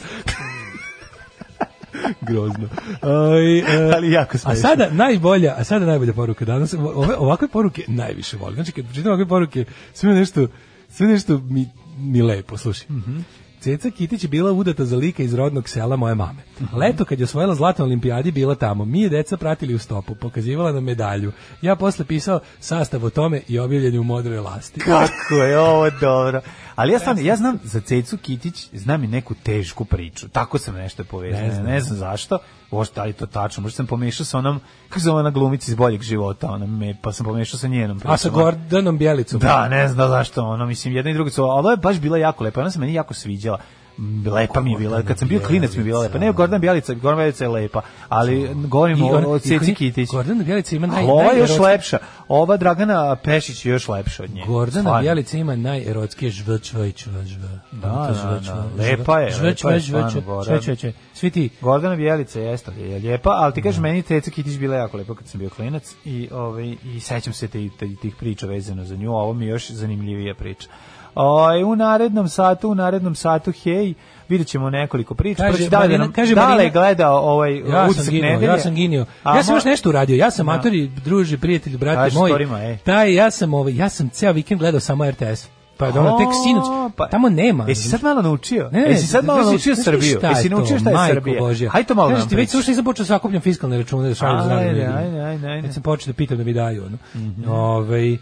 G: Grozno. e,
F: Ali jako
G: A
F: smešno.
G: sada najbolja, a sada najbolja poruka danas. Ove ovakve poruke najviše volim. Znači kad pročitam ovakve poruke, sve nešto sve nešto mi mi lepo, slušaj. Mhm. Ceca Kitić je bila udata za lika iz rodnog sela moje mame.
F: Mhm.
G: Leto kad je osvojila zlatnu olimpijadi bila tamo. Mi je deca pratili u stopu, pokazivala nam medalju. Ja posle pisao sastav o tome i objavljen u modroj lasti.
F: Kako je ovo dobro. Ali ja stvarno, ja znam za Cecu Kitić, znam i neku tešku priču. Tako sam nešto povezao.
G: Ne
F: Ne
G: znam.
F: znam, zašto. Možda da li je to tačno. Možda sam pomešao sa onom, kako se zove ona glumica iz boljeg života, ona me, pa sam pomešao sa njenom.
G: A sa
F: pričom.
G: Gordanom Bjelicom.
F: Da, ne znam zašto, ono, mislim, jedna i druga su, ali ovo je baš bila jako lepa, ona se meni jako sviđala. M, Lepa mi je bila, kad sam bio klinac mi je bila lepa. Ne, Gordana Bjelica, Gordana Bjelica je lepa, ali
G: I
F: govorimo o,
G: ona-
F: o
G: i
F: Ceci
G: koji-
F: Kitić.
G: Gordana Bjelica ima naj,
F: Ali ova je još
G: najerotskiji-
F: lepša, ova Dragana Pešić je još lepša od nje.
G: Gordana
F: stvarno.
G: Bjelica ima najerotskije žvrčva i čvrčva.
F: da, da. Lepa je, lepa je stvarno, Gordana.
G: Svi ti,
F: Gordana Bjelica jeste je lijepa, ali ti kažeš meni Ceca Kitić bila jako lepa kad sam bio klinac i ovaj i sećam se te, te- tih priča vezano za nju, a ovo mi je još zanimljivija priča. Oj, u narednom satu, u narednom satu, hej, vidjet ćemo nekoliko priča.
G: Kaže
F: Pročitala je
G: Marina-
F: nam-
G: kaže
F: Dale
G: Marina-
F: je gledao ovaj
G: ja sam
F: utisak
G: ginio,
F: nedelje.
G: ja sam ginio.
F: A
G: ja sam
F: mo-
G: još nešto uradio, ja sam
F: Da.
G: matori, druži, prijatelj, brate
F: Kaži
G: moj.
F: storima, ej.
G: Taj, ja sam, ovaj, ja sam ceo vikend gledao samo RTS. Pa je dobro, tek
F: A,
G: sinoć,
F: pa-
G: tamo nema.
F: Jesi sad
G: razumiješ?
F: malo naučio?
G: Ne, ne,
F: Jesi sad malo
G: znaš-
F: naučio
G: znaš ti
F: Srbiju?
G: šta je
F: Jesi
G: to,
F: naučio šta je
G: majko
F: Srbija?
G: Božja?
F: Hajde to malo
G: Znaš
F: nam
G: ti, već
F: pričaj.
G: sušli sam počeo sakupljam fiskalne račune da šaljem zdravim
F: Ajde,
G: ljudima.
F: ajde, ajde, ajde.
G: Već sam počeo da pitam da mi daju. Ono. Ovaj, em,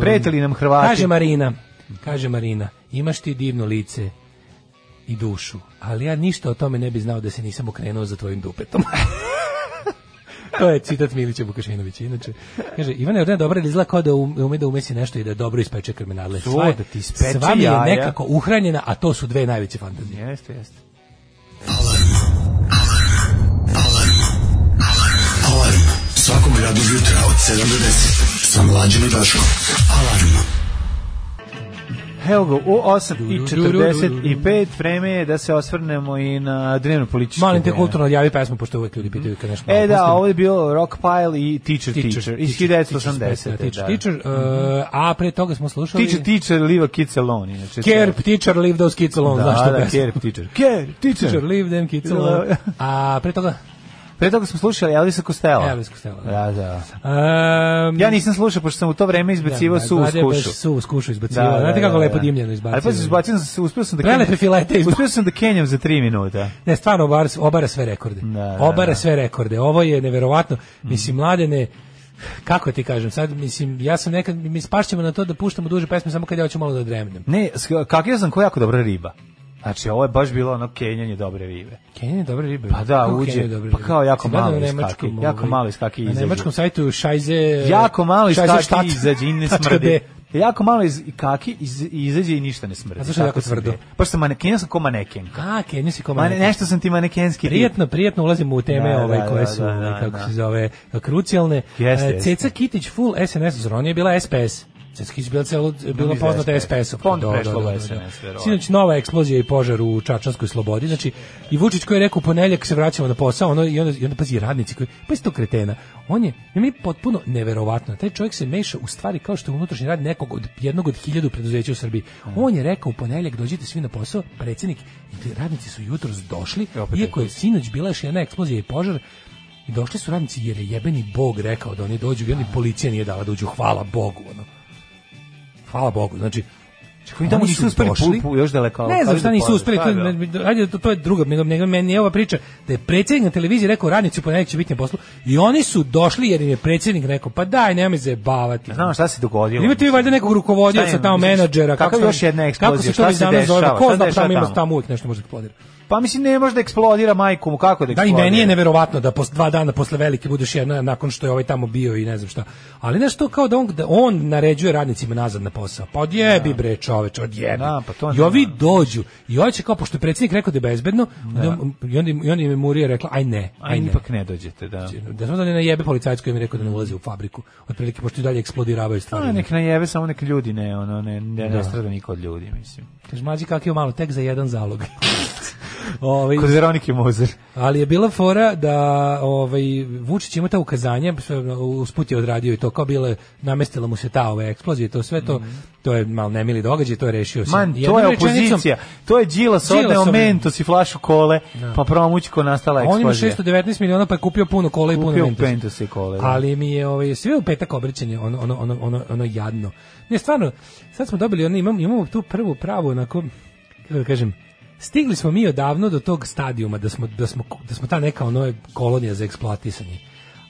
F: Prijatelji nam Hrvati.
G: Kaže Marina, kaže Marina, imaš ti divno lice i dušu, ali ja ništa o tome ne bi znao da se nisam okrenuo za tvojim dupetom. to je citat Milića Vukašinovića. Inače, kaže, Ivana Jordana dobra je da izgleda kao da um- ume da umesi nešto i da dobro ispeče krmenadle.
F: To,
G: Sva,
F: da ti ispeče
G: sva mi je
F: jaja.
G: nekako uhranjena, a to su dve najveće fantazije.
F: Jeste, jeste.
L: Alarm svakog radnog jutra od 7 do 10 sa mlađom i Daškom. Alarm.
F: Evo ga, u 8.45 vreme je da se osvrnemo i na dnevno političke.
G: Molim te kulturno odjavi pesmu, pošto uvek ljudi pitaju kad nešto malo
F: E da,
G: pustim.
F: ovo je bio Rockpile i Teacher Teacher, iz 1980.
G: Teacher, teacher,
F: da.
G: teacher, uh, a pre toga smo slušali...
F: Teacher, teacher, leave a kids alone. Inače,
G: Care, teacher, leave those kids alone.
F: Da,
G: znaš tu
F: da,
G: pesmu.
F: Care, teacher. Care, teacher.
G: Teacher, leave them kids alone. A pre toga...
F: Pre toga smo slušali Elvisa Costello.
G: Elvis Costello, da.
F: Da, da.
G: Um,
F: Ja nisam slušao, pošto sam u to vreme izbacivao
G: Da, da,
F: suvu
G: Vlada je baš
F: skušu.
G: suvu skušu izbacivao. Znate kako lepo dimljeno izbacio.
F: Ali pa izbacio sam, se, uspio sam da
G: Prelepe
F: kenjam-
G: filete izbacio.
F: Uspio sam da kenjam za 3 minuta.
G: Ne, stvarno obara, obara sve rekorde.
F: da,
G: obara
F: da.
G: sve rekorde. Ovo je neverovatno. Mislim, mladene, kako ti kažem, sad, mislim, ja sam nekad, mi spašćemo na to da puštamo duže pesme samo kad ja hoću malo da dremnem.
F: Ne, sk- kakio sam koja jako dobra riba. Znači, ovo je baš bilo ono kenjanje dobre ribe.
G: Kenja je dobra riba.
F: Pa da,
G: Kako
F: uđe,
G: Kenja je dobra
F: pa
G: riba?
F: kao jako
G: Sam gledao
F: malo
G: na
F: iskaki,
G: nemačkom,
F: jako
G: ovaj,
F: malo iskaki
G: Na
F: izađe.
G: nemačkom sajtu Scheize...
F: Jako malo iz
G: Scheize
F: kaki
G: Stadt.
F: izađe i ne
G: Tačka
F: smrdi.
G: D.
F: Jako malo iz kaki iz, izađe i ništa ne smrdi.
G: A zašto je
F: Tako
G: jako tvrdo?
F: sam bio. Baš sam manekenja sam ko manekenka.
G: A, Kenja si komad.
F: Mane, nešto sam ti manekenski tip.
G: Prijetno, prijetno ulazimo u teme
F: Da, da,
G: ovaj koje
F: da,
G: su,
F: da,
G: ovaj,
F: da,
G: kako
F: da.
G: se zove, krucijalne.
F: Jeste,
G: E,
F: jeste.
G: Ceca Kitić full SNS, zar ona je bila SPS. Ceca Kitić bila celo, bila
F: iz
G: poznata
F: SPS.
G: SPS-u.
F: Pa onda prešla u SNS, verovatno.
G: Sinoć nova eksplozija i požar u Čačanskoj slobodi. Znači, i Vučić koji je rekao u ponedjeljak se vraćamo na posao, ono, i, onda, i onda pazi radnici koji, pazi to kretena. On je, meni je potpuno neverovatno. Taj čovjek se meša u stvari kao što je unutrašnji rad nekog od, jednog od hiljadu preduzeća u Srbiji. On je rekao u ponedjeljak dođite svi na posao, predsjednik, i radnici su jutros došli,
F: I opet
G: iako E, je sinoć bila još jedna eksplozija i požar, i došli su radnici jer je jebeni bog rekao da oni dođu i onda im policija nije dala da uđu. Hvala bogu, ono. Hvala bogu, znači,
F: Čekaj, oni tamo
G: oni
F: nisu
G: su
F: uspeli
G: došli.
F: pu- pu- još daleko.
G: ne znam
F: Kažu
G: šta
F: da
G: nisu
F: pođu.
G: uspeli,
F: Pa
G: to,
F: da.
G: je- ajde, to, to je druga, nego, nego meni je ova priča da je predsjednik na televiziji rekao radnici u ponedjeljak će biti na poslu i oni su došli jer im je predsjednik rekao pa daj, nemoj zajebavati.
F: Znam šta se dogodilo.
G: Imate vi valjda nekog
F: Šta
G: rukovodioca
F: im-
G: tamo menadžera
F: Kako
G: se-
F: još jedna eksplozija?
G: Kako se
F: Šta
G: to već
F: se
G: danas zove?
F: dešava?
G: Ko
F: Šta
G: zna
F: se
G: tamo ima
F: dešava
G: tamo uvijek nešto može da eksplodira.
F: Pa mislim, ne može da eksplodira majku mu, kako da
G: Da i
F: eksplodira?
G: meni je neverovatno da posle dva dana posle velike budeš jedna nakon što je ovaj tamo bio i ne znam šta. Ali znaš to kao da on, da on naređuje radnicima nazad na posao. Pa odjebi bre čoveč, odjebi.
F: Da, pa to
G: I ovi
F: nema.
G: dođu. I ovaj će kao, pošto je predsjednik rekao da je bezbedno, onda on- i onda, im- i onda im je Murija rekla, aj ne, aj,
F: Aj, pa-
G: ne.
F: ipak ne dođete, da.
G: Da samo da ne najebe policajac koji mi je rekao da ne ulazi u fabriku. Otprilike, pošto i dalje eksplodiravaju stvari.
F: A, Ono nek najeve, samo nek ljudi ne, ono, ne, ne, ne
G: Da.
F: strada niko od ljudi, mislim.
G: Kaže, mlađi kak je malo, tek za jedan zalog. Ovaj,
F: Kod Veronike Mozer.
G: Ali je bila fora da ovaj, Vučić ima ta ukazanja, sve, usput je odradio i to, kao bilo je, namestila mu se ta ova eksplozija i to sve to, to je malo nemili događaj, to je rešio se.
F: Mhm. Man, to
G: Jednom
F: je
G: rečenicom-
F: opozicija. To je Đilas odneo
G: Đilasovi-
F: Mentos i flašu kole, pa promućko nastala
G: A On ima
F: eksplozija.
G: 619 miliona pa je kupio puno kola i puno
F: Kupio
G: Mentosa.
F: Mentos i kole, da.
G: Ali mi je ovaj sve u petak obraćanje ono ono ono ono ono jadno. Ne stvarno, sad smo dobili ono imamo imamo tu prvu pravu onako kako da kažem Stigli smo mi odavno do tog stadijuma da smo, da smo, da smo ta neka ono kolonija za eksploatisanje.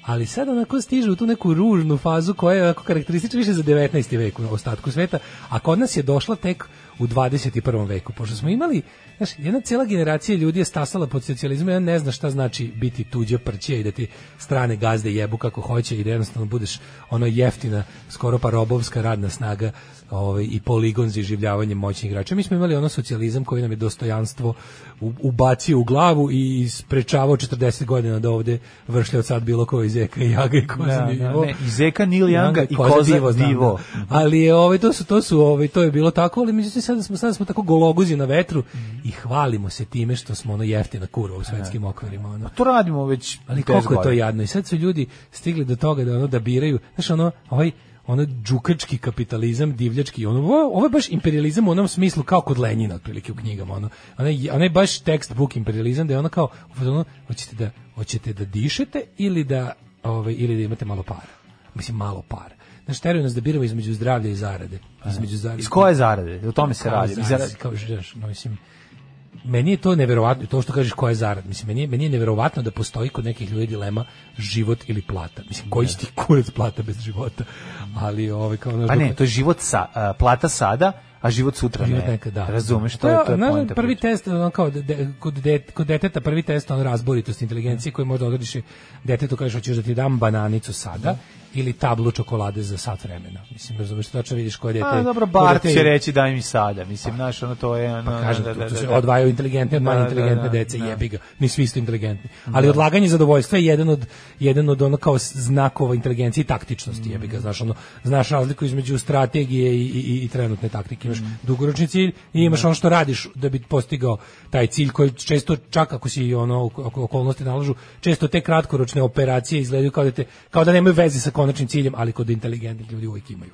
G: Ali sad onako stiže u tu neku ružnu fazu koja je onako karakteristična više za 19. vek u ostatku sveta, a kod nas je došla tek u 21. veku, pošto smo imali, znaš, jedna cijela generacija ljudi je stasala pod socijalizmom, jedan ne zna šta znači biti tuđe prće i da ti strane gazde jebu kako hoće i da jednostavno budeš ono jeftina, skoro pa robovska radna snaga ovaj, i poligon za iživljavanje moćnih igrača. Mi smo imali ono socijalizam koji nam je dostojanstvo u- ubacio u glavu i sprečavao 40 godina da ovde vršlja od sad bilo ko iz Eka i Jaga i Koza
F: Da, da,
G: Divo.
F: ne, i Zeka, Nil Janga i
G: Koza
F: Koza
G: znam,
F: Divo.
G: da. Ali je ovaj to su to su ovaj to je bilo tako, ali međutim sada smo sada smo tako gologuzi na vetru i hvalimo se time što smo ono jeftina kurva u svetskim okvirima ono.
F: To radimo već
G: Ali
F: 10
G: koliko je to
F: godina.
G: jadno i sad su ljudi stigli do toga da ono da biraju, znaš ono, ovaj ono džukački kapitalizam, divljački, ono, ovo, ovo je baš imperializam u onom smislu kao kod Lenjina otprilike u knjigama, ono, onaj, onaj baš textbook imperializam da je ono kao, u fazonu, hoćete da, hoćete da dišete ili da, ovaj, ili da imate malo para, mislim malo para. Znaš, teraju nas da biramo između zdravlja i zarade. Između zarade.
F: Pa Iz koje zarade? O tome se
G: Kao
F: radi. Iz
G: zarade,
F: zarade-
G: kao, znaš, no, mislim, meni je to neverovatno, to što kažeš koja je zarada, mislim, meni je, meni je neverovatno da postoji kod nekih ljudi dilema život ili plata. Mislim, koji si ti kurac plata bez života? Ali, ovaj, kao, ono,
F: Pa ne, to je život sa, a, plata sada, a život sutra
G: Život
F: ne.
G: nekad, da. Pa
F: Razumeš, to je, to je
G: Znaš,
F: poenta
G: prvi
F: priče.
G: test, ono kao, de, kod, de, kod deteta prvi test, on razboritost inteligencije koji možda odrediš i detetu, kažeš, hoćeš da ti dam bananicu sada, ili tablu čokolade za sat vremena. Mislim, razumeš, tačno vidiš koje dete...
F: A, Pa, dobro,
G: koje
F: Bart
G: dete-
F: će reći daj mi sada. Mislim, znaš, ono to je... ono,
G: kažem,
F: da,
G: Pa tu,
F: da,
G: tu se
F: da, da.
G: odvajaju inteligentne od
F: Da,
G: manje
F: da,
G: inteligentne
F: da,
G: dece,
F: da.
G: jebi ga, mi svi isto inteligentni. Ali odlaganje zadovoljstva je jedan od, jedan od ono kao znakova inteligencije i taktičnosti,
F: Mm.
G: jebi ga, znaš, ono, znaš razliku između strategije i, i, i- i trenutne taktike. Imaš
F: Mm.
G: dugoročni cilj i imaš ono što radiš da bi postigao taj cilj koji često, čak ako si ono, ako okolnosti nalažu, često te kratkoročne operacije izgledaju kao da, te, kao da nemaju veze sa konačnim ciljem, ali kod inteligentnih ljudi uvijek imaju.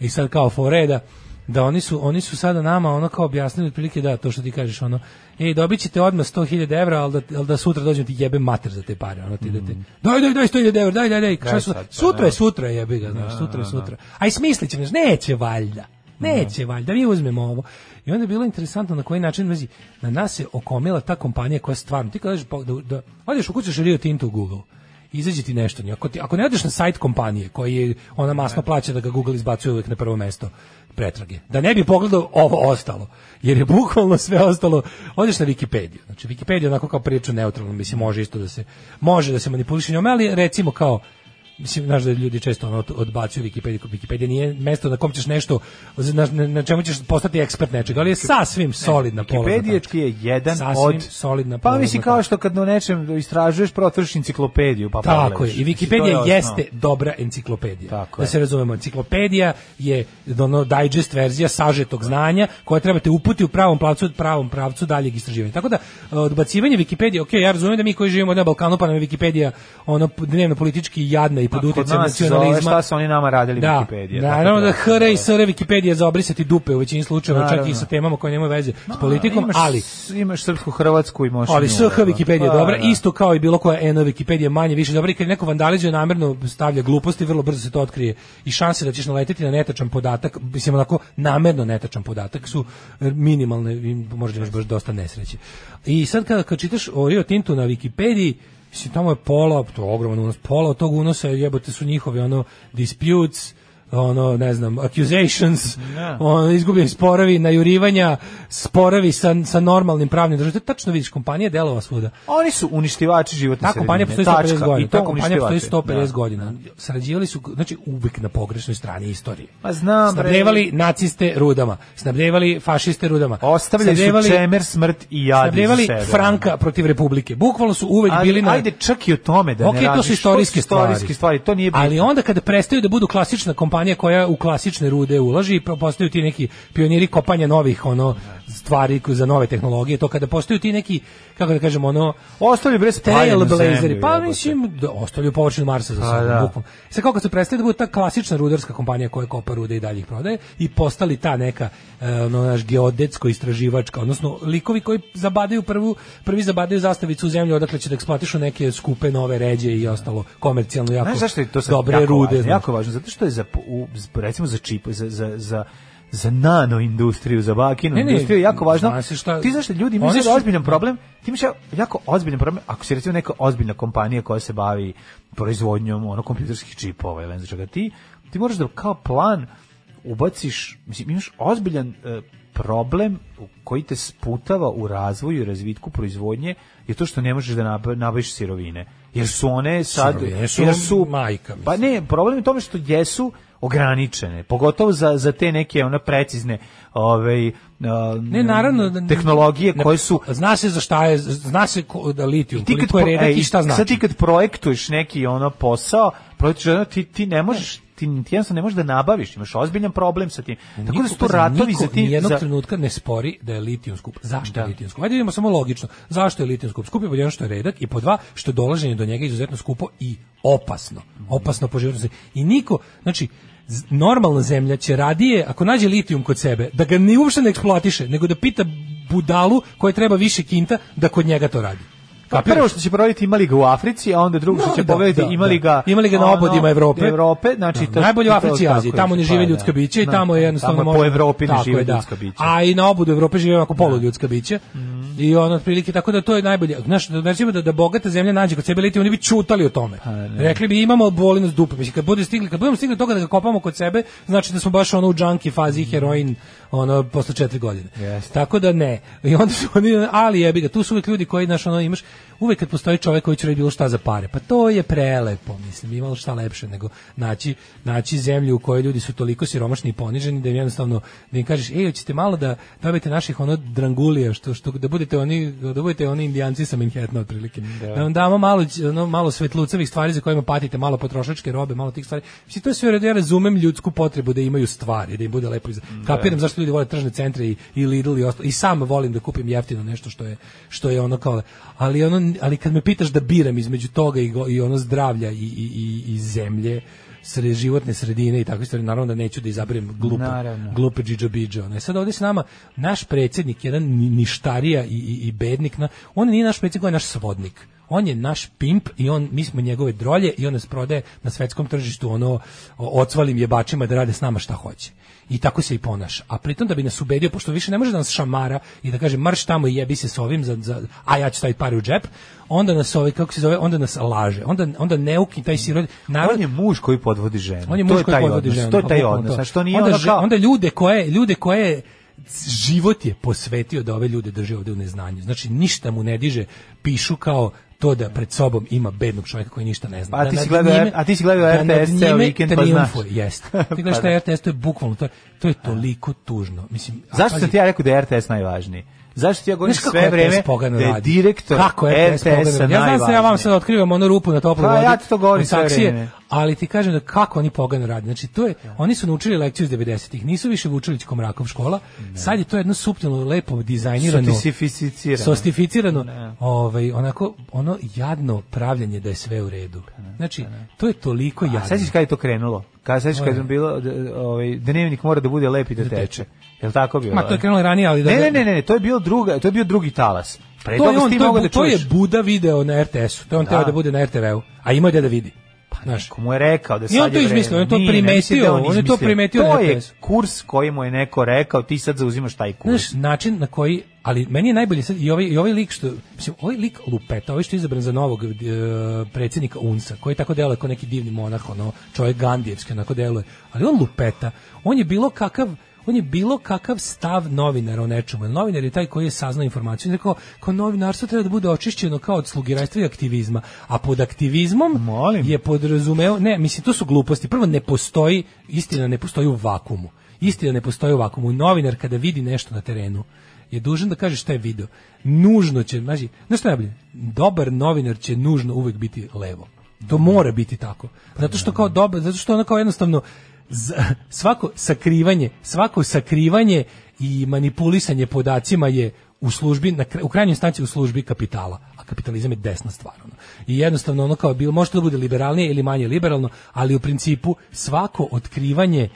G: I sad kao foreda, da oni su oni su sada nama ono kao objasnili otprilike da to što ti kažeš ono ej dobit ćete odmah 100.000 evra ali da, ali da sutra dođem ti jebe mater za te pare ono ti da te daj daj daj 100.000 evra daj daj daj, Šta su-
F: Mm. sad, pa,
G: sutra
F: da.
G: je sutra jebe ga znaš sutra je sutra aj smislit ćemo znaš, neće valjda neće valjda mi uzmemo ovo i onda je bilo interesantno na koji način vezi na nas se okomila ta kompanija koja stvarno ti kažeš pa, da, da odeš u kuću Rio Tinto u Google izađe ti nešto. Ako, ti, ako ne odeš na sajt kompanije koji je, ona masno plaća da ga Google izbacuje uvek na prvo mesto pretrage, da ne bi pogledao ovo ostalo, jer je bukvalno sve ostalo, odeš na Wikipediju, znači Wikipedia je onako kao priču neutralno, mislim, može isto da se, može da se manipuliše njome, ali recimo kao, mislim, znaš da ljudi često ono od- odbacuju Wikipediju, Wikipedia nije mesto na kom ćeš nešto, na, na- na čemu ćeš postati ekspert nečega, ali je sasvim solidna polazna
F: Wikipedijački Znači, je jedan
G: Sasvim
F: od...
G: solidna
F: Pa
G: polazna
F: mislim kao što kad o nečem istražuješ, protvoriš enciklopediju, pa
G: Tako je.
F: pogledaš.
G: I
F: Mislim, to je
G: Wikipedia
F: osnov.
G: jeste dobra enciklopedija.
F: Tako
G: da
F: je.
G: se razumemo, enciklopedija je ono digest verzija sažetog znanja koja trebate uputi u pravom pravcu, pravom pravcu daljeg istraživanja. Tako da e, odbacivanje Wikipedije, ok, ja razumijem da mi koji živimo na Balkanu pa nam je Wikipedia ono dnevno politički jadna i pod
F: kod
G: utjecajem
F: nas se zove
G: nacionalizma.
F: šta su oni nama radili
G: da,
F: Wikipedia, tako
G: Naravno
F: da, da,
G: da HR i SR Wikipedia za obrisati dupe u većini slučajeva, čak i
F: Naravno.
G: sa temama koje nemaju veze s politikom,
F: Imaš-
G: ali
F: Imaš srpsku, hrvatsku i možeš...
G: ali
F: nju,
G: SH
F: da.
G: Wikipedia je
F: Pa,
G: dobra,
F: da.
G: isto kao i bilo koja eno Wikipedia manje više dobra i kad neko vandalizuje namjerno stavlja gluposti, vrlo brzo se to otkrije i šanse da ćeš naletiti na netačan podatak, mislim onako namjerno netačan podatak su e, minimalne i možda imaš baš dosta nesreće. I sad kada kad čitaš o Rio Tintu na Wikipediji, mislim tamo je pola, to je ogroman unos, pola od tog unosa jebote su njihovi ono disputes, ono, ne znam, accusations, ono, izgubljeni sporovi, najurivanja, sporovi sa, sa normalnim pravnim državom. To je Tačno vidiš, kompanija je delova svuda.
F: Oni su uništivači životne
G: Ta
F: sredine.
G: kompanija postoji
F: Tačka.
G: 150 godina.
F: I to
G: Ta kompanija postoji
F: uništivači.
G: 150
F: Da.
G: godina. Sarađivali su, znači, uvek na pogrešnoj strani istorije.
F: Ma znam, bre.
G: Snabdevali naciste rudama, snabdevali fašiste rudama.
F: Ostavljali
G: snabdevali-
F: su čemer, smrt i jad iza
G: snabdevali
F: sebe. ono.
G: Franka protiv Republike. Bukvalno su uvek
F: Ali,
G: bili na...
F: Ajde, čak i o tome da
G: Ok,
F: ne radiš.
G: to su istorijske
F: istorijske stvari. To nije bitno.
G: Ali onda kada prestaju da budu klasična kompanija koja u klasične rude ulaži i postaju ti neki pioniri kopanja novih ono stvari za nove tehnologije, to kada postaju ti neki kako da kažemo ono
F: ostavljaju bre spaljenu zemlju,
G: blazeri, pa
F: jebote.
G: mislim da ostavljaju površinu Marsa za
F: Pa
G: sobom.
F: da.
G: bukvalno. I Sad kako kad su prestali da budu ta klasična rudarska kompanija koja kopa rude i dalje ih prodaje i postali ta neka e, ono, naš geodetsko istraživačka, odnosno likovi koji zabadaju prvu, prvi zabadaju zastavicu u zemlju odakle će da eksploatišu neke skupe nove ređe i ostalo komercijalno jako
F: Znaš zašto je to sad
G: dobre
F: jako
G: rude.
F: važno?
G: znaš.
F: Jako važno, zato što je za, u, recimo za čip, za, za, za za nano industriju, za bakinu
G: Ne, ne,
F: industriju je jako važno.
G: zna se šta-
F: Ti znaš da ljudi
G: Oni
F: imaju
G: su-
F: sad ozbiljan problem, ti imaš jako ozbiljan problem ako si recimo neka ozbiljna kompanija koja se bavi proizvodnjom ono kompjuterskih čipova ili ne znam čega ti, ti moraš da kao plan ubaciš, mislim imaš ozbiljan e, problem u- koji te sputava u razvoju i razvitku proizvodnje je to što ne možeš da nab- nabaviš sirovine. Jer su one sad
G: Sirovine su
F: jer su
G: majka, mislim.
F: Pa ne, problem je u tome što jesu ograničene, pogotovo za, za te neke one precizne ovaj
G: Ne, naravno, da-
F: tehnologije
G: ne-
F: koje su
G: Zna se za šta je, zna se ko, da litijum,
F: ti kad
G: koliko je
F: pro-
G: redak
F: ej,
G: i šta znači.
F: Sad ti kad projektuješ neki ono posao, projektuješ ono, ti ti ne možeš ti, ti jednostavno ne možeš da nabaviš, imaš ozbiljan problem sa tim. Tako da su to
G: pazi,
F: ratovi
G: niko
F: za tim
G: nijednog
F: za
G: trenutka ne spori da je litijum skup. Zašto je litijum skup? Ajde vidimo samo logično. Zašto je litijum skup? Skup je pod jedan što je redak i pod dva što je dolaženje do njega izuzetno skupo i opasno. Opasno po životno sredine. I niko, znači, z- normalna zemlja će radije, ako nađe litijum kod sebe, da ga ni uopšte ne eksploatiše, nego da pita budalu koja treba više kinta da kod njega to radi.
F: Pa
G: Kapiraš?
F: prvo što će prodati imali ga u Africi, a onda drugo što
G: No,
F: će
G: da,
F: povedati
G: da,
F: imali
G: da.
F: ga
G: Imali ga na
F: ono,
G: obodima Evrope.
F: Evrope, znači
G: Da,
F: to-
G: najbolje u
F: to-
G: Africi i
F: tako
G: Aziji,
F: je,
G: tamo ne
F: pa
G: žive
F: da.
G: ljudska bića i
F: Da,
G: tamo je jednostavno
F: tamo je
G: možda-
F: po Evropi ne
G: tako
F: žive
G: je, da.
F: ljudska bića.
G: A i na obodu Evrope žive ovako poluljudska bića. I ono otprilike tako da to je najbolje. Znaš, da recimo da, da bogata zemlja nađe kod sebe litijum, oni bi čutali o tome. Rekli bi imamo bolinu s dupe. Mislim kad bude stigli, kad budemo stigli do toga da ga kopamo kod sebe, znači da smo baš ono u junkie fazi heroin ono posle četiri godine.
F: Jeste.
G: Tako da ne. I onda su oni ali jebi ga, tu su uvek ljudi koji znaš ono imaš uvek kad postoji čovjek koji će reći bilo šta za pare. Pa to je prelepo, mislim, imalo šta lepše nego naći naći zemlju u kojoj ljudi su toliko siromašni i poniženi da im jednostavno da im kažeš ej, hoćete malo da dobijete naših ono drangulija što što da budete oni da budete oni indijanci sa Manhattana otprilike. Da. vam damo malo ć- ono, malo svetlucavih stvari za kojima patite, malo potrošačke robe, malo tih stvari. Mislim to je sve u redu, ja razumem ljudsku potrebu da imaju stvari, da im bude lepo. iz- Kapiram zašto ljudi vole tržne centre i, i Lidl i ostalo. I sam volim da kupim jeftino nešto što je što je ono kao ali ono ali kad me pitaš da biram između toga i, go- i ono zdravlja i, i, i, i zemlje sre životne sredine i takve stvari naravno da neću da izaberem glupe
F: Naravno.
G: glupe džidžabidža. Ne sad ovdje s nama naš predsjednik jedan ni- ništarija i, i, i bednik, na, on nije naš predsjednik, on je naš svodnik. On je naš pimp i on mi smo njegove drolje i on nas prodaje na svetskom tržištu ono o- ocvalim jebačima da rade s nama šta hoće. I tako se i ponaša. A pritom da bi nas ubedio, pošto više ne može da nas šamara i da kaže marš tamo i jebi se s ovim, za, za, a ja ću staviti pare u džep, onda nas ovaj, kako se zove, onda nas laže. Onda, onda neuki taj sirod. Narod,
F: On je muž koji podvodi ženu.
G: on je
F: To
G: muž koji
F: taj
G: podvodi
F: odnos,
G: ženu. Pa
F: To je taj
G: bukvalno
F: odnos.
G: to.
F: Znači, to nije
G: onda,
F: ono
G: že-
F: kao-
G: onda ljude koje, ljude koje život je posvetio da ove ljude drži ovde u neznanju. Znači ništa mu ne diže, pišu kao to da pred sobom ima bednog čovjeka koji ništa ne zna.
F: Pa, A
G: Da
F: ti
G: nad
F: si gledao
G: njime-
F: R- a ti si gledao
G: da
F: RTS
G: nad
F: ceo
G: njime
F: vikend, pa znaš.
G: trijumfuje, Jeste. Ti gledaš
F: Pa
G: taj
F: da.
G: RTS, to je bukvalno, to, je- to je toliko tužno. Mislim, a
F: Zašto
G: pazi,
F: sam ti ja rekao da je RTS najvažniji? Zašto ti ja govorim
G: Znaš kako
F: sve
G: RTS
F: vreme
G: pogano
F: da je
G: radi?
F: direktor
G: kako RTS pogano
F: RTS-a
G: radi? Ja znam se ja vam sad
F: najvažniji?
G: otkrivam onu rupu na toploj
F: Pa,
G: vodi.
F: ja ti to govorim
G: od
F: sve
G: saksije,
F: vreme.
G: Ali ti kažem da kako oni pogano radi. Znači to je oni su naučili lekciju iz 90-ih. Nisu više Vučilić Komrakov škola. Sad je to jedno suptilno lepo dizajnirano.
F: Sotistificirano.
G: Sostificirano. Ovaj onako ono jadno pravljanje da je sve u redu.
F: Pa
G: Znači to je toliko
F: A
G: jadno.
F: sećaš kada je to krenulo? Kada sećaš kada je
G: Oj.
F: bilo d- ovaj dnevnik mora da bude lep i da teče. Jel tako bilo?
G: Ma to je krenulo ranije, ali da
F: Ne, ne, ne, ne, to je bio druga, to je bio drugi talas. Pre
G: to je
F: toga si
G: on,
F: ti
G: to,
F: mogao
G: je,
F: da
G: Bu- to je
F: čuješ.
G: Buda video na RTS-u. To je on
F: Da.
G: teo da bude na RTV-u. A imao je gde da vidi. Pa, Znaš,
F: Ko mu je rekao da sad
G: Nije on to
F: je vreme.
G: izmislio, on je to
F: Nije, ne,
G: primetio,
F: mislim da
G: on je to
F: izmislio.
G: primetio
F: To
G: na
F: je
G: RTS-u.
F: kurs koji mu je neko rekao, ti sad zauzimaš taj kurs.
G: Znaš, način na koji, ali meni je najbolje sad i ovaj, i ovaj lik što, mislim, ovaj lik lupeta, ovaj što je izabran za novog e, predsjednika UNSA, koji tako deluje kao neki divni monah, ono, čovjek gandijevski, onako deluje, ali on lupeta, on je bilo kakav, on je bilo kakav stav novinara o nečemu. Jer Novinar je taj koji je saznao informaciju. On je Rekao, kao novinarstvo treba da bude očišćeno kao od slugirajstva i aktivizma. A pod aktivizmom
F: Molim.
G: je podrazumeo, ne, mislim, to su gluposti. Prvo, ne postoji, istina ne postoji u vakumu. Istina ne postoji u vakumu. Novinar kada vidi nešto na terenu, je dužan da kaže šta je video. Nužno će, znači, znaš što je najbolje? Dobar novinar će nužno uvek biti levo. To mora biti tako. Zato što kao dobro, zato što ono kao jednostavno za- svako sakrivanje, svako sakrivanje i manipulisanje podacima je u službi na kra- u krajnjoj stanci u službi kapitala, a kapitalizam je desna stvar ono. I jednostavno ono kao bilo može da bude liberalnije ili manje liberalno, ali u principu svako otkrivanje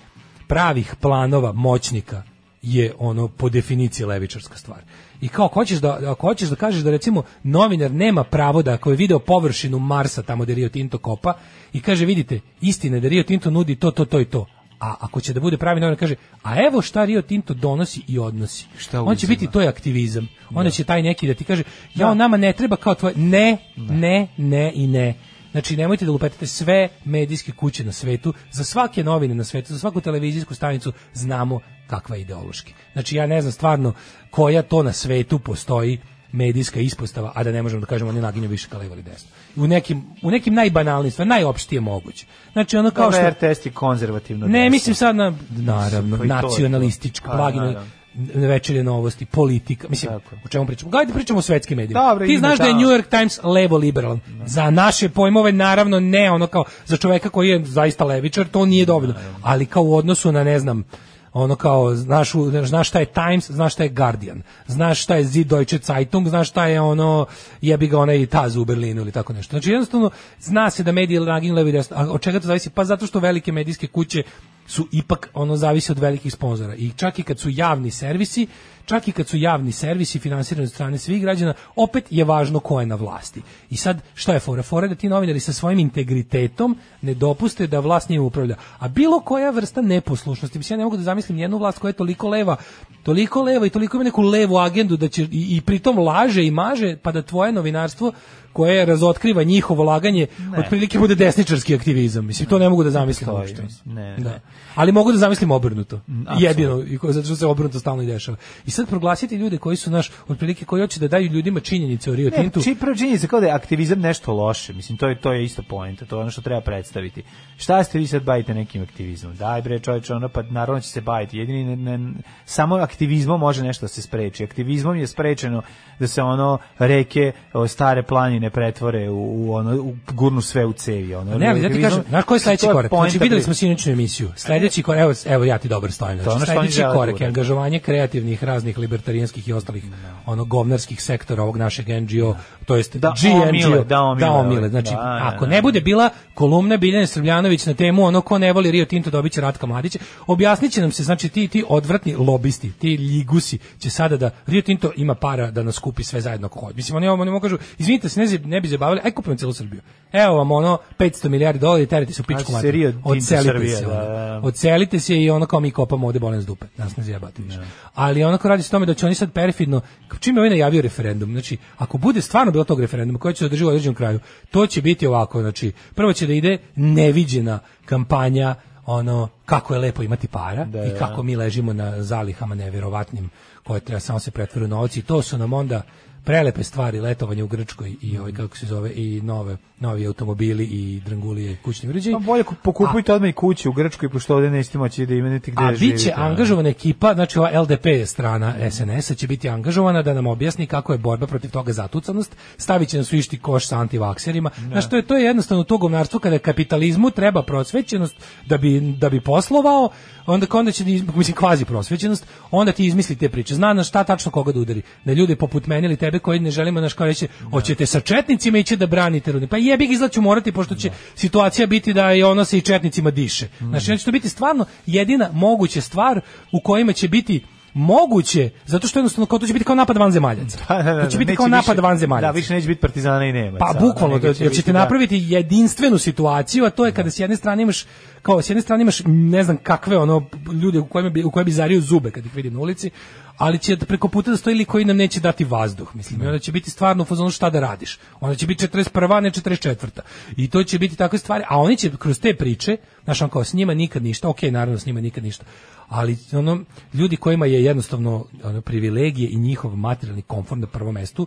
G: pravih planova moćnika je ono po definiciji levičarska stvar. I kao ako hoćeš da ako hoćeš da kažeš da recimo novinar nema pravo da ako je video površinu Marsa tamo gde Rio Tinto kopa i kaže vidite istina je da Rio Tinto nudi to to to i to. A ako će da bude pravi novinar kaže a evo šta Rio Tinto donosi i odnosi. Šta On će
F: uzima?
G: biti to je aktivizam. Onda
F: Da.
G: će taj neki da ti kaže ja nama ne treba kao tvoj ne, ne, ne i ne. Znači, nemojte da lupetite sve medijske kuće na svetu, za svake novine na svetu, za svaku televizijsku stanicu znamo kakva je ideološki. Znači, ja ne znam stvarno koja to na svetu postoji medijska ispostava, a da ne možemo da kažemo oni naginju više ka levo ili desno. U nekim, u nekim najbanalnijim stvarima, najopštije moguće. Znači, ono kao
F: Kao
G: što...
F: što RTS je konzervativno.
G: Ne,
F: desno.
G: mislim sad na naravno
F: Pa i to je to.
G: nacionalističko
F: Pa,
G: blagino
F: naravno.
G: večernje novosti, politika, mislim, o čemu pričamo? Gajde pričamo o svetskim medijima.
F: Dobro,
G: Ti
F: idemo
G: znaš da je
F: tamo.
G: New York Times levo liberalan. Za naše pojmove naravno ne, ono kao za čoveka koji je zaista levičar, to nije dovoljno. Ali kao u odnosu na ne znam, ono kao znaš, u- znaš šta je Times, znaš šta je Guardian, znaš šta je Süddeutsche Zeitung, znaš šta je ono jebi ga onaj Taz u Berlinu ili tako nešto. Znači jednostavno zna se da mediji naginju levo i desno. A od čega to zavisi? Pa zato što velike medijske kuće su ipak ono zavisi od velikih sponzora i čak i kad su javni servisi čak i kad su javni servisi finansirani od strane svih građana opet je važno ko je na vlasti i sad šta je fora fora je da ti novinari sa svojim integritetom ne dopuste da vlast njima upravlja a bilo koja vrsta neposlušnosti mislim ja ne mogu da zamislim jednu vlast koja je toliko leva toliko leva i toliko ima neku levu agendu da će i, i pritom laže i maže pa da tvoje novinarstvo koje razotkriva njihovo laganje otprilike bude desničarski aktivizam mislim to ne mogu da zamislim
F: Stoji,
G: uopšte.
F: mislim. Ne,
G: Da.
F: ne.
G: Ali mogu da zamislim obrnuto.
F: Mm, apsolutno.
G: Jedino, i ko- zato što se obrnuto stalno i dešava. I sad proglasiti ljude koji su naš, otprilike koji hoće da daju ljudima činjenice o Rio
F: Ne,
G: Tintu.
F: čiji prvo čini se kao da je aktivizam nešto loše. Mislim, to je, to je isto point, to je ono što treba predstaviti. Šta ste vi sad bavite nekim aktivizmom? Daj bre, čovječe, ono, pa naravno će se baviti. Jedini, ne, ne- samo aktivizmom može nešto da se spreči. Aktivizmom je sprečeno da se ono reke, o, stare planine pretvore u, u ono, u gurnu sve u cevi. Ono.
G: Ne, ali da ti
F: Aktivizmom-
G: kažem, znaš koji je sledeći
F: To
G: korak?
F: poenta
G: Znači, videli
F: priče.
G: smo sinoćnu emisiju. Sledeći korak, evo, evo ja ti dobro stojim.
F: To je
G: Znači,
F: ono što oni
G: sledeći
F: žele da
G: korak je
F: urade.
G: angažovanje kreativnih, raznih, libertarijanskih i ostalih ono, govnarskih sektora ovog našeg NGO, to jest
F: Da
G: GNGO.
F: omile, da omile.
G: Znači,
F: Da, da,
G: ako
F: da.
G: ne bude bila kolumna Biljane Srbljanović na temu ono ko ne voli Rio Tinto dobiće Ratka Mladića, objasniće nam se, znači, ti, ti odvratni lobisti, ti ligusi će sada da Rio Tinto ima para da nas kupi sve zajedno ako hoće. Mislim, oni, ovo- oni mogu kažu, izvinite se, ne, zi- ne bi zabavili, aj kupimo celu Srbiju. Evo vam ono 500 milijardi dolara i terite se u
F: Znači,
G: pičku
F: se Rio
G: materiju.
F: Tinto
G: Odselite
F: Srbija,
G: se.
F: da,
G: ono.
F: da, da.
G: Odselite se i ono kao mi kopamo ovde bolen s dupe. Nas ne zjebate više. Ali onako radi se o tome da će oni sad perfidno, čim je ovaj najavio referendum, znači ako bude stvarno bilo tog referenduma koji će se održi u određenom kraju, to će biti ovako, znači prvo će da ide neviđena kampanja ono kako je lepo imati para i kako mi ležimo na zalihama neverovatnim koje treba samo se pretvoru u novci i to su nam onda prelepe stvari letovanje u Grčkoj i ovaj kako se zove i nove novi automobili i drangulije i kućni uređaji
F: Pa bolje ku- pokupujte odmah i kući u Grčkoj, pošto ovde nećete moći da imenite gde
G: a
F: živite. ono.
G: bit će angažovana ekipa, znači ova LDP strana SNS-a će biti angažovana da nam objasni kako je borba protiv toga zatucanost, stavit će nas u isti koš sa antivakserima. Znači, to je, to je jednostavno to govnarstvo kada kapitalizmu treba prosvećenost da bi, da bi poslovao, onda, onda će, ti izm- mislim, kvazi prosvećenost, onda ti izmisli te priče. Zna na šta tačno koga da udari. Na ljude poput mene ili tebe koji ne želimo naš kao reći, hoćete sa četnicima ići da branite rudnik. Pa jebi ga izlaću morati pošto će situacija biti da je ono se i četnicima diše.
F: Mm.
G: Znači, onda će to biti stvarno jedina moguća stvar u kojima će biti moguće, zato što jednostavno kao to će biti kao napad vanzemaljaca.
F: Pa,
G: to će biti
F: neće
G: kao napad
F: više-
G: vanzemaljaca.
F: Da, više neće biti partizana i nemaca.
G: Pa bukvalno,
F: nego
G: da, jer
F: biti,
G: ćete
F: da.
G: napraviti jedinstvenu situaciju, a to je kada s jedne strane imaš kao s jedne strane imaš ne znam kakve ono ljude u kojima bi u koje bi zario zube kad ih vidim na ulici, ali će da preko puta da stoji lik koji nam neće dati vazduh, mislim. I onda će biti stvarno u fazonu šta da radiš. Onda će biti 41. a ne 44. I to će biti takve stvari, a oni će kroz te priče, znaš, on kao s njima nikad ništa, ok, naravno s njima nikad ništa, ali ono, ljudi kojima je jednostavno ono, privilegije i njihov materijalni komfort na prvom mestu,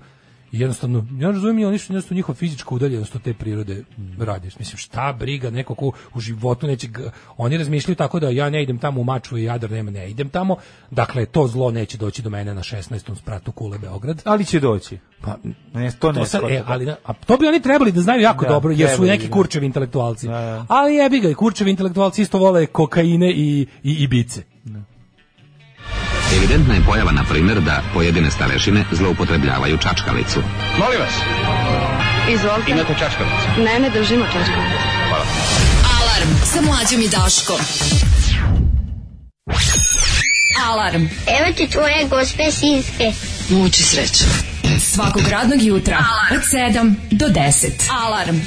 G: I jednostavno, ja ne razumijem, ja ništa jednostavno njihova fizička udaljenost od te prirode radiš. Mislim, šta briga, neko ko u životu neće... ga- Oni razmišljaju tako da ja ne idem tamo u Mačvu i Jadar, nema, ne idem tamo. Dakle, to zlo neće doći do mene na 16. spratu Kule Beograd.
F: Ali će doći.
G: Pa,
F: ne, to ne.
G: to sad,
F: shvata.
G: e, ali, na- a to bi oni trebali da znaju jako
F: Da,
G: dobro, jer su
F: trebali,
G: neki
F: da.
G: kurčevi intelektualci. Ali jebi ga, i kurčevi intelektualci isto vole kokaine i, i ibice.
M: Evidentna je pojava, na primjer, da pojedine starešine zloupotrebljavaju čačkalicu.
N: Molim vas.
J: Izvolite.
M: Imate čačkalicu?
J: Ne, ne držimo točku.
M: Hvala.
J: Alarm sa mlađom i Daškom. Alarm.
C: Evo ti tvoje gospe sinske.
J: Muči sreće. Svakog radnog jutra od 7 do 10. Alarm.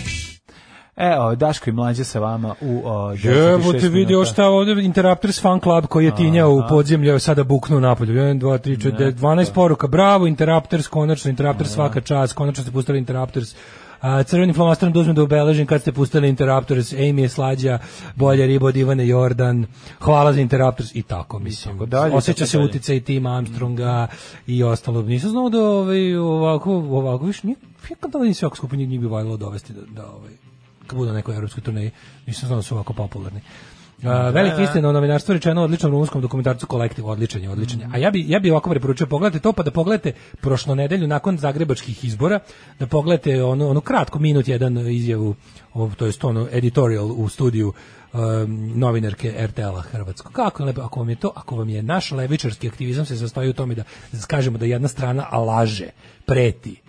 F: Evo, E, Daško i mlađe sa vama u o, 10 i
G: Evo
F: 6
G: te vidio
F: minuta.
G: šta ovde Interrupters fan club koji je tinjao u podzemlje evo sada buknu napolju. 1 2 3 4
F: Ne,
G: 9 12 poruka. Bravo Interrupters, konačno Interrupters svaka čast, konačno ste pustili Interrupters. A, crveni flomasterom da uzmem da obeležim kad ste pustili Interrupters, Amy je slađa, bolja riba od Ivane Jordan, hvala za Interrupters i tako, mislim.
F: dalje,
G: Osjeća
F: tako
G: se
F: dalje.
G: uticaj i Tima Armstronga i ostalo. Nisam znao da ovaj, ovako, ovako, viš, nije, nikad da nisi ovako skupinje njih bi valjalo dovesti da, da ovaj, kad budu na nekoj evropskoj turneji, nisam znao da su ovako popularni. A, velika
F: da.
G: istina o novinarstvu rečeno u odličnom rumunskom dokumentarcu kolektiv, odličan je, odličan je.
F: Mhm.
G: A ja bi, ja bi ovako preporučio, pogledajte to, pa da pogledate prošlo nedelju nakon zagrebačkih izbora, da pogledate onu, onu kratku minut jedan izjavu, o, to je onu editorial u studiju um, novinarke RTL-a Hrvatsko. Kako je lepo, ako vam je to, ako vam je naš levičarski aktivizam se sastoji u tome da kažemo da jedna strana laže, preti,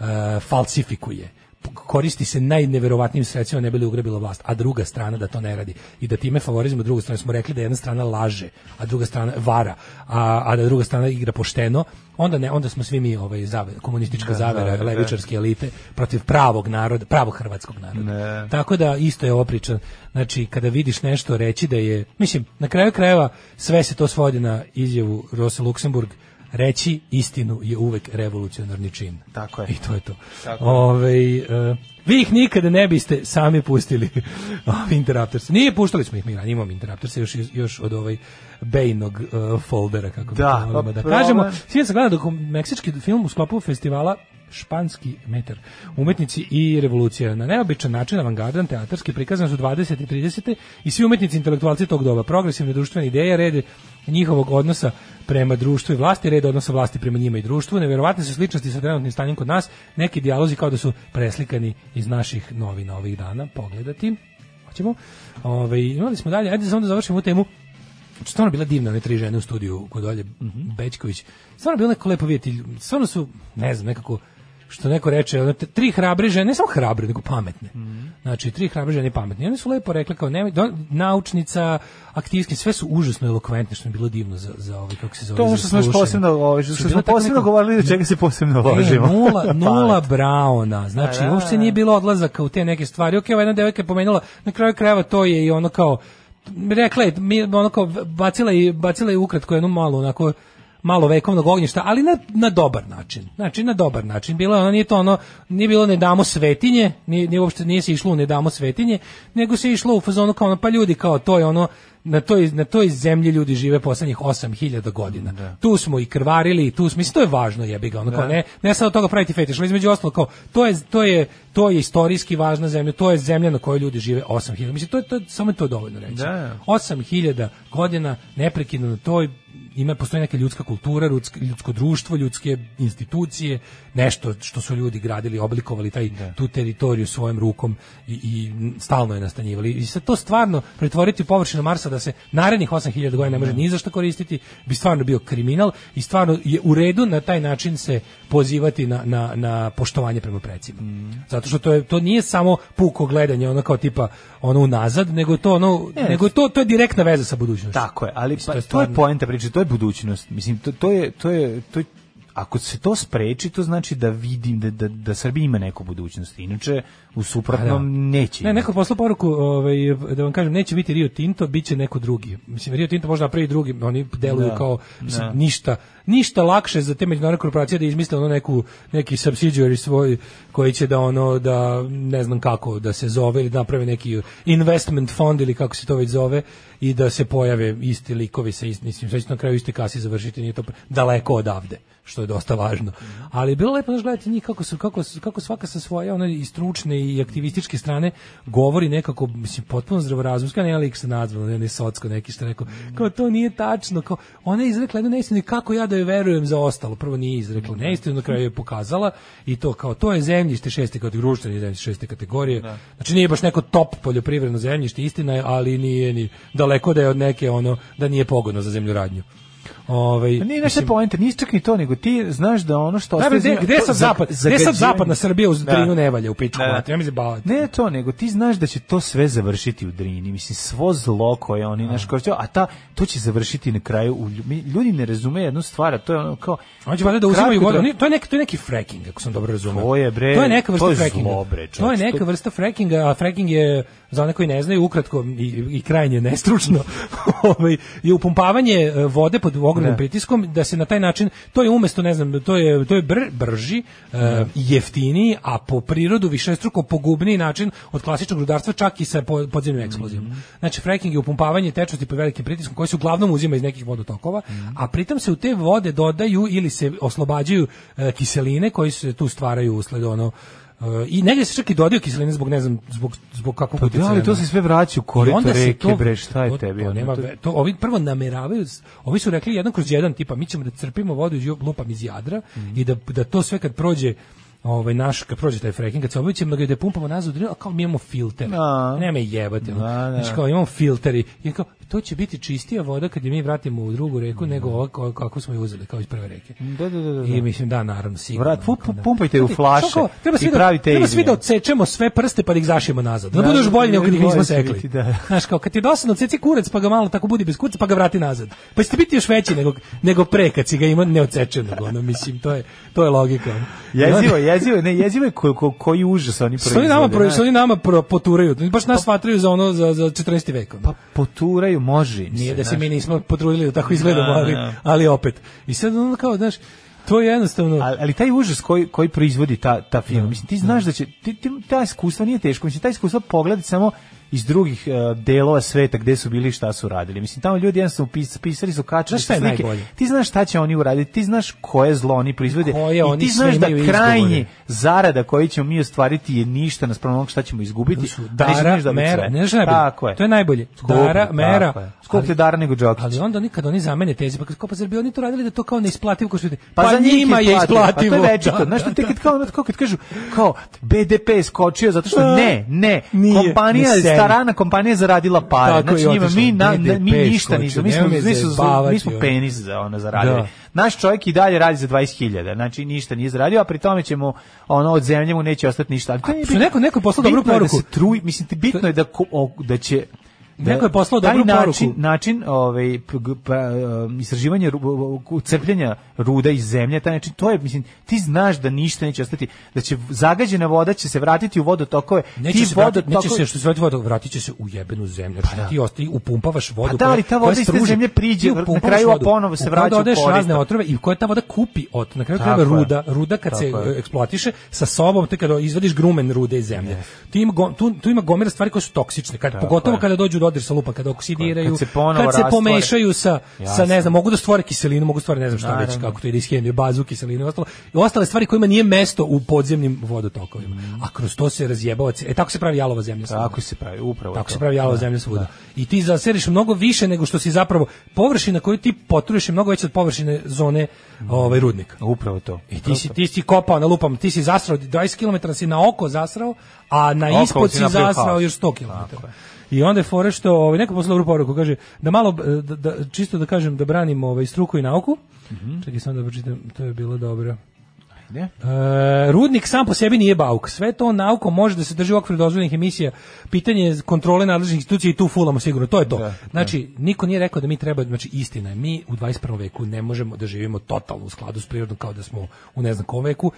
G: e, falsifikuje p- koristi se najneverovatnijim sredstvima ne bi li ugrebila vlast, a druga strana da to ne radi i da time favorizujemo drugu stranu. Smo rekli da jedna strana laže, a druga strana vara, a, a da druga strana igra pošteno, onda ne, onda smo svi mi ovaj zave, komunistička
F: Da,
G: zavera,
F: da,
G: levičarske elite protiv pravog naroda, pravog hrvatskog naroda. Tako da isto je ovo priča. Znači, kada vidiš nešto reći da je, mislim, na kraju krajeva sve se to svodi na izjavu Rose Luxemburg, reći istinu je uvek revolucionarni čin. Tako je. I to je to.
F: Tako je.
G: Ovaj, e, vi ih nikada ne biste sami pustili Ovi Interrupters. Nije puštali smo ih mi ranije, imamo Interrupters još, iz- još od ovaj Bejnog foldera, kako
F: Da,
G: da, volimo
F: pa
G: da
F: problem-
G: kažemo. Svijet sam gledao dokum- meksički film u sklopu festivala Španski metar. Umetnici i revolucija. Na neobičan način avangardan teatarski prikazan su 20. i 30. i svi umetnici i intelektualci tog doba. Progresivne društvene ideje, red njihovog odnosa prema društvu i vlasti, red odnosa vlasti prema njima i društvu. Neverovatne su sličnosti sa trenutnim stanjem kod nas. Neki dijalozi kao da su preslikani iz naših novina ovih dana. Pogledati. Hoćemo. Ove, imali smo dalje. Ajde samo da završimo ovu temu Znači, stvarno bila divna one tri žene u studiju kod Olje
F: Mhm.
G: Bećković. Stvarno bilo neko lepo vidjeti. Stvarno su, ne znam, nekako što neko reče, ono, t- tri hrabre žene, ne samo hrabre, nego pametne.
F: Mhm.
G: Znači, tri hrabre žene i pametne. I one su lepo rekle kao nemoj, do- naučnica, aktivistke, sve su užasno elokventne, što mi je bilo divno za, za ovaj, kako se zove,
F: To je ono
G: za
F: što smo još
G: slušanje.
F: posebno, ovaj, što
G: Su
F: smo
G: bile tako
F: posebno
G: neko-
F: govorili, da čega se posebno ložimo.
G: E, nula, nula
F: Pamet.
G: Brauna. Znači,
F: Pa da.
G: uopšte nije bilo odlazaka u te neke stvari. Ok, ova jedna devojka je pomenula, na kraju krajeva to je i ono kao, rekla je, mi- ono kao, bacila je, bacila je ukratko jednu malu, onako, malo vekovnog ognjišta, ali na, na dobar način. Znači, na dobar način. Bilo je ono, nije to ono, nije bilo ne damo svetinje, nije, nije uopšte nije se išlo u ne damo svetinje, nego se išlo u fazonu kao ono, pa ljudi, kao to je ono, na toj, na toj zemlji ljudi žive poslednjih 8000 godina. Tu smo i krvarili, i tu smo, mislim, to je važno jebi ga, ono kao
F: Da.
G: ne, ne sad od toga praviti fetiš, ali između ostalog kao, to je, to je, to je istorijski važna zemlja, to je zemlja na kojoj ljudi žive 8000, mislim, to je, to je- samo je to dovoljno reći.
F: Da.
G: 8000 godina neprekidno na toj ima postoji neka ljudska kultura, ljudsko, ljudsko društvo, ljudske institucije, nešto što su ljudi gradili, oblikovali taj tu teritoriju svojom rukom i, i stalno je nastanjivali. I sad to stvarno pretvoriti u površinu Marsa da se narednih 8000 godina ne može ni za što koristiti, bi stvarno bio kriminal i stvarno je u redu na taj način se pozivati na, na, na poštovanje prema precima. Zato što to, je, to nije samo puko gledanje, ono kao tipa ono unazad, nego je to ono,
F: Ne,
G: nego je to, to je direktna veza sa budućnošću.
F: Tako je, ali pa,
G: Mislim, to
F: to
G: je
F: je,
G: stvarno-
F: poenta priče, to je budućnost. Mislim, to, to je, to je, to je- ako se to spreči, to znači da vidim da, da, da Srbija ima neku budućnost. Inače, u suprotnom neće.
G: Pa Ne,
F: imati.
G: neko posla poruku, ovaj, da vam kažem, neće biti Rio Tinto, bit će neko drugi. Mislim, Rio Tinto možda napravi drugi, oni deluju
F: Da,
G: kao mislim,
F: da.
G: ništa. ništa lakše za te međunarodne korporacije da izmisle ono neku neki subsidiary svoj koji će da ono da ne znam kako da se zove ili naprave neki investment fond ili kako se to već zove i da se pojave isti likovi sa istim mislim sve će na kraju iste kasi završiti nije to pr- daleko odavde što je dosta važno
F: Mhm.
G: ali je bilo lepo znaš, gledati njih kako su kako su- kako svaka sa svoje one i stručne i aktivističke strane govori nekako mislim potpuno zdravorazumski a ne lik se nazvao ne, ne socko neki što je rekao kao to nije tačno kao ona je izrekla jednu neistinu i kako ja da joj verujem za ostalo prvo nije izrekla neistinu na kraju je pokazala i to kao to je zemljište šeste kategorije društvene zemljište šeste kategorije znači nije baš neko top poljoprivredno zemljište istina je ali nije ni daleko da je od neke ono da nije pogodno za zemljoradnju Ovaj
F: Pa Nije naša poenta, nije čak ni to, nego ti znaš da ono što
G: Da,
F: ostaje...
G: gde-
F: za-
G: gde
F: to-
G: sad
F: za-
G: zapad? Gde
F: zagađivanje-
G: sad zapadna Srbija uz Drinu ne valja u pičku mater, nemoj se baviti.
F: Ne to, nego ti znaš da će to sve završiti u Drini, mislim, svo zlo koje oni, znaš, kao što- a ta, to će završiti na kraju, u, lju- mi- ljudi ne razume jednu stvar, a to je ono kao...
G: Oni će valjda da uzimaju
F: Kratko
G: vodu.
F: da-
G: Oni- to je neki to je neki fracking, ako sam dobro razumeo.
F: To je, bre,
G: To je neka vrsta
F: to je zlo,
G: frackinga.
F: bre, čoveče,
G: to je neka
F: to-
G: vrsta frackinga, a fracking je za one koji ne znaju ukratko i, i krajnje nestručno. ovaj je upumpavanje e, vode pod ogromnim
F: Ne.
G: pritiskom da se na taj način to je umesto ne znam, to je to je br- brži, e, jeftiniji, a po prirodu višestruko pogubniji način od klasičnog rudarstva čak i sa po- podzemnim eksplozijom. Znači fracking je upumpavanje tečnosti pod velikim pritiskom koji se uglavnom uzima iz nekih vodotokova, a pritom se u te vode dodaju ili se oslobađaju e, kiseline koji se tu stvaraju usled ono e, i negdje se čak i dodaju kiseline zbog ne znam zbog zbog kakvog
F: Pa da,
G: utjecaja
F: ali to
G: na-
F: se sve vraća u korito
G: i onda se
F: reke,
G: to-
F: bre, šta je
G: to-
F: tebi,
G: To
F: ono,
G: nema
F: to-
G: ve- to ovi prvo nameravaju, s- ovi su rekli jedan kroz jedan tipa mi ćemo da crpimo vodu iz ju- lupam iz Jadra
F: Mhm.
G: i da da to sve kad prođe ovaj naš kad prođe taj fracking kad se obavi ćemo da ga da pumpamo nazad u Drinu, a kao mi imamo filter.
F: Da.
G: Nema jebate. ono.
F: Da, da.
G: Znači kao imamo filteri. I kao to će biti čistija voda kad je mi vratimo u drugu reku nego ova ko- kako smo je uzeli kao iz prve reke.
F: Da, da, Mhm. da, da.
G: I mislim ono, da naravno sigurno.
F: Vrat, pu- pu- pumpajte u
G: Znate,
F: flaše
G: što kao, treba
F: i
G: svi da,
F: pravite
G: treba
F: iz
G: svi da
F: nje.
G: odsečemo sve prste pa da ih zašijemo nazad. Da,
F: Da,
G: bude još
F: da,
G: bolje
F: da,
G: nego kad ih
F: bolje
G: nismo
F: će
G: sekli.
F: biti, da.
G: Znaš, kao kad ti je dosadno ceci kurac pa ga malo tako budi bez kurca pa ga vrati nazad. Pa ćete biti još veći nego, nego pre kad si ga imao neodsečenog. Ono, mislim, to je, to je logika. ono. I onda-
F: Jezivo, jezivo, je, ne, jezivo je ko, ko, koji užas oni
G: Što
F: proizvode.
G: oni nama, pro,
F: znaš. Pa-
G: što oni nama pro, poturaju? Oni Baš nas smatraju za ono, za, za 14. vek. ono.
F: Poturaju, može im
G: Nije
F: se,
G: da se
F: Pa, znaš.
G: mi nismo potrudili da tako izgledamo, ali,
F: Da, da.
G: ali opet. I sad ono kao, znaš, to je jednostavno...
F: ali, ali taj užas koji koji proizvodi ta ta firma mislim ti znaš da će ti, ti ta iskustva nije teško mislim ta iskustva pogledati samo iz drugih eh, delova sveta gde su bili i šta su radili mislim tamo ljudi jednostavno pis, pisali su kačali
G: Znaš šta
F: su
G: je
F: slike
G: najbolje?
F: ti znaš šta će oni uraditi ti znaš koje zlo oni proizvode
G: Koje
F: i
G: oni
F: ti znaš da
G: spremaju
F: krajnji
G: izgovore.
F: zarada koju ćemo mi ostvariti je ništa naspram onog šta ćemo izgubiti
G: su
F: a nećemo
G: dara,
F: ništa dobiti
G: mera,
F: sve.
G: ne znaš najbolje.
F: tako je
G: To je najbolje.
F: Skuplje,
G: Dara,
F: tako
G: mera.
F: je. Skuplje
G: Ali-
F: dara nego Đokić
G: Ali onda nikad oni zamene teze, pa kao pa zar bi oni to radili da to kao neisplativo kao što vidite?
F: Pa, za
G: njima je
F: Pa
G: isplativo.
F: to je večito.
G: Da,
F: Znaš,
G: da,
F: to te
G: da.
F: kad, kao, ono, kao kad kažu, kao, BDP je skočio zato što
G: Da.
F: ne, ne,
G: Nije,
F: kompanija,
G: ne seri.
F: starana kompanija je zaradila pare.
G: Tako
F: znači,
G: je
F: njima,
G: otišlo.
F: mi, na, na- mi
G: BDP
F: ništa
G: skočio,
F: nismo, mi smo,
G: nemoj me
F: mi smo,
G: zajebavati,
F: mi smo
G: ono.
F: penis za ono zaradili.
G: Da.
F: Naš čovjek i dalje radi za 20.000, znači ništa nije zaradio, a pri tome ćemo, ono, od zemlje mu neće ostati ništa. Ali to nije
G: Što
F: bitno.
G: neko- neko je poslao dobru
F: Bitno je
G: poruku.
F: Da se truj, mislim, ti bitno je da, ko- o- da će da-
G: Neko je poslao
F: taj
G: dobru
F: način,
G: poruku.
F: način ovaj p- g- pa, um, istraživanje ru- u- u- crpljenja ruda iz zemlje taj način to je mislim ti znaš da ništa neće ostati da će zagađena voda će se vratiti u vodotokove
G: Neće
F: ti
G: se, vrati, neće
F: vodotokovi-
G: se što se vrati vodu, vratit će se u jebenu zemlju. Pa
F: da.
G: Ti ostaje, upumpavaš vodu.
F: Pa da,
G: koja-
F: ali ta
G: koja
F: voda iz te
G: struži.
F: zemlje priđe,
G: Ti
F: na
G: upumpavaš
F: kraju
G: vodu,
F: ponovo se
G: u koju
F: vraća u
G: dodaješ
F: korito.
G: razne otrove i koje ta voda kupi od, na kraju
F: Tako
G: krajeva
F: je.
G: ruda, ruda kad se
F: Tako je.
G: e, eksploatiše sa sobom, te kada izvadiš grumen rude iz zemlje. Tu ima, go- tu, tu ima gomera stvari koje su toksične, kad, pogotovo
F: je.
G: kada dođu u dodir sa lupom, kada oksidiraju,
F: Kad se ponovo
G: kad se
F: rastvore.
G: pomešaju sa, sa ne
F: Jasno.
G: znam, mogu da stvore kiselinu, mogu da stvore ne znam šta već,
F: Naravno.
G: kako to ide iz hemije, bazu, kiselinu i ostalo. I ostale stvari kojima nije mesto u podzemnim vodotokovima. A kroz to se razjebava, ce- e tako se pravi jalova zemlja. svuda.
F: Mm. tako se pravi upravo
G: Tako
F: to.
G: se pravi jalo zemlja svuda. I ti zaseriš mnogo više nego što si zapravo površina koju ti potruješ je mnogo veća od površine zone ovaj rudnika.
F: upravo to
G: I ti si ti si kopao na lupam, ti si zasrao 20 km si na oko zasrao, a na
F: Oko
G: ispod
F: si
G: si
F: napravio
G: zasrao
F: haos.
G: još 100 km. I onda je fore što ovaj neko poslao dobru poruku, kaže da malo e, da, da- čisto da kažem da branimo ovaj struku i nauku.
F: Mhm.
G: Čekaj samo da pročitam, to je bilo dobro.
F: Ajde.
G: E, rudnik sam po sebi nije bauk. Sve to nauko može da se drži u okviru dozvoljenih emisija. Pitanje je kontrole nadležnih institucija i tu fulamo sigurno. To je to. znači, niko nije rekao da mi treba, znači istina je, mi u 21. veku ne možemo da živimo totalno u skladu s prirodom kao da smo u ne znam kom veku.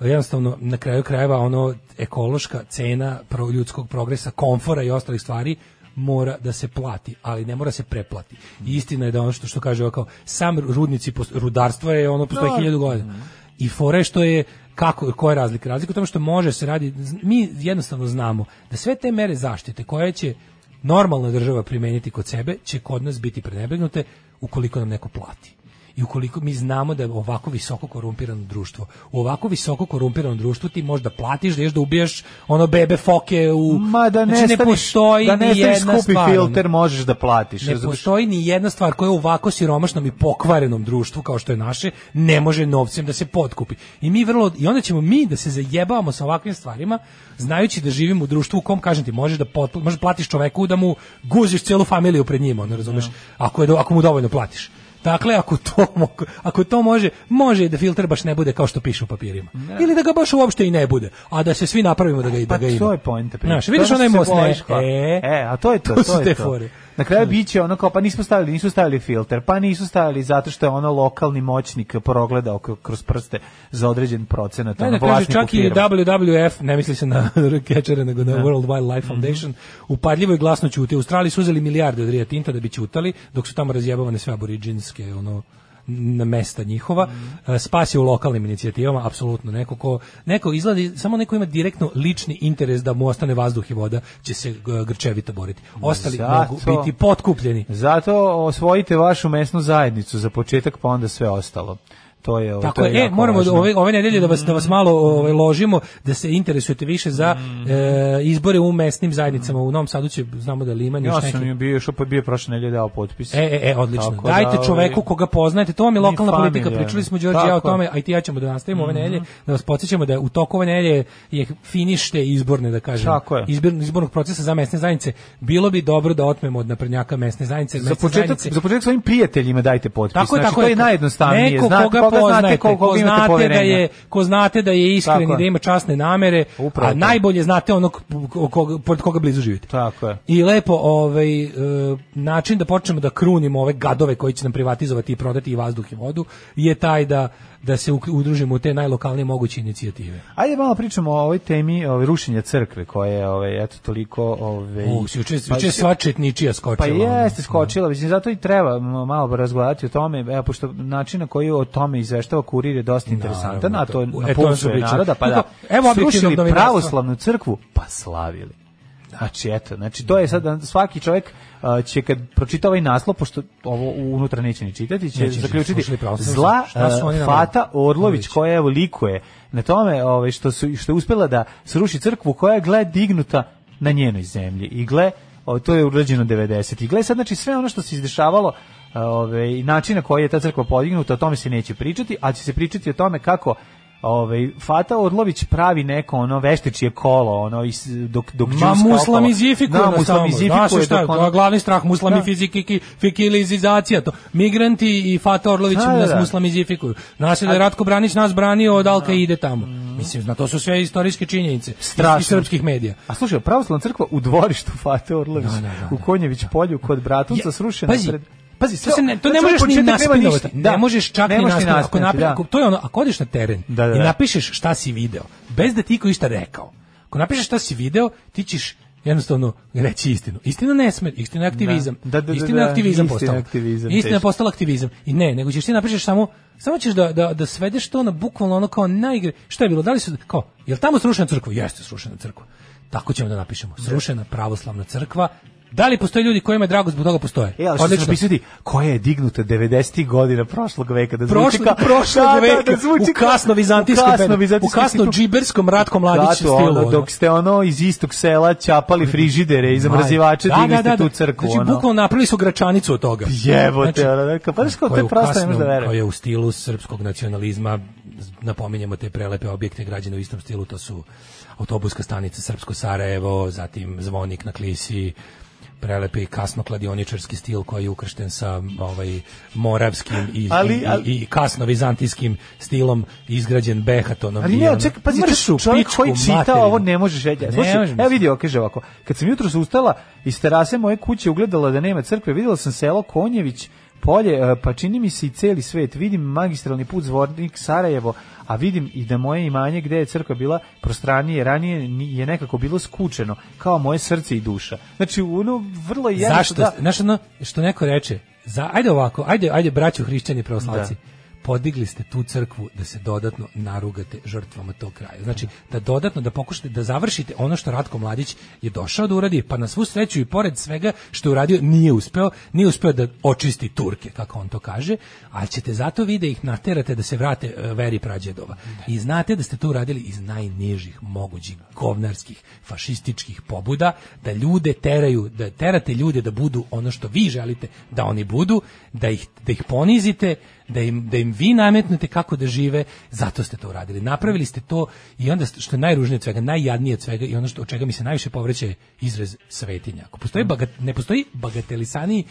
G: Jednostavno, na kraju krajeva, ono, ekološka cena pro- ljudskog progresa, komfora i ostalih stvari mora da se plati, ali ne mora se preplati. I istina je da ono što, što kaže ovo kao, sam rudnici, post- rudarstvo je ono postoje
F: Da.
G: hiljadu godina. I fore što je kako koja je razlika? Razlika je u tome što može se radi mi jednostavno znamo da sve te mere zaštite koje će normalna država primeniti kod sebe će kod nas biti prenebegnute ukoliko nam neko plati. I ukoliko mi znamo da je ovako visoko korumpirano društvo, u ovako visoko korumpirano društvo ti možda platiš da ješ da ubiješ ono bebe foke u...
F: Ma da ne,
G: znači, ne
F: staviš-
G: postoji
F: da ne
G: ni
F: staviš
G: jedna
F: skupi
G: stvar, ono.
F: filter, možeš da platiš.
G: Ne
F: razumeš?
G: postoji ni jedna stvar koja u ovako siromašnom i pokvarenom društvu kao što je naše ne može novcem da se potkupi. I mi vrlo i onda ćemo mi da se zajebavamo sa ovakvim stvarima, znajući da živimo u društvu u kom kažem ti možeš da potpla- možeš da platiš čoveku da mu guziš celu familiju pred njima, ne razumeš? Ako je do- ako mu dovoljno platiš. Dakle, ako to, mo- ako to može, može i da filter baš ne bude kao što piše u papirima. Ili da ga baš uopšte i ne bude, a da se svi napravimo da ga, da
F: Pa
G: ga ima.
F: to je poenta priče.
G: Znaš, vidiš
F: To je
G: onaj
F: ono
G: most,
F: što se
G: ne?
F: bojiš, kao.
G: E,
F: E, a to je to,
G: to
F: to,
G: su
F: je
G: te
F: to.
G: fore.
F: Na kraju biće ono kao pa nismo stavili, nisu stavili filter, pa nisu stavili zato što je ono lokalni moćnik progledao k- kroz prste za određen procenat
G: Ne,
F: ono,
G: da kaže,
F: vlasniku
G: čak i
F: firme.
G: WWF, ne misli se na catchere, nego na World Wildlife
F: Mhm.
G: Foundation, upadljivo i glasno ćuti. U Australiji su uzeli milijarde od Rio Tinta da bi ćutali, dok su tamo razjebavane sve aboriđinske ono, na mesta njihova.
F: Mhm.
G: E, Spas je u lokalnim inicijativama, apsolutno. Neko ko, neko izgleda, samo neko ima direktno lični interes da mu ostane vazduh i voda, će se e, grčevito boriti. Ostali
F: Zato-
G: mogu biti potkupljeni.
F: Zato osvojite vašu mesnu zajednicu za početak, pa onda sve ostalo. To je,
G: Tako
F: to
G: je,
F: je,
G: e,
F: jako
G: moramo
F: važno.
G: ove ove nedelje da vas da vas malo ovaj ložimo da se interesujete više za
F: Mm.
G: e, izbore u mesnim zajednicama u Novom Sadu će znamo da Liman
F: Ja
G: još
F: sam
G: neki
F: im bio što pa bio prošle nedelje dao potpis.
G: E, e, e, odlično.
F: Tako
G: Dajte
F: da, ovaj,
G: čoveku koga poznajete, to vam je
F: Ni
G: lokalna politika,
F: familija.
G: pričali smo Đorđe i ja o
F: Tako je.
G: tome, a i ti i ja ćemo da nastavimo ove
F: Mhm.
G: nedelje, da vas podsjećamo da je u toku ove nedelje je finište izborne, da kažem,
F: Tako je.
G: izbir- izbornog procesa za mesne zajednice. Bilo bi dobro da otmemo od naprednjaka mesne zajednice.
F: Za
G: mesne
F: početak,
G: zajednice-
F: za početak svojim prijateljima dajte potpis.
G: Tako je,
F: znači,
G: tako
F: to je najjednostavnije.
G: Neko
F: znate,
G: koga,
F: koga
G: poznate,
F: znate, koga
G: ko
F: imate
G: znate da
F: poverenja.
G: je, ko znate da je iskren
F: Tako
G: i
F: je.
G: da ima časne namere,
F: Upravo
G: a
F: to.
G: najbolje znate onog ko- koga- pored koga blizu živite.
F: Tako je.
G: I lepo ovaj e, način da počnemo da krunimo ove gadove koji će nam privatizovati i prodati i vazduh i vodu je taj da da se uk- udružimo u te najlokalnije moguće inicijative.
F: Ajde malo pričamo o ovoj temi ovaj, rušenja crkve koja je ovaj, eto toliko... Ovaj,
G: O, juče
F: pa-
G: juče sva četničija
F: Pa
G: skočila. ono.
F: jeste skočila, mislim, zato i treba m- malo razgovarati o tome, evo, pošto način na koji o tome izveštava kurir je dosta interesantan, a to
G: to-
F: je
G: e, to
F: na
G: smo
F: pulsu
G: pričali.
F: naroda, pa da,
G: Evo objektivnog
F: srušili
G: novinarstva.
F: pravoslavnu crkvu, pa slavili. Znači, eto, znači, to je sad, svaki čovjek a, će kad pročita ovaj naslov, pošto ovo unutra neće ni čitati, će
G: Neće ni
F: zaključiti
G: slušali pravoslavnu
F: zla
G: crkvu. Šta su
F: a,
G: oni napravili?
F: Fata Orlović, koja evo likuje na tome ovaj, što, su, što je uspjela da sruši crkvu koja je gle dignuta na njenoj zemlji i gle o, to je urađeno 90. I gle sad, znači, sve ono što se izdešavalo a, ovaj, i način na koji je ta crkva podignuta, o tome se neće pričati, ali će se pričati o tome kako ovaj, Fata Orlović pravi neko ono veštičije kolo, ono, is, dok, dok
G: Ma
F: džus
G: muslam
F: kopala. Da,
G: izifikuje na
F: muslam
G: samo. Znaš
F: izifikuje
G: šta,
F: dok ono-
G: to je glavni strah muslami
F: Da.
G: fiziki, ki- fikilizacija, to. Migranti i Fata Orlović
F: Da, da,
G: nas
F: da.
G: muslamizifikuju. Nas je da je Ratko Branić nas branio od Alka ide tamo. Mislim, na to su sve istorijske činjenice.
F: Mm. Strašno.
G: Iz srpskih medija.
F: A slušaj, pravoslavna crkva u dvorištu Fate Orlović,
G: Da, da, da,
F: u Konjević polju kod Bratunca, srušena
G: Pazi,
F: pred... Pazi,
G: To, se ne, to ne
F: znači,
G: možeš ni
F: početak nema
G: naspinovati.
F: ništa. Da.
G: Ne možeš čak
F: Ne
G: ni
F: možeš ni
G: naspinovati. Ako
F: naspinovati,
G: napi-
F: da.
G: ako- to je ono, ako odeš na teren
F: Da, da,
G: i
F: da.
G: napišeš šta si video, bez da ti iko išta rekao. Ako napišeš šta si video, ti ćeš jednostavno reći istinu. Istina ne sme, istina je aktivizam.
F: Da, da, da,
G: istina
F: da,
G: je aktivizam
F: istina je
G: postala.
F: aktivizam,
G: Istina je
F: teško.
G: postala aktivizam. I ne, nego ćeš ti napišeš samo samo ćeš da, da, da svedeš to na bukvalno ono kao najgre. Šta je bilo? Da li su kao jel tamo srušena crkva? Jeste srušena crkva. Tako ćemo da napišemo. Srušena pravoslavna crkva. Da li postoje ljudi kojima je drago zbog toga postoje?
F: E, ali što ćeš napisati, koja je dignuta 90. godina prošlog veka, da zvuči
G: prošle
F: kao...
G: prošle
F: Da, da,
G: veka
F: da zvuči
G: u kasno vizantijskom
F: u kasno
G: periodu, u
F: vizantijskom
G: kasno
F: stilu.
G: džiberskom ratkom mladić
F: Zato,
G: stilu
F: ono,
G: ono.
F: dok ste ono iz istog sela ćapali frižidere i zamrzivače,
G: Da,
F: digli
G: da, da,
F: ste tu
G: da.
F: crkvu.
G: Znači,
F: ono.
G: bukvalno napravili su gračanicu od toga. Znači,
F: Jebote, ono, neka, pa znaš kao, to
G: koja
F: je prosto, ne
G: u kasnom-
F: možeš da veruješ.
G: koja je u stilu srpskog nacionalizma, z- napominjemo te prelepe objekte građene u istom stilu, to su autobuska stanica Srpsko Sarajevo, zatim zvonik na Klisi, prelepi kasno kladioničarski stil koji je ukršten sa ovaj moravskim i,
F: Ali-
G: i,
F: ali-
G: i, i kasno vizantijskim stilom izgrađen behatonom
F: Ali
G: i
F: ne,
G: ono-
F: Pa čekaj, pazi,
G: Mršu,
F: čovjek- čovjek
G: pičku
F: koji čita
G: materinu.
F: ovo ne može reći.
G: Ne
F: Slušaj,
G: može,
F: evo vidi, ovo, kaže ovako. Kad sam jutros ustala iz terase moje kuće ugledala da nema crkve, vidjela sam selo Konjević, polje, e, pa čini mi se i celi svet. Vidim magistralni put Zvornik Sarajevo, a vidim i da moje imanje gde je crkva bila prostranije, ranije ni- je nekako bilo skučeno, kao moje srce i duša. Znači, ono, vrlo je jasno
G: Zašto?
F: da-
G: Znaš ono što neko reče, za, ajde ovako, ajde, ajde braćo hrišćani i pravoslavci, podigli ste tu crkvu da se dodatno narugate žrtvama tog kraja. Znači, da dodatno, da pokušate, da završite ono što Ratko Mladić je došao da uradi, pa na svu sreću i pored svega što je uradio, nije uspeo, nije uspeo da očisti Turke, kako on to kaže, ali ćete zato vi da ih naterate da se vrate e, veri prađedova. I znate da ste to uradili iz najnižih mogućih govnarskih, fašističkih pobuda, da ljude teraju, da terate ljude da budu ono što vi želite da oni budu, da ih, da ih ponizite, da im, da im vi nametnete kako da žive, zato ste to uradili. Napravili ste to i onda st- što je najružnije od svega, najjadnije od svega i ono što, od čega mi se najviše povreće je izraz svetinja. Ako postoji bagat, ne postoji bagatelisaniji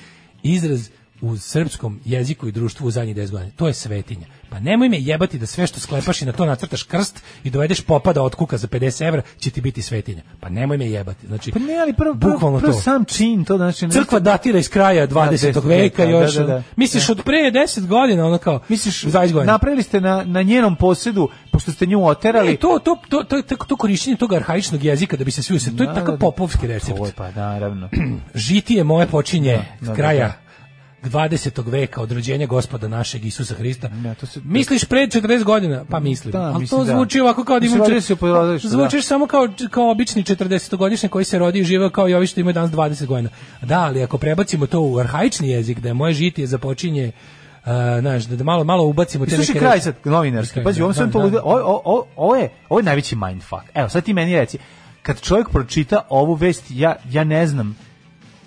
G: izraz u srpskom jeziku i društvu u zadnjih 10 godina. To je svetinja. Pa nemoj me jebati da sve što sklepaš i na to nacrtaš krst i dovedeš popa da otkuka za 50 evra će ti biti svetinja. Pa nemoj me jebati. Znači,
F: Pa ne, ali prvo, prvo,
G: bukvalno
F: prvo
G: to.
F: sam čin, to znači...
G: Crkva datira iz kraja 20. veka još.
F: Da, da, da.
G: Misliš od pre 10 godina ono kao misliš godina.
F: Napravili ste na, na njenom posjedu, pošto ste nju oterali...
G: Ne, E, to, to, to, to, to, to korišćenje tog arhaičnog jezika da bi se svi usjeli, to je
F: Da, da,
G: takav
F: da.
G: popovski recept.
F: To je, pa naravno.
G: Žitije moje počinje
F: Da, da,
G: s kraja 20. veka od rođenja gospoda našeg Isusa Hrista. Misliš pre 40 godina? Pa mislim.
F: Da,
G: Ali
F: mislim
G: to
F: da.
G: zvuči ovako kao da
F: Mislim,
G: imam...
F: rodili su u porodilištu, da.
G: Zvučiš samo kao, kao obični 40-godišnji koji se rodi i živa kao i ovi što imaju danas 20 godina. Da, ali ako prebacimo to u arhaični jezik, da je moje žitije započinje Uh, znaš, da da malo, malo ubacimo
F: I
G: te
F: slušaj
G: neke
F: kraj
G: reči.
F: sad novinarski.
G: Kraj,
F: Pazi,
G: da,
F: ovo sam
G: da,
F: to
G: da.
F: ludo- ovo- ovo- ovo- ovo je ovo je najveći mindfuck. Evo, sad ti meni reci. Kad čovjek pročita ovu vest, ja ja ne znam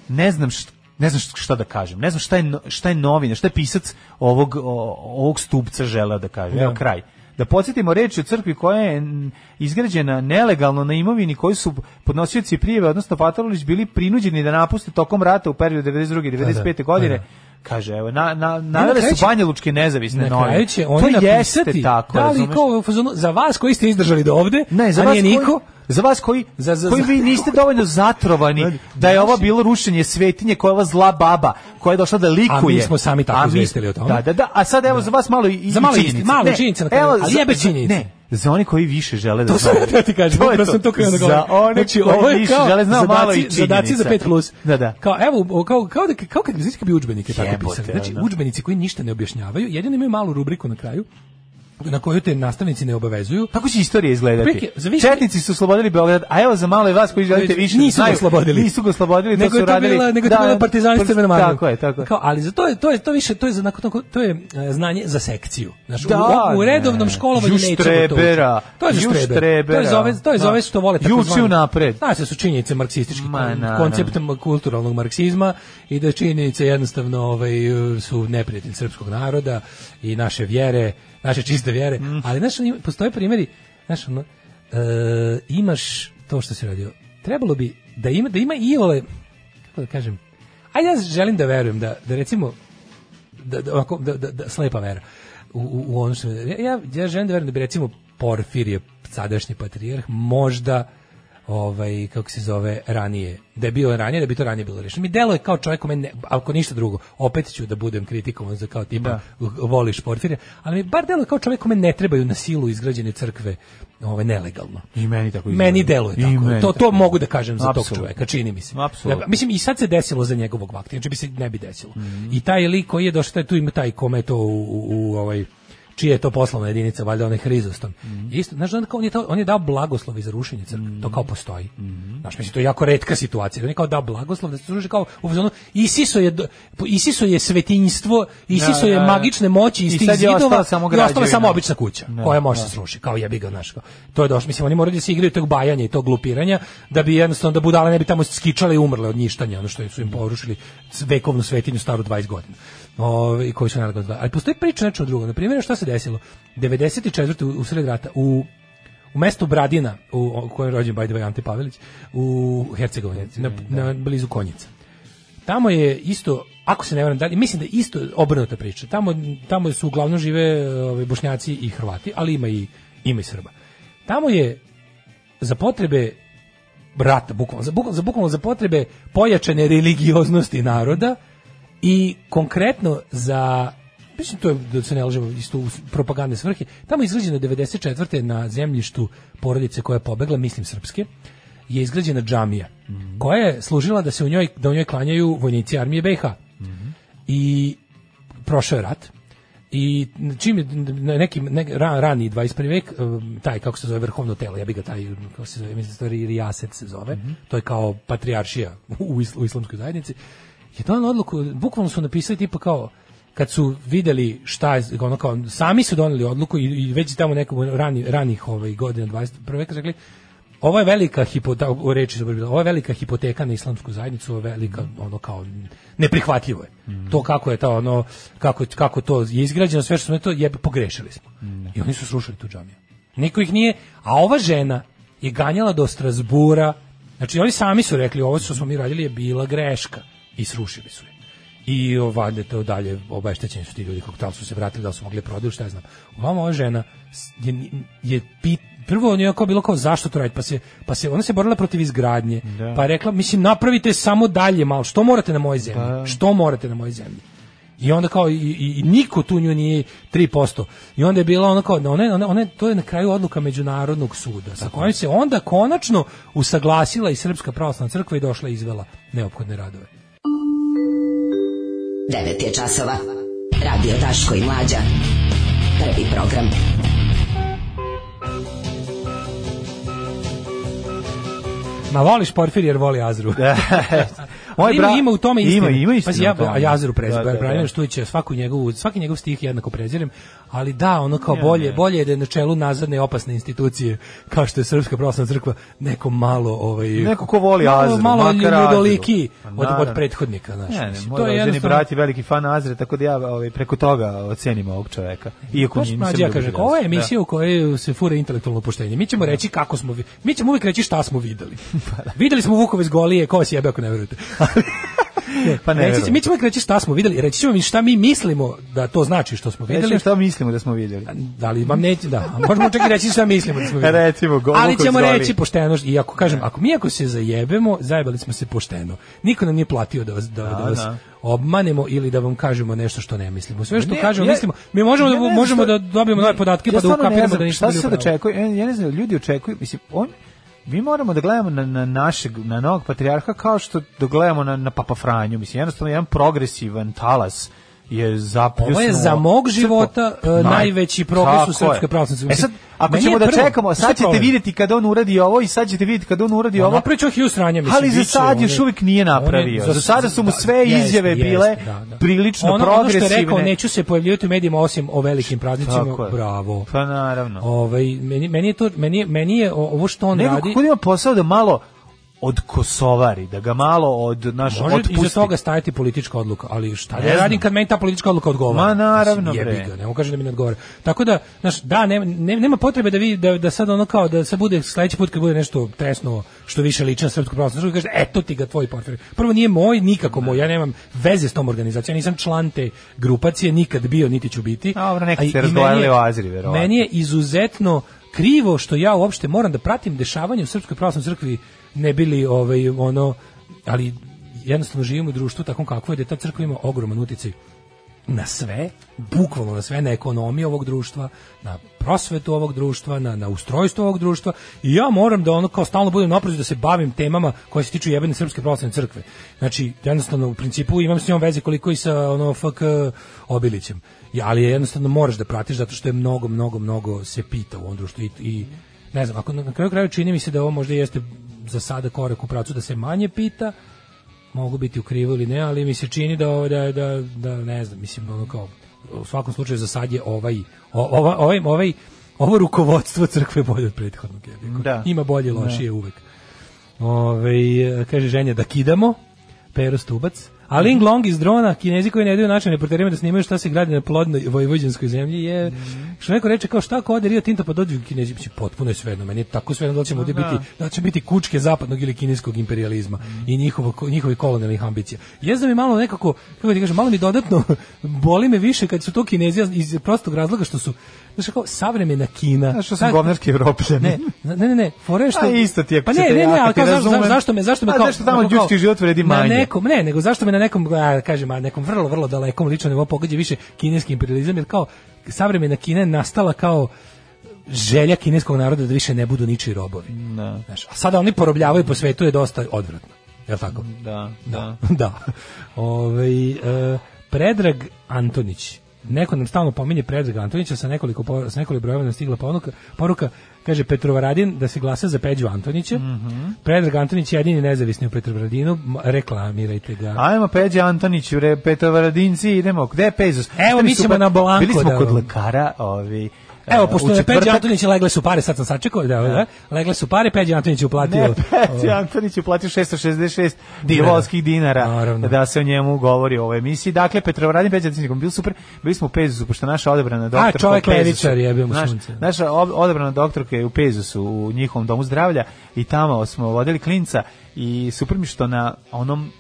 F: ne znam št- ne znam št- šta da kažem. Ne znam šta je no- šta je novina, šta je pisac ovog o- ovog stupca želeo da kaže. Evo
G: Da.
F: kraj. Da podsjetimo reč je o crkvi koja je n, izgrađena nelegalno na imovini koju su podnosioci prijeve, odnosno Patarolić, bili prinuđeni da napuste tokom rata u periodu 92. i 95.
G: Pa Da, da,
F: godine.
G: da.
F: Kaže, evo, na, na,
G: na
F: navele
G: kraju
F: su
G: će-
F: Banja Lučke nezavisne
G: na
F: novine.
G: kraju će oni
F: to
G: napisati
F: jeste tako,
G: da li
F: razumeš?
G: kao u fazonu, za vas koji ste izdržali do ovde
F: Ne, za
G: a
F: vas
G: nije
F: koji-
G: niko
F: za vas koji
G: za, za,
F: koji
G: za- znači-
F: vi niste dovoljno zatrovani da je ovo bilo rušenje svetinje koja je ova zla baba koja je došla da likuje.
G: A mi smo sami tako
F: A mi-
G: izvestili o tome.
F: Da, da, da. A sad evo za vas malo i, i
G: Za malo
F: činjenice.
G: isti- malo
F: Ne,
G: činjenica na kraju,
F: evo,
G: ali
F: za-
G: jebe
F: za-
G: činjenice.
F: Ne, za oni koji više žele da
G: To sam
F: znaju.
G: da ti kažem,
F: To je
G: upravo
F: to.
G: sam to krenuo da
F: Za
G: govorim.
F: one
G: Znači,
F: koji
G: ovo je
F: više
G: kao
F: žele znaju, malo i
G: zadaci- Zadaci za
F: činjenica.
G: 5 plus.
F: Da, da.
G: Kao, evo, kao, kao, da, kao kad, znači, kad bi udžbenike tako
F: Jebote,
G: pisali. Znači,
F: ono.
G: udžbenici koji ništa ne objašnjavaju, jedino imaju malu rubriku na kraju, na koju te nastavnici ne obavezuju.
F: Kako će istorija izgledati?
G: Prilike, za više-
F: Četnici su oslobodili Beograd, a evo za malo i vas koji želite više da
G: nisu ga
F: znaju,
G: oslobodili.
F: Nisu ga oslobodili, to
G: nego
F: su
G: je to
F: radili.
G: bila nego je to
F: da,
G: bila partizani s Crvenom armijom.
F: Tako je, tako je.
G: Kao, ali za to je to je to više to je za onako- onako- to je e, znanje za sekciju. Znaš, u-
F: Da,
G: u, u redovnom
F: ne.
G: školovanju
F: Juš
G: nećemo to. učiti.
F: trebera,
G: To je za
F: juš
G: štreber. To je
F: trebera.
G: za ove to je za
F: Da.
G: ove što vole
F: Juči
G: takozvani-
F: unapred.
G: Znaš, da su činjenice marksistički
F: Ma, naravno.
G: konceptom kulturalnog marksizma i da činjenice jednostavno ovaj su neprijatelj srpskog naroda i naše vjere, naše čiste vjere,
F: Mhm.
G: ali znaš, ima- postoje primjeri, znaš, ono, e, imaš to što si radio. Trebalo bi da ima da ima iole kako da kažem. A ja želim da verujem da da recimo da, da, onako, da, da, da slepa vera u, u, u ono što ja, ja, ja želim da verujem da bi recimo Porfirije sadašnji patrijarh možda ovaj kako se zove ranije da je bio ranije da bi to ranije bilo rešeno mi delo je kao čovjek kome ne, ako ništa drugo opet ću da budem kritikovan za kao tipa voliš Porfirija ali mi bar delo je kao čovjek kome ne trebaju na silu izgrađene crkve ovaj nelegalno
F: I meni tako izgleda.
G: meni deluje
F: I
G: tako.
F: meni
G: To to
F: tako.
G: mogu da kažem za tog
F: Apsolutno.
G: čoveka, čini mi se.
F: Apsolutno.
G: Ja, mislim i sad se desilo za njegovog vakta, znači bi se ne bi desilo.
F: Mhm.
G: I taj lik koji je došao taj tu ima taj kome je to u, u, u ovaj čija je to poslovna jedinica, valjda onaj Hrizostom.
F: Mhm.
G: Isto, znaš, on, kao, on, je to, on je dao blagoslov i za rušenje crkve, to kao postoji.
F: Mhm.
G: Znaš, mislim, to je jako retka situacija. On je kao dao blagoslov da se ruši kao u fazonu, Isiso je, do- Isiso je svetinjstvo, Isiso je
F: da, da.
G: magične moći iz
F: I
G: tih
F: sad je
G: zidova,
F: ostala samo
G: i ostala je
F: građevina.
G: samo obična kuća,
F: Da,
G: koja može
F: da.
G: se sruši, kao jebi ga, znaš, kao. To je došlo, mislim, oni moraju da se igraju tog bajanja i tog glupiranja, da bi jednostavno, da budale ne bi tamo skičale i umrle od njištanja, ono što su im porušili s- vekovnu svetinju staru 20 godina. Ove, i koji su naravno dva. Ali postoji priča nečemu drugo. Na primjer, šta se desilo? 94. u, u sred rata, u u mestu Bradina, u, u kojem je rođen by the way Ante Pavelić, u Hercegovini, na, na, blizu Konjica. Tamo je isto, ako se ne varam dalje, mislim da je isto obrnuta priča. Tamo, tamo su uglavnom žive e, ovaj, bošnjaci i Hrvati, ali ima i, ima i Srba. Tamo je za potrebe rata, bukvalno, za, bukvalno, za, bukvalno za potrebe pojačane religioznosti naroda i konkretno za mislim to je, da se ne lažemo, isto u propagandne svrhe, tamo je izgrađena 94. na zemljištu porodice koja je pobegla, mislim srpske, je izgrađena džamija, koja je služila da se u njoj, da u njoj klanjaju vojnici armije BiH. I prošao je rat, i čim je na neki ne, ra- rani 21. vek um, taj kako se zove vrhovno telo ja bih ga taj kako se zove mislim stvari rijaset se zove to je kao patrijaršija u, isl- u islamskoj zajednici je donela odluku bukvalno su napisali tipa kao kad su videli šta je ono kao sami su doneli odluku i, i već tamo nekom rani ranih ovaj godina 21. veka rekli ovo je velika hipoteka, u reči su bile, ovo je velika hipoteka na islamsku zajednicu, ovo je velika, ono kao, neprihvatljivo je. To kako je ta, ono, kako, kako to je izgrađeno, sve što smo to, jebe, pogrešili smo. I oni su srušili tu džamiju. Niko ih nije, a ova žena je ganjala do Strasbura, znači oni sami su rekli, ovo što smo mi radili je bila greška i srušili su je. I ovdje to dalje obeštećeni su ti ljudi kako tamo su se vratili, da li su mogli prodati, šta ja znam. Vama ova žena s- je, je pit, prvo on je kao bilo kao zašto to raditi, pa se, pa se ona se borila protiv izgradnje,
F: Da.
G: pa je rekla, mislim, napravite samo dalje malo, što morate na moje zemlji,
F: Pa.
G: što morate na moje zemlji. I onda kao, i, i, i niko tu nju nije 3%. I onda je bila ono kao, ona, ona, ona, to je na kraju odluka Međunarodnog suda, sa kojom se onda konačno usaglasila i Srpska pravoslavna crkva i došla i izvela neophodne radove.
K: 9 je časova. Radio Daško i Mlađa. Prvi program.
G: Ma voliš Porfir jer voli Azru.
F: Moj
G: Moj ima,
F: bra-
G: ima u tome
F: ima-
G: istine.
F: ima istine
G: Pazi, ja,
F: u tome.
G: a ja Azru prezirem,
F: Da, da, da.
G: Branijan Štujića, svaku njegovu, svaki njegov stih jednako prezirem, ali da, ono kao
F: Ja,
G: bolje,
F: ne.
G: bolje je da je na čelu nazadne i opasne institucije, kao što je Srpska pravoslavna crkva, neko malo ovaj
F: Neko ko voli
G: malo,
F: Azru,
G: malo
F: makar Azru.
G: ljudoliki
F: Pa
G: od, od
F: naravno.
G: prethodnika, znaš.
F: Ne, ne,
G: mislim,
F: moj rođeni
G: jednostavno-
F: brat je veliki fan Azre, tako da ja ovaj, preko toga ocenim ovog čoveka. Iako
G: Baš
F: mi
G: mlađi, ja kažem, ovo je emisija u kojoj se fura intelektualno poštenje. Mi ćemo reći kako smo, vi- mi ćemo uvijek reći šta smo videli.
F: Pa
G: videli smo Vukove iz Golije, ko vas jebe ako ne verujete. Ali- ne,
F: Pa ne
G: reći će-
F: verujem.
G: mi ćemo uvijek reći šta smo videli, reći ćemo mi šta mi mislimo da to znači što smo
F: Videli
G: videli.
F: šta mislimo da smo vidjeli?
G: Da li vam neće, da. a Možemo čak i reći šta mislimo da smo videli.
F: Recimo, go-
G: Ali
F: Vukov
G: ćemo
F: iz Golije.
G: reći pošteno, i ako kažem, ako mi ako se zajebemo, zajebali smo se pošteno. Niko nam nije platio da vas, da, da
F: Da,
G: vas
F: da.
G: obmanemo ili da vam kažemo nešto što ne mislimo. Sve što
F: Ne,
G: kažemo,
F: ja-
G: mislimo. Mi možemo,
F: ja
G: da,
F: ne znam
G: možemo
F: šta-
G: da dobijemo nove podatke pa da
F: stvarno ne
G: ukapiramo
F: znam
G: da ništa
F: šta se
G: bili u
F: sad
G: pravu.
F: očekuje? Ja, ja ne znam, ljudi očekuju, mislim, on, mi moramo da gledamo na, na našeg, na novog patrijarha kao što da gledamo na, na Papa Franju, mislim, jednostavno jedan progresivan talas je zapljusnuo.
G: Ovo je za mog života e,
F: Naj-
G: najveći progres u
F: Tako je.
G: Srpskoj pravoslavnoj crkvi.
F: E sad,
G: Mislim,
F: ako
G: meni je
F: ćemo da
G: prvo,
F: čekamo,
G: šta je
F: sad ćete
G: problem?
F: vidjeti kada on uradi ovo i sad ćete vidjeti kada on uradi
G: Pa
F: ovo.
G: napravit će on hilju sranja, mislim,
F: Ali za
G: bit će,
F: sad
G: on
F: još
G: je-
F: uvijek nije napravio.
G: on je-
F: Za sada su mu
G: da,
F: sve
G: jeste,
F: izjave
G: jeste,
F: bile
G: da, da.
F: prilično
G: ono, Ono što je rekao,
F: progresivne.
G: neću se pojavljivati u medijima osim o velikim praznicima,
F: Tako je.
G: bravo.
F: Pa naravno.
G: Ovaj, meni, meni je to, meni, je- meni je o- ovo što on
F: Nego
G: radi...
F: kod ima posao da malo od kosovari, da ga malo od naš
G: Može
F: otpusti.
G: iza toga stajati politička odluka, ali šta
F: Ne
G: da ja
F: znam.
G: radim kad meni ta politička odluka odgovara?
F: Ma, naravno,
G: Mislim, jebi
F: bre.
G: ga, ne mogu kažem da mi ne odgovara. Tako da, znaš, da, ne, ne- nema potrebe da vi, da, da sad ono kao, da se bude sledeći put kad bude nešto tresno što više liči na srpsku pravoslavnu crkvu, kaže, eto ti ga tvoj portfelj. Prvo nije moj, nikako moj, ja nemam veze s tom organizacijom, ja nisam član te grupacije, nikad bio, niti ću biti.
F: Dobro, nekad
G: Znači, A i-
F: ste
G: i meni
F: razgovarali
G: je-
F: o Azri, verovatno.
G: Meni je izuzetno krivo što ja uopšte moram da pratim dešavanje u Srpskoj pravoslavnoj crkvi ne bili ovaj ono ali jednostavno živimo u društvu takvom kakvo je da ta crkva ima ogroman uticaj na sve, bukvalno na sve, na ekonomiju ovog društva, na prosvetu ovog društva, na, na ustrojstvo ovog društva i ja moram da ono kao stalno budem napravo da se bavim temama koje se tiču jebene srpske pravoslavne crkve. Znači, jednostavno u principu imam s njom veze koliko i sa ono FK Obilićem. Ja, ali jednostavno moraš da pratiš zato što je mnogo, mnogo, mnogo se pita u ovom društvu i, i ne znam, ako na, na kraju kraju čini mi se da ovo možda jeste za sada korak u pracu da se manje pita, mogu biti u krivu ili ne, ali mi se čini da ovo- da da da ne znam, mislim ono kao u svakom slučaju za sad je ovaj o- ova- ovaj ovaj ovo rukovodstvo crkve bolje od prethodnog jebi ga.
F: Da.
G: Ima bolje i lošije uvek. Ove, kaže ženja da kidamo, Pero Stubac. A Ling Long iz drona, kinezi koji ne daju našim reporterima da snimaju šta se gradi na plodnoj vojvođanskoj zemlji je,
F: Mhm.
G: što neko reče kao šta ako ode Rio Tinto pa dođu kinezi, Mislim, potpuno je svejedno, meni je tako svejedno da li ćemo ovdje
F: Pa Da.
G: biti, da li će biti kučke zapadnog ili kineskog imperializma i njihovo, njihovi kolonijalnih ambicija. Jezda mi malo nekako, kako ti kažem, malo mi dodatno boli me više kad su to kinezija iz prostog razloga što su znaš kako, savremena Kina.
F: Znaš Pa što sam govnarski evropljanin.
G: Ne, ne, ne, ne, fore je što...
F: A isto ti, ako
G: pa
F: se
G: ne,
F: te
G: ne, ne,
F: jaka,
G: ali
F: ti
G: kao, zašto,
F: razumem.
G: zašto, zašto me, zašto me
F: Pa
G: kao... ono
F: zašto tamo
G: kao-
F: ljudski život vredi manje?
G: Na nekom, ne, nego zašto me na nekom, a, kažem, a nekom vrlo, vrlo dalekom ličnom nivou pogađa više kineski imperializam, jer kao, savremena Kina je nastala kao želja kineskog naroda da više ne budu ničiji robovi.
F: Da.
G: Znaš, a sada oni porobljavaju po svetu je dosta odvratno. Je li tako?
F: Da,
G: da. da. Ovaj, e, Predrag Antonić. Neko nam stalno pominje Predrag Antonića sa nekoliko, po- sa nekoliko brojeva nam stigla ponuka, poruka. Kaže Petrovaradin da se glasa za Peđu Antonića.
F: Mhm.
G: Predrag Antonić je jedini nezavisni u Petrovaradinu. Ma- Reklamirajte ga.
F: Ajmo Peđe Antonić, re, Petovaradinci, idemo. Gde je Pezos?
G: Evo, mi
F: Super,
G: ćemo na Bolanko
F: Bili smo
G: da-
F: kod lekara, ovi...
G: Evo,
F: e, u
G: pošto je Peđa
F: četvrtak- E.
G: Antonić legle su pare, sad sam sačekao, da, da, legle su pare, Peđa Antonić je uplatio.
F: Ne, Peđe Antonić je platio 666 divolskih dinara da se o njemu govori u ovoj emisiji. Dakle, Petrovaradin Peđe Antonić, bil super, bili smo u Pezusu, pošto naša odebrana doktorka... u
G: čovek
F: Pezusu-
G: levičar, jebe mu
F: Naš-
G: sunce.
F: Naša ob- odebrana doktorka je u Pezusu, u njihovom domu zdravlja i tamo smo vodili klinca i super mi što na onom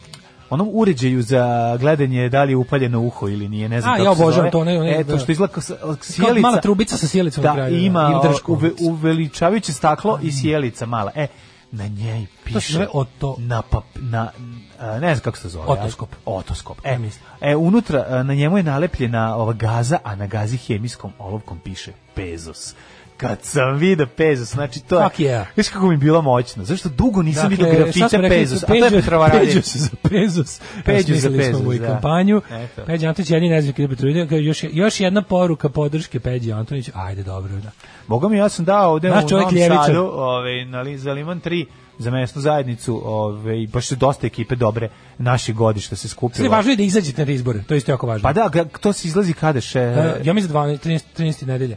F: onom uređaju za gledanje da li je upaljeno uho ili nije, ne znam
G: A,
F: kako
G: ja
F: se
G: obožavam
F: zove.
G: to, ne, ne,
F: Eto,
G: da.
F: što izgleda kao s- sjelica.
G: mala trubica sa sjelicom na
F: da,
G: kraju, da,
F: ima
G: ili drškom.
F: uve- uveličavajuće staklo i sjelica mala. E, na njej piše
G: To se zove oto-
F: na pap, na a, ne znam kako se zove.
G: Otoskop.
F: ali- Otoskop. E, e unutra a, na njemu je nalepljena ova gaza, a na gazi hemijskom olovkom piše Bezos. Kad sam vidio Pezos, znači to je...
G: Fuck yeah.
F: Viš kako mi je bilo moćno. Zašto dugo nisam
G: Dakle,
F: vidio
G: šta
F: grafite
G: smo rekli,
F: Pezos, a to je
G: Peđo-
F: Petrovaradin.
G: Peđo se za Pezos.
F: Peđo za
G: Osmislili smo mu i
F: Pezos, da.
G: kampanju.
F: Eto.
G: Peđa Antonić je jedini nezavisni kandidat Petrovaradina. Kaže, još, je- još jedna poruka podrške Peđi Antoniću. Ajde, dobro. Da.
F: Boga mi, ja sam dao ovde
G: Naš
F: u
G: čovjek
F: Novom
G: ljevičar.
F: Sadu, ovaj, na, li- za Liman 3, za mesnu zajednicu, ovaj, baš su dosta ekipe dobre naših godišta se
G: Sve
F: skupilo.
G: važno je da izađete na izbore. To je isto jako važno.
F: Pa da, ga- to se izlazi kada še...
G: E, ja mislim 12, 13, 13. nedelja.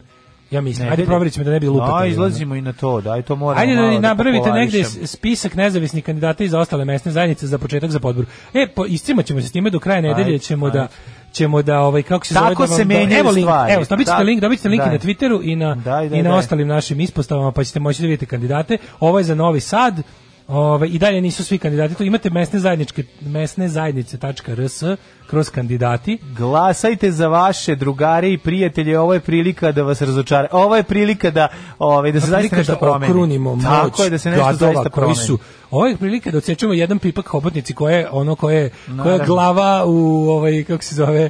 G: Ja mislim. Ajde,
F: Nedelje.
G: provjerit ćemo da ne bi lupate.
F: No, izlazimo i na to, da, i to moramo
G: Ajde
F: malo
G: da napravite
F: popularišem.
G: negde spisak nezavisnih kandidata i za ostale mesne zajednice za početak za podbor. E, po, iscimaćemo se s time do kraja nedelje,
F: Ajde,
G: ćemo da
F: ajde.
G: ćemo da ovaj kako se
F: Tako
G: zove da
F: se
G: da-
F: menjaju
G: evo link,
F: stvari.
G: evo dobit ćete
F: Da.
G: link, dobit ćete link i
F: Daj.
G: na Twitteru i na
F: Daj, daj,
G: i na
F: daj.
G: ostalim našim ispostavama, pa ćete moći da vidite kandidate. Ovo je za Novi Sad. Ovaj i dalje nisu svi kandidati. Tu imate mesne zajedničke mesne zajednice.rs kroz kandidati.
F: Glasajte za vaše drugare i prijatelje, ovo je prilika da vas razočara. Ovo je prilika da, ovaj, da se zaista
G: prilika
F: nešto
G: da
F: promeni.
G: okrunimo moć
F: Tako je, da se nešto
G: gradova
F: zaista
G: koji
F: promeni.
G: su ovo je prilika da odsečemo jedan pipak hobotnici koje je ono koje koja je
F: Naravno.
G: glava u ovaj kako se zove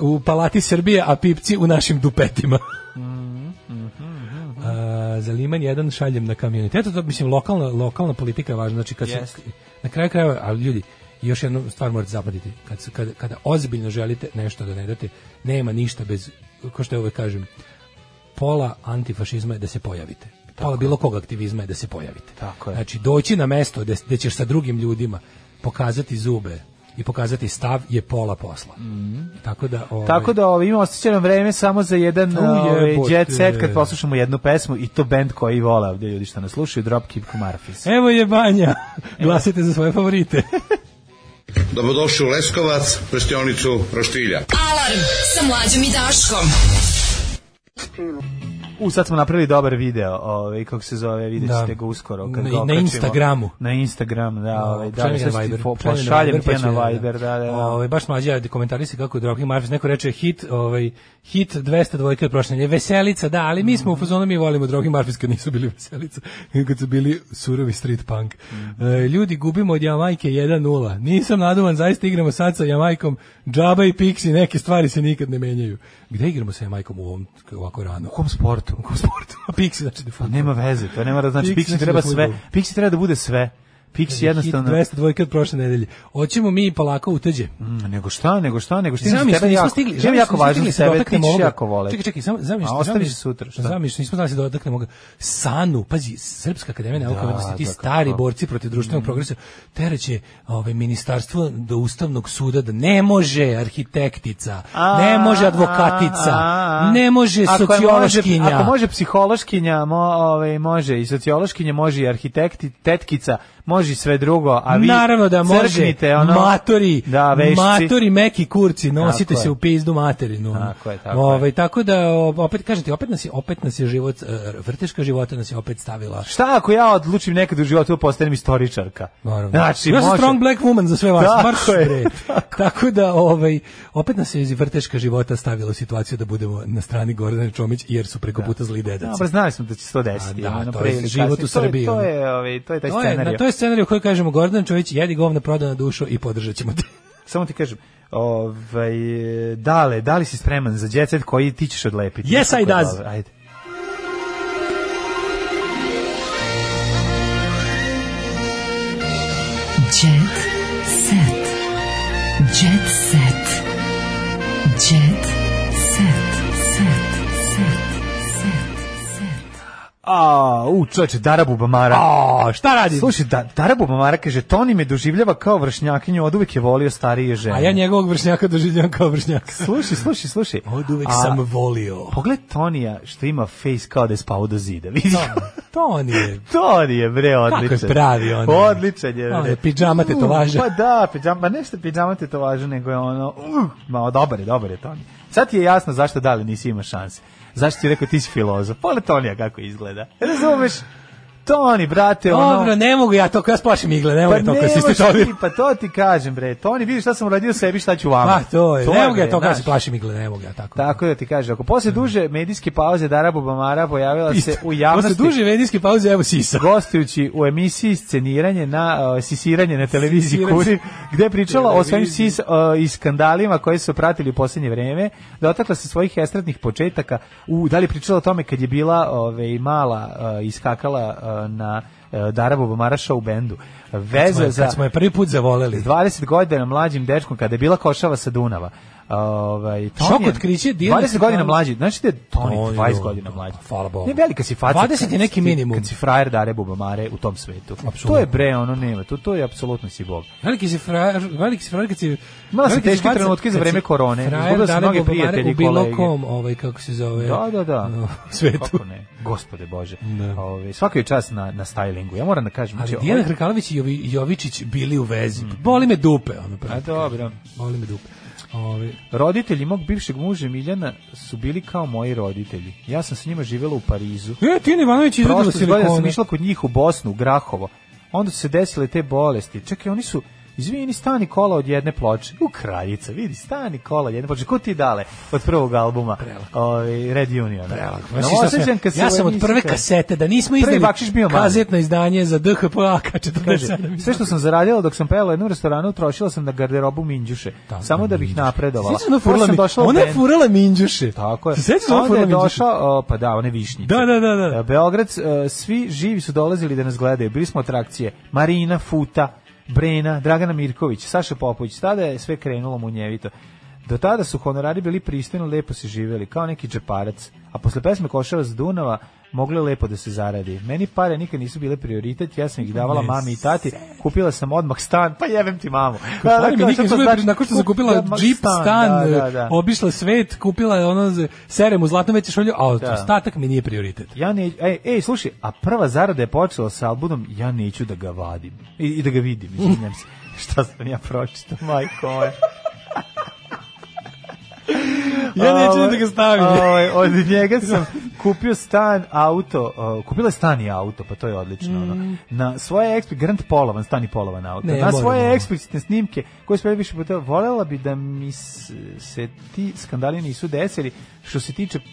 G: u palati Srbije a pipci u našim dupetima
F: Mhm,
G: A, za Liman jedan šaljem na kamion. Eto to mislim lokalna lokalna politika je važna, znači kad se
F: Jeste.
G: na kraju krajeva, ali ljudi još jednu stvar morate zapamtiti, kad se- kada, kada ozbiljno želite nešto da ne date, nema ništa bez kao što ja uvek kažem, pola antifašizma je da se pojavite. Pola bilo kog aktivizma je da se pojavite.
F: Tako je.
G: Znači doći na mesto gde, gde ćeš sa drugim ljudima pokazati zube i pokazati stav je pola posla. Tako da ovaj,
F: Mhm. Tako da ovaj, imamo osjećeno vreme samo za jedan
G: U,
F: ovaj,
G: jebote.
F: jet set kad poslušamo jednu pesmu i to band koji vole ovdje ljudi što nas slušaju, Dropkick Murphys.
G: Evo je banja. Glasite za svoje favorite.
N: Dobrodošli u Leskovac, prštionicu Roštilja.
J: Alarm sa mlađom i Daškom.
F: U, sad smo napravili dobar video, ovaj, kako se zove, vidjet
G: Da.
F: ćete ga uskoro. Kad
G: Na-
F: ga
G: na
F: okačimo.
G: Instagramu.
F: Na Instagram, da. Ovaj, da,
G: Šaljem
F: sad
G: ga
F: ću
G: na
F: ti
G: Viber.
F: po-
G: Šaljem ga
F: Pošaljem ti
G: pa ću-
F: na Viber, da, da. da.
G: Ovaj, baš mlađi ja komentari se kako Dropkick Murphys, neko reče hit, ovaj, hit 200 dvojke od prošle nedelje. Veselica, da, ali mi smo u fazonu, mi volimo Dropkick Murphys kad nisu bili veselica, nego kad su bili surovi street punk.
F: Mhm.
G: E, ljudi, gubimo od Jamajke 1-0. Nisam naduvan, zaista igramo sad sa Jamajkom. Džaba i Pixi, neke stvari se nikad ne menjaju. Gde igramo sa Jamajkom u ovom, ovako rano?
F: U kom sportu?
G: U kom sportu? A Pixi, znači, da fudbal.
F: Nema veze, to nema, raz- znači,
G: Pixi
F: Pixi
G: znači
F: treba
G: za
F: sve,
G: fudbal.
F: Pixi treba da bude sve. Pixi jednostavno...
G: Hit 202 od prošle nedelje. Hoćemo mi polako uteđe.
F: Mm, nego šta, nego šta, nego šta.
G: Znam
F: Tebe
G: mi što nismo
F: jako-
G: stigli.
F: Tebe
G: Znam
F: jako važno za tebe, ti
G: dotaknemo
F: ćeš
G: ovoga.
F: jako vole.
G: Čekaj, čekaj, samo znam mi
F: A
G: što.
F: ostaviš sutra, šta?
G: Znam mi što nismo znali da se dotaknemo ovoga. Sanu, pazi, Srpska akademija nauka i
F: Da, Mm.
G: umetnosti, ti
F: da,
G: stari
F: kako.
G: borci protiv društvenog progresa, tereće ovaj ministarstvo do ustavnog suda da ne može arhitektica,
F: A,
G: ne može
F: a,
G: advokatica,
F: a, a.
G: ne može
F: Ako je
G: sociološkinja.
F: može- Ako može psihološkinja, mo, ovaj, može i sociološkinja, može i arhitekti, tetkica, može i sve drugo, a vi
G: Naravno da može.
F: crknite, ono,
G: matori,
F: da, vešci.
G: matori, meki kurci, nosite
F: Tako je.
G: se u pizdu materinu. ono.
F: Tako je, tako
G: Ovaj, tako da, o, opet, kažem ti, opet nas je, opet nas je život, e, vrteška života nas je opet stavila.
F: Šta ako ja odlučim nekad u životu da postanem istoričarka?
G: Naravno.
F: Znači,
G: ja sam
F: može.
G: strong black woman za sve vas.
F: Tako
G: Marš,
F: je,
G: bre. tako da, ovaj, opet nas je iz vrteška života stavila u situaciju da budemo na strani Gordana Čomić, jer su preko puta zli dedaci.
F: Dobro, znali smo da će se to desiti.
G: A da,
F: ono,
G: to
F: pre
G: je
F: ili
G: život
F: kasnije.
G: u Srbiji,
F: To
G: ono.
F: je, to je, ovaj, to je taj
G: To je,
F: scenarij.
G: na, to je scenarij u kojoj kažemo Gordana Čović, jedi govna prodana dušo i podržat ćemo te.
F: Samo ti kažem, ovaj, dale, da li si spreman za djecet koji ti ćeš odlepiti?
G: Yes, I
F: Tako je
G: does.
F: dobro, Ajde.
J: Jet set. Jet set. Jet set. Set. Set.
F: A, u, čoveče, Darabu Bamara.
G: A, šta radi?
F: Slušaj, da, Darabu Bamara kaže, Toni me doživljava kao vršnjakinju, od uvijek je volio starije žene.
G: A ja njegovog vršnjaka doživljam kao vršnjaka.
F: Slušaj, slušaj, slušaj.
G: Od uvek
F: A-
G: sam volio.
F: Pogled Tonija što ima face kao da je spao do zida. Vidi kako-
G: Toni je.
F: Toni je bre odličan.
G: Kako je pravi on.
F: Odličan je.
G: On
F: bre.
G: je pidžama tetovaža.
F: Mm, Pa da, pidžama, ma nešto pidžama tetovaža nego je ono, uh, ma dobar je, dobar je Toni. Sad ti je jasno zašto dali nisi imao šanse. Zašto ti je rekao ti si filozof? Pole Tonija kako izgleda. Razumeš? Toni, brate, ono...
G: Dobro, ne mogu ja to, ja splašim igle, ne mogu ja to
F: Pa ne
G: kad se
F: možeš
G: ističavim.
F: ti, pa to ti kažem, bre. Toni, vidi šta sam uradio sebi, šta ću vama.
G: Pa to je, ne mogu ja
F: bre,
G: to kad
F: znaš.
G: se plašim igle, ne mogu ja tako.
F: Tako da ti kaže, ako posle duže medijske pauze Dara Bubamara pojavila se u javnosti.
G: Posle duže medijske pauze, evo sisa.
F: gostujući u emisiji sceniranje na uh, sisiranje na televiziji
G: Sisiranje.
F: Kuri, gde je pričala o svojim
G: Televiziji.
F: sis uh, i skandalima koji su pratili u posljednje vreme, dotakla se svojih estradnih početaka, u, da li je pričala o tome kad je bila ove, mala uh, iskakala uh, na uh, Darabu Bamaraša u bendu. Veza
G: Kad smo je-
F: za
G: kad smo je prvi put zavoleli.
F: s 20 godina mlađim dečkom kada je bila košava sa Dunava. Ovaj Toni
G: Šok
F: je
G: otkriće, Dino
F: 20 godina
G: Stefanović.
F: mlađi. Znači da je Toni 20
G: Toni, dobro,
F: godina
G: dobro,
F: mlađi.
G: hvala Bogu.
F: Ne velika si faca.
G: 20 je neki
F: kad si-
G: minimum.
F: Kad si frajer Dare Bubamare u tom svetu.
G: Apsolutno.
F: To je bre, ono nema. To to je apsolutno si bog.
G: Veliki si frajer, veliki si frajer kad si...
F: Imala sam
G: veliki si
F: teške
G: faca
F: trenutke za
G: kad
F: vreme
G: si
F: korone.
G: frajer,
F: Izgubila sam
G: Dare
F: mnoge
G: Bobare
F: prijatelje i
G: U bilo
F: kolege.
G: kom, ovaj, kako se zove... ono,
F: Da, da, da.
G: u svetu.
F: Kako ne? Gospode Bože. Ovaj svaki čas na na stylingu. Ja moram da kažem,
G: Ali
F: znači,
G: Dijana
F: ovaj-
G: Hrkalović i Jovi, Jovičić bili u vezi.
F: Mm.
G: Boli me dupe, ono
F: A
G: pravo.
F: dobro.
G: Boli me dupe. Ovi,
F: Roditelji mog bivšeg muža Miljana su bili kao moji roditelji. Ja sam s njima živela u Parizu.
G: E, Tina Ivanović je izgledala
F: Prošle godine sam
G: silikona.
F: išla kod njih u Bosnu, u Grahovo. Onda su se desile te bolesti. Čekaj, oni su Izvini, stani kola od jedne ploče. U kraljica, vidi, stani kola od jedne ploče. Ko ti dale od prvog albuma? Ovaj, Red Union. Prelako.
G: Znaš šta sam ja- ja
F: ovaj
G: sam od prve kasete, da nismo
F: Prvi
G: izdali
F: bakšiš bio mali.
G: kazetno izdanje za DHP
F: Kaže,
G: AK-47.
F: sve što sam zaradila dok sam pevala u jednom restoranu, trošila sam na garderobu minđuše. samo da bih napredovala.
G: Sjećaš ona
F: Onda
G: furala,
F: sam
G: mi,
F: došla u
G: ona je
F: bend.
G: furala minđuše.
F: Tako je.
G: Se sjećaš da
F: A
G: ona
F: onda je
G: furala minđuše?
F: došao, o, pa da, one višnjice.
G: Da, da, da, da.
F: E, Beograd, e, svi živi su dolazili da nas gledaju. Bili smo atrakcije. Marina, Futa, Brena, Dragana Mirković, Saša Popović. Tada je sve krenulo munjevito. Do tada su honorari bili pristojno, lepo se živjeli, kao neki džeparac. A posle pesme Košava z Dunava moglo je lepo da se zaradi. Meni pare nikad nisu bile prioritet, ja sam ih davala
G: Ne,
F: mami i tati, kupila sam odmah stan, pa jebem ti mamu.
G: Stvari mi
F: kao,
G: nikad
F: šta to
G: nisu bile
F: znači?
G: pri- nakon što sam kupila
F: Odmah
G: džip, stan, e,
F: da, da, da.
G: obišla svet, kupila je ono za- serem u zlatnom veće šolju, a ostatak mi nije prioritet.
F: Ja ne, ej, ej, slušaj, a prva zarada je počela sa albumom Ja neću da ga vadim. I, i da ga vidim, izvinjam se. Šta sam ja pročitao, majko moja.
G: Ja neću ni da ga stavim.
F: Ovaj, od njega sam kupio stan, auto, o, kupila je stan i auto, pa to je odlično. Ono. Na svoje eksp... Grand Polovan, stan i Polovan auto.
G: Mm. Ne,
F: na
G: moram,
F: svoje
G: moram.
F: eksplicitne snimke, koje smo više puta, volela bi da mi s- se ti skandali nisu desili. Što se tiče p-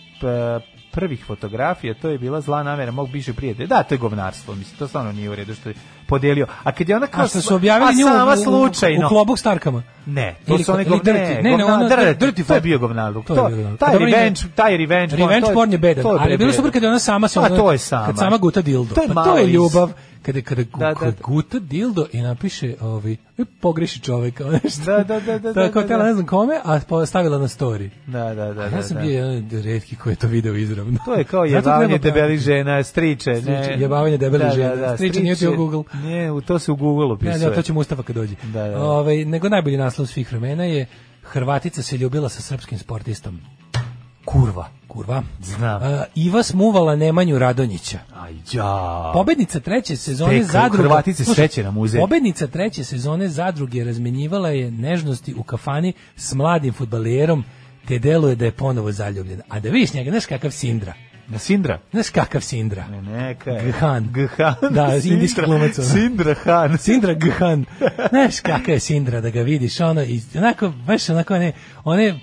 F: prvih fotografija, to je bila zla namera mog biše prijatelja. Da, to je govnarstvo, mislim, to stvarno nije u redu što je podelio. A kad je ona kao...
G: A što
F: sva-
G: su objavili
F: a
G: nju
F: sama
G: u, u,
F: slučajno.
G: u klobuk s tarkama?
F: Ne, to
G: Ili
F: su one
G: ko- ili
F: govne,
G: Dirty. Ne, ne,
F: govna-
G: ono-
F: Dirty,
G: Dirty
F: to je
G: porn.
F: bio govnarluk.
G: To je
F: To,
G: bio govnarluk.
F: taj
G: A dobro,
F: revenge,
G: nije-
F: taj revenge porn.
G: Revenge
F: to
G: porn je bedan,
F: to
G: ali je bilo
F: bedan.
G: super kad je ona sama se
F: A
G: ono-
F: to je sama.
G: Kad sama guta dildo.
F: To je
G: pa to
F: malo
G: je
F: iz-
G: ljubav. Kada, kada gu-
F: Da, da,
G: kada
F: da.
G: guta dildo i napiše ovi, pogreši ono čovek, kao nešto.
F: Da, da, da, da,
G: Tako,
F: da,
G: tela
F: da.
G: ne znam kome, a po- stavila na story.
F: Da, da, da. da,
G: Ja sam
F: da.
G: bio jedan od redki koji je to video izravno.
F: To je kao
G: Zato
F: jebavanje
G: treba praviti.
F: debeli žena, striče. Ne.
G: Striče, jebavanje debelih žena. Striče nije ti u Google.
F: Ne, u to se u Google
G: Ne,
F: opisuje.
G: ne, to ćemo Mustafa kad dođe.
F: Da, da.
G: Ovaj, nego najbolji naslov svih vremena je Hrvatica se ljubila sa srpskim sportistom.
F: Kurva.
G: Kurva.
F: Znam.
G: Uh, Iva smuvala Nemanju Radonjića.
F: Aj, ja.
G: Pobednica treće sezone
F: Tek,
G: zadruge.
F: Hrvatice
G: Slušaj,
F: šećera muze.
G: Pobednica treće sezone zadruge razmenjivala je nežnosti u kafani s mladim fudbalerom, te deluje da je ponovo zaljubljena. A da vidiš njega, znaš kakav Sindra.
F: Na Sindra?
G: Znaš kakav Sindra?
F: Ne, neka je.
G: Ghan.
F: Ghan.
G: Da,
F: Sindra-
G: indijski glumac. ono.
F: Sindra Han.
G: Sindra Ghan. Znaš kakav je Sindra da ga vidiš, ono, i onako, baš onako one, one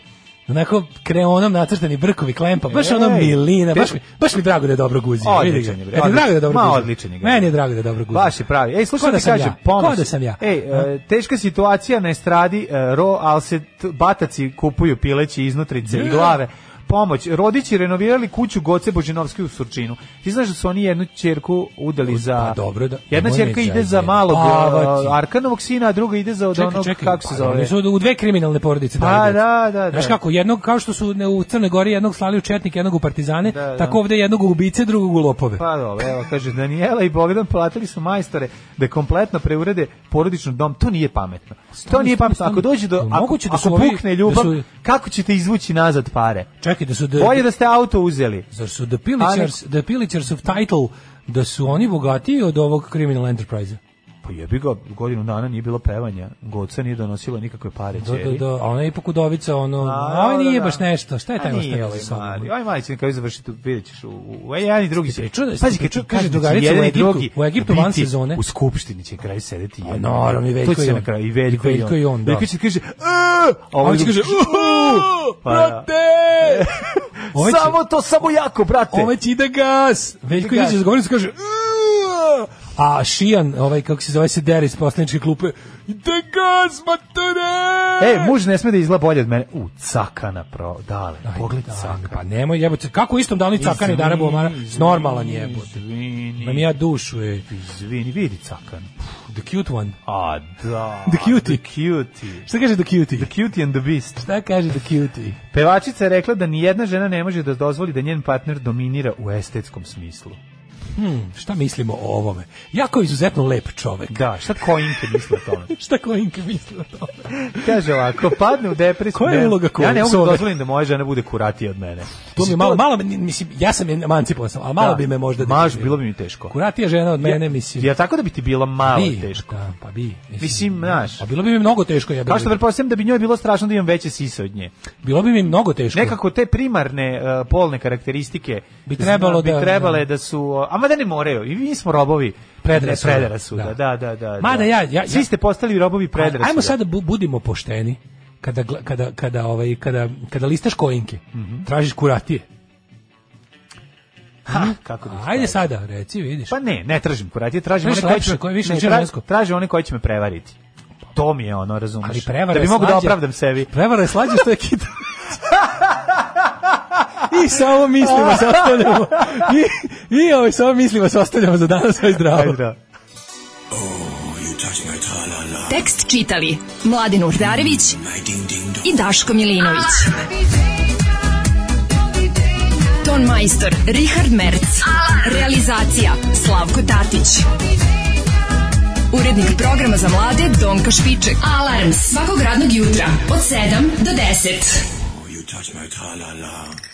G: onako kreonom nacrtani brkovi klempa, baš ono
F: Ej,
G: milina, baš mi,
F: teško-
G: baš mi drago da je dobro guzi.
F: Odličan je, bre,
G: Meni je drago da je dobro
F: ma,
G: guzi.
F: odličan je, bre.
G: Meni je drago da je dobro guzi.
F: Baš je pravi. Ej,
G: Ko
F: slušaj,
G: da
F: da
G: sam
F: kažem,
G: ja?
F: pomoć.
G: Ko da sam ja?
F: Ej, e, teška situacija na estradi, e, ro, ali se t- bataci kupuju pileći iznutrice i
G: Je.
F: glave. Pomoć. Rodići renovirali kuću Goce Božinovske u Surčinu. Ti znaš da su oni jednu čerku udali za...
G: pa dobro da-
F: Jedna
G: nemoj
F: čerka
G: me
F: ide za
G: zajebati.
F: malog
G: Ava
F: e,
G: ti.
F: Arkanovog sina, a druga ide za od onog, ono, kako se
G: pa,
F: zove?
G: Oni su u dve kriminalne porodice.
F: Pa,
G: dali decu.
F: da, da, da.
G: Znaš kako, jednog, kao što su ne, u Crnoj Gori jednog slali u Četnik, jednog u Partizane,
F: da.
G: tako ovde jednog u ubice, drugog u lopove.
F: Pa dobro, evo kaže Daniela i Bogdan platili su majstore da kompletno preurede porodični dom. To nije pametno. to
G: Stani,
F: nije
G: stani,
F: pametno. Ako
G: stani.
F: dođe do
G: Pa
F: ako,
G: moguće da
F: ako
G: su ovi-
F: pukne ljubav,
G: da su-
F: kako ćete izvući nazad pare?
G: Čekaj, da su... Da,
F: Bolje da ste auto uzeli.
G: Zar su The Pillagers, The Pillagers of Title, da su oni bogatiji od ovog Criminal Enterprise-a?
F: Pa jebi ga, godinu dana nije bilo pevanja. Goca nije donosila nikakve pare
G: Da, da,
F: čeri.
G: da, a ona je ipak udovica, ono, a,
F: da,
G: nije
F: da.
G: baš nešto, šta je
F: A
G: taj
F: nije
G: ostavio
F: ovaj
G: za sobom?
F: mali. Ovaj mali će na kraju završiti, vidjet ćeš. U, u, u- jedan i drugi će.
G: pričao da-
F: Pazi, kad
G: ti pričao-
F: ču- kaže
G: kaže
F: da će
G: drugarica u
F: jedan i
G: Egiptu-
F: drugi
G: u Egiptu van
F: biti
G: sezone. Pa
F: U skupštini će na kraju sedeti jedan.
G: naravno, i
F: To
G: Veljko
F: će
G: i
F: na
G: on.
F: kraju, I Veljko i on.
G: da.
F: Veljko će kaže, "E!" a
G: A
F: ovaj
G: on će
F: drugi
G: kaže, "Uuu,
F: Pa da.
G: brate! Ovaj će-
F: Samo to, samo jako, brate.
G: Ovaj će ide gas!
F: Ide
G: Veljko izađe
F: gas.
G: iz govornice i kaže, "Uuu." a Šijan, ovaj, kako se zove, se dere iz poslaničke klupe, ide gas, matere!
F: E, muž ne sme da izgleda bolje od mene. U, cakana, pro, dale.
G: Aj,
F: Pogled
G: daj,
F: cakana.
G: Pa nemoj jebote, kako u istom danu i cakani dara bomara,
F: Izvini,
G: normalan jebote.
F: Izvini,
G: Mam ja dušu, e.
F: izvini, vidi cakan.
G: The cute one.
F: A, da.
G: The cutie.
F: The cutie.
G: Šta kaže the cutie?
F: The cutie and the beast.
G: Šta kaže the cutie?
F: Pevačica je rekla da nijedna žena ne može da dozvoli da njen partner dominira u estetskom smislu.
G: Hmm, šta mislimo o ovome? Jako je izuzetno lep čovek.
F: Da, šta Koinke misle o tome?
G: Šta Koinke misli o tome?
F: Kaže ovako, padne u depresiju.
G: Koja je
F: ne,
G: uloga
F: Ja ne mogu
G: Koinke?
F: da dozvolim da moja žena bude kuratija od mene.
G: To mi malo, malo, mi- mislim, ja sam emancipovan sam, ali malo
F: Da.
G: bi me možda...
F: Maš,
G: deprimiralo.
F: bilo bi mi teško.
G: Kuratija žena od mene,
F: ja,
G: mislim.
F: Ja tako da bi ti bila malo
G: bi,
F: teško.
G: Da, pa bi.
F: Mislim, znaš.
G: Pa bilo bi mi mnogo teško, ja
F: Kao što pretpostavljam da bi njoj bilo strašno da imam veće sise od nje.
G: Bilo bi mi mnogo teško.
F: Nekako te primarne uh, polne karakteristike
G: Bi trebalo
F: bi
G: da-
F: trebale da,
G: da.
F: su, uh, a mada ne moraju, i mi smo robovi
G: Predrasuda.
F: predrasuda. Da, da, da.
G: Mada
F: da.
G: ja- ja-
F: Svi
G: ja-
F: ste postali robovi predrasuda.
G: Ali Ajmo sad da bu- budimo pošteni. Kada, gla- kada, kada, ovaj, kada, kada listaš koinke,
F: Mhm.
G: tražiš kuratije.
F: Ha, Ah, kako da ih
G: Ajde
F: tražim?
G: sada, reci, vidiš.
F: Pa ne, ne tražim kuratije, tražim
G: Tražiš
F: one koji
G: lepše,
F: će,
G: koje više
F: ne,
G: liče na
F: tra-
G: žensko.
F: tražim one koji će me prevariti. To mi je ono, razumeš.
G: Ali prevara
F: da bi
G: je
F: mogu da
G: slađa.
F: opravdam sebi.
G: Prevara je slađa što je kita. I samo mislimo se ostavljamo. I, i ovaj samo mislimo se ostavljamo za danas, aj zdravo.
F: Ajde, da.
J: Tekst čitali Mladin Urdarević i Daško Milinović. Ton majstor Richard Merc. Realizacija Slavko Tatić. Urednik programa za mlade Donka Špiček. Alarms svakog radnog jutra od 7 do 10.
L: You touch my tra-la-la.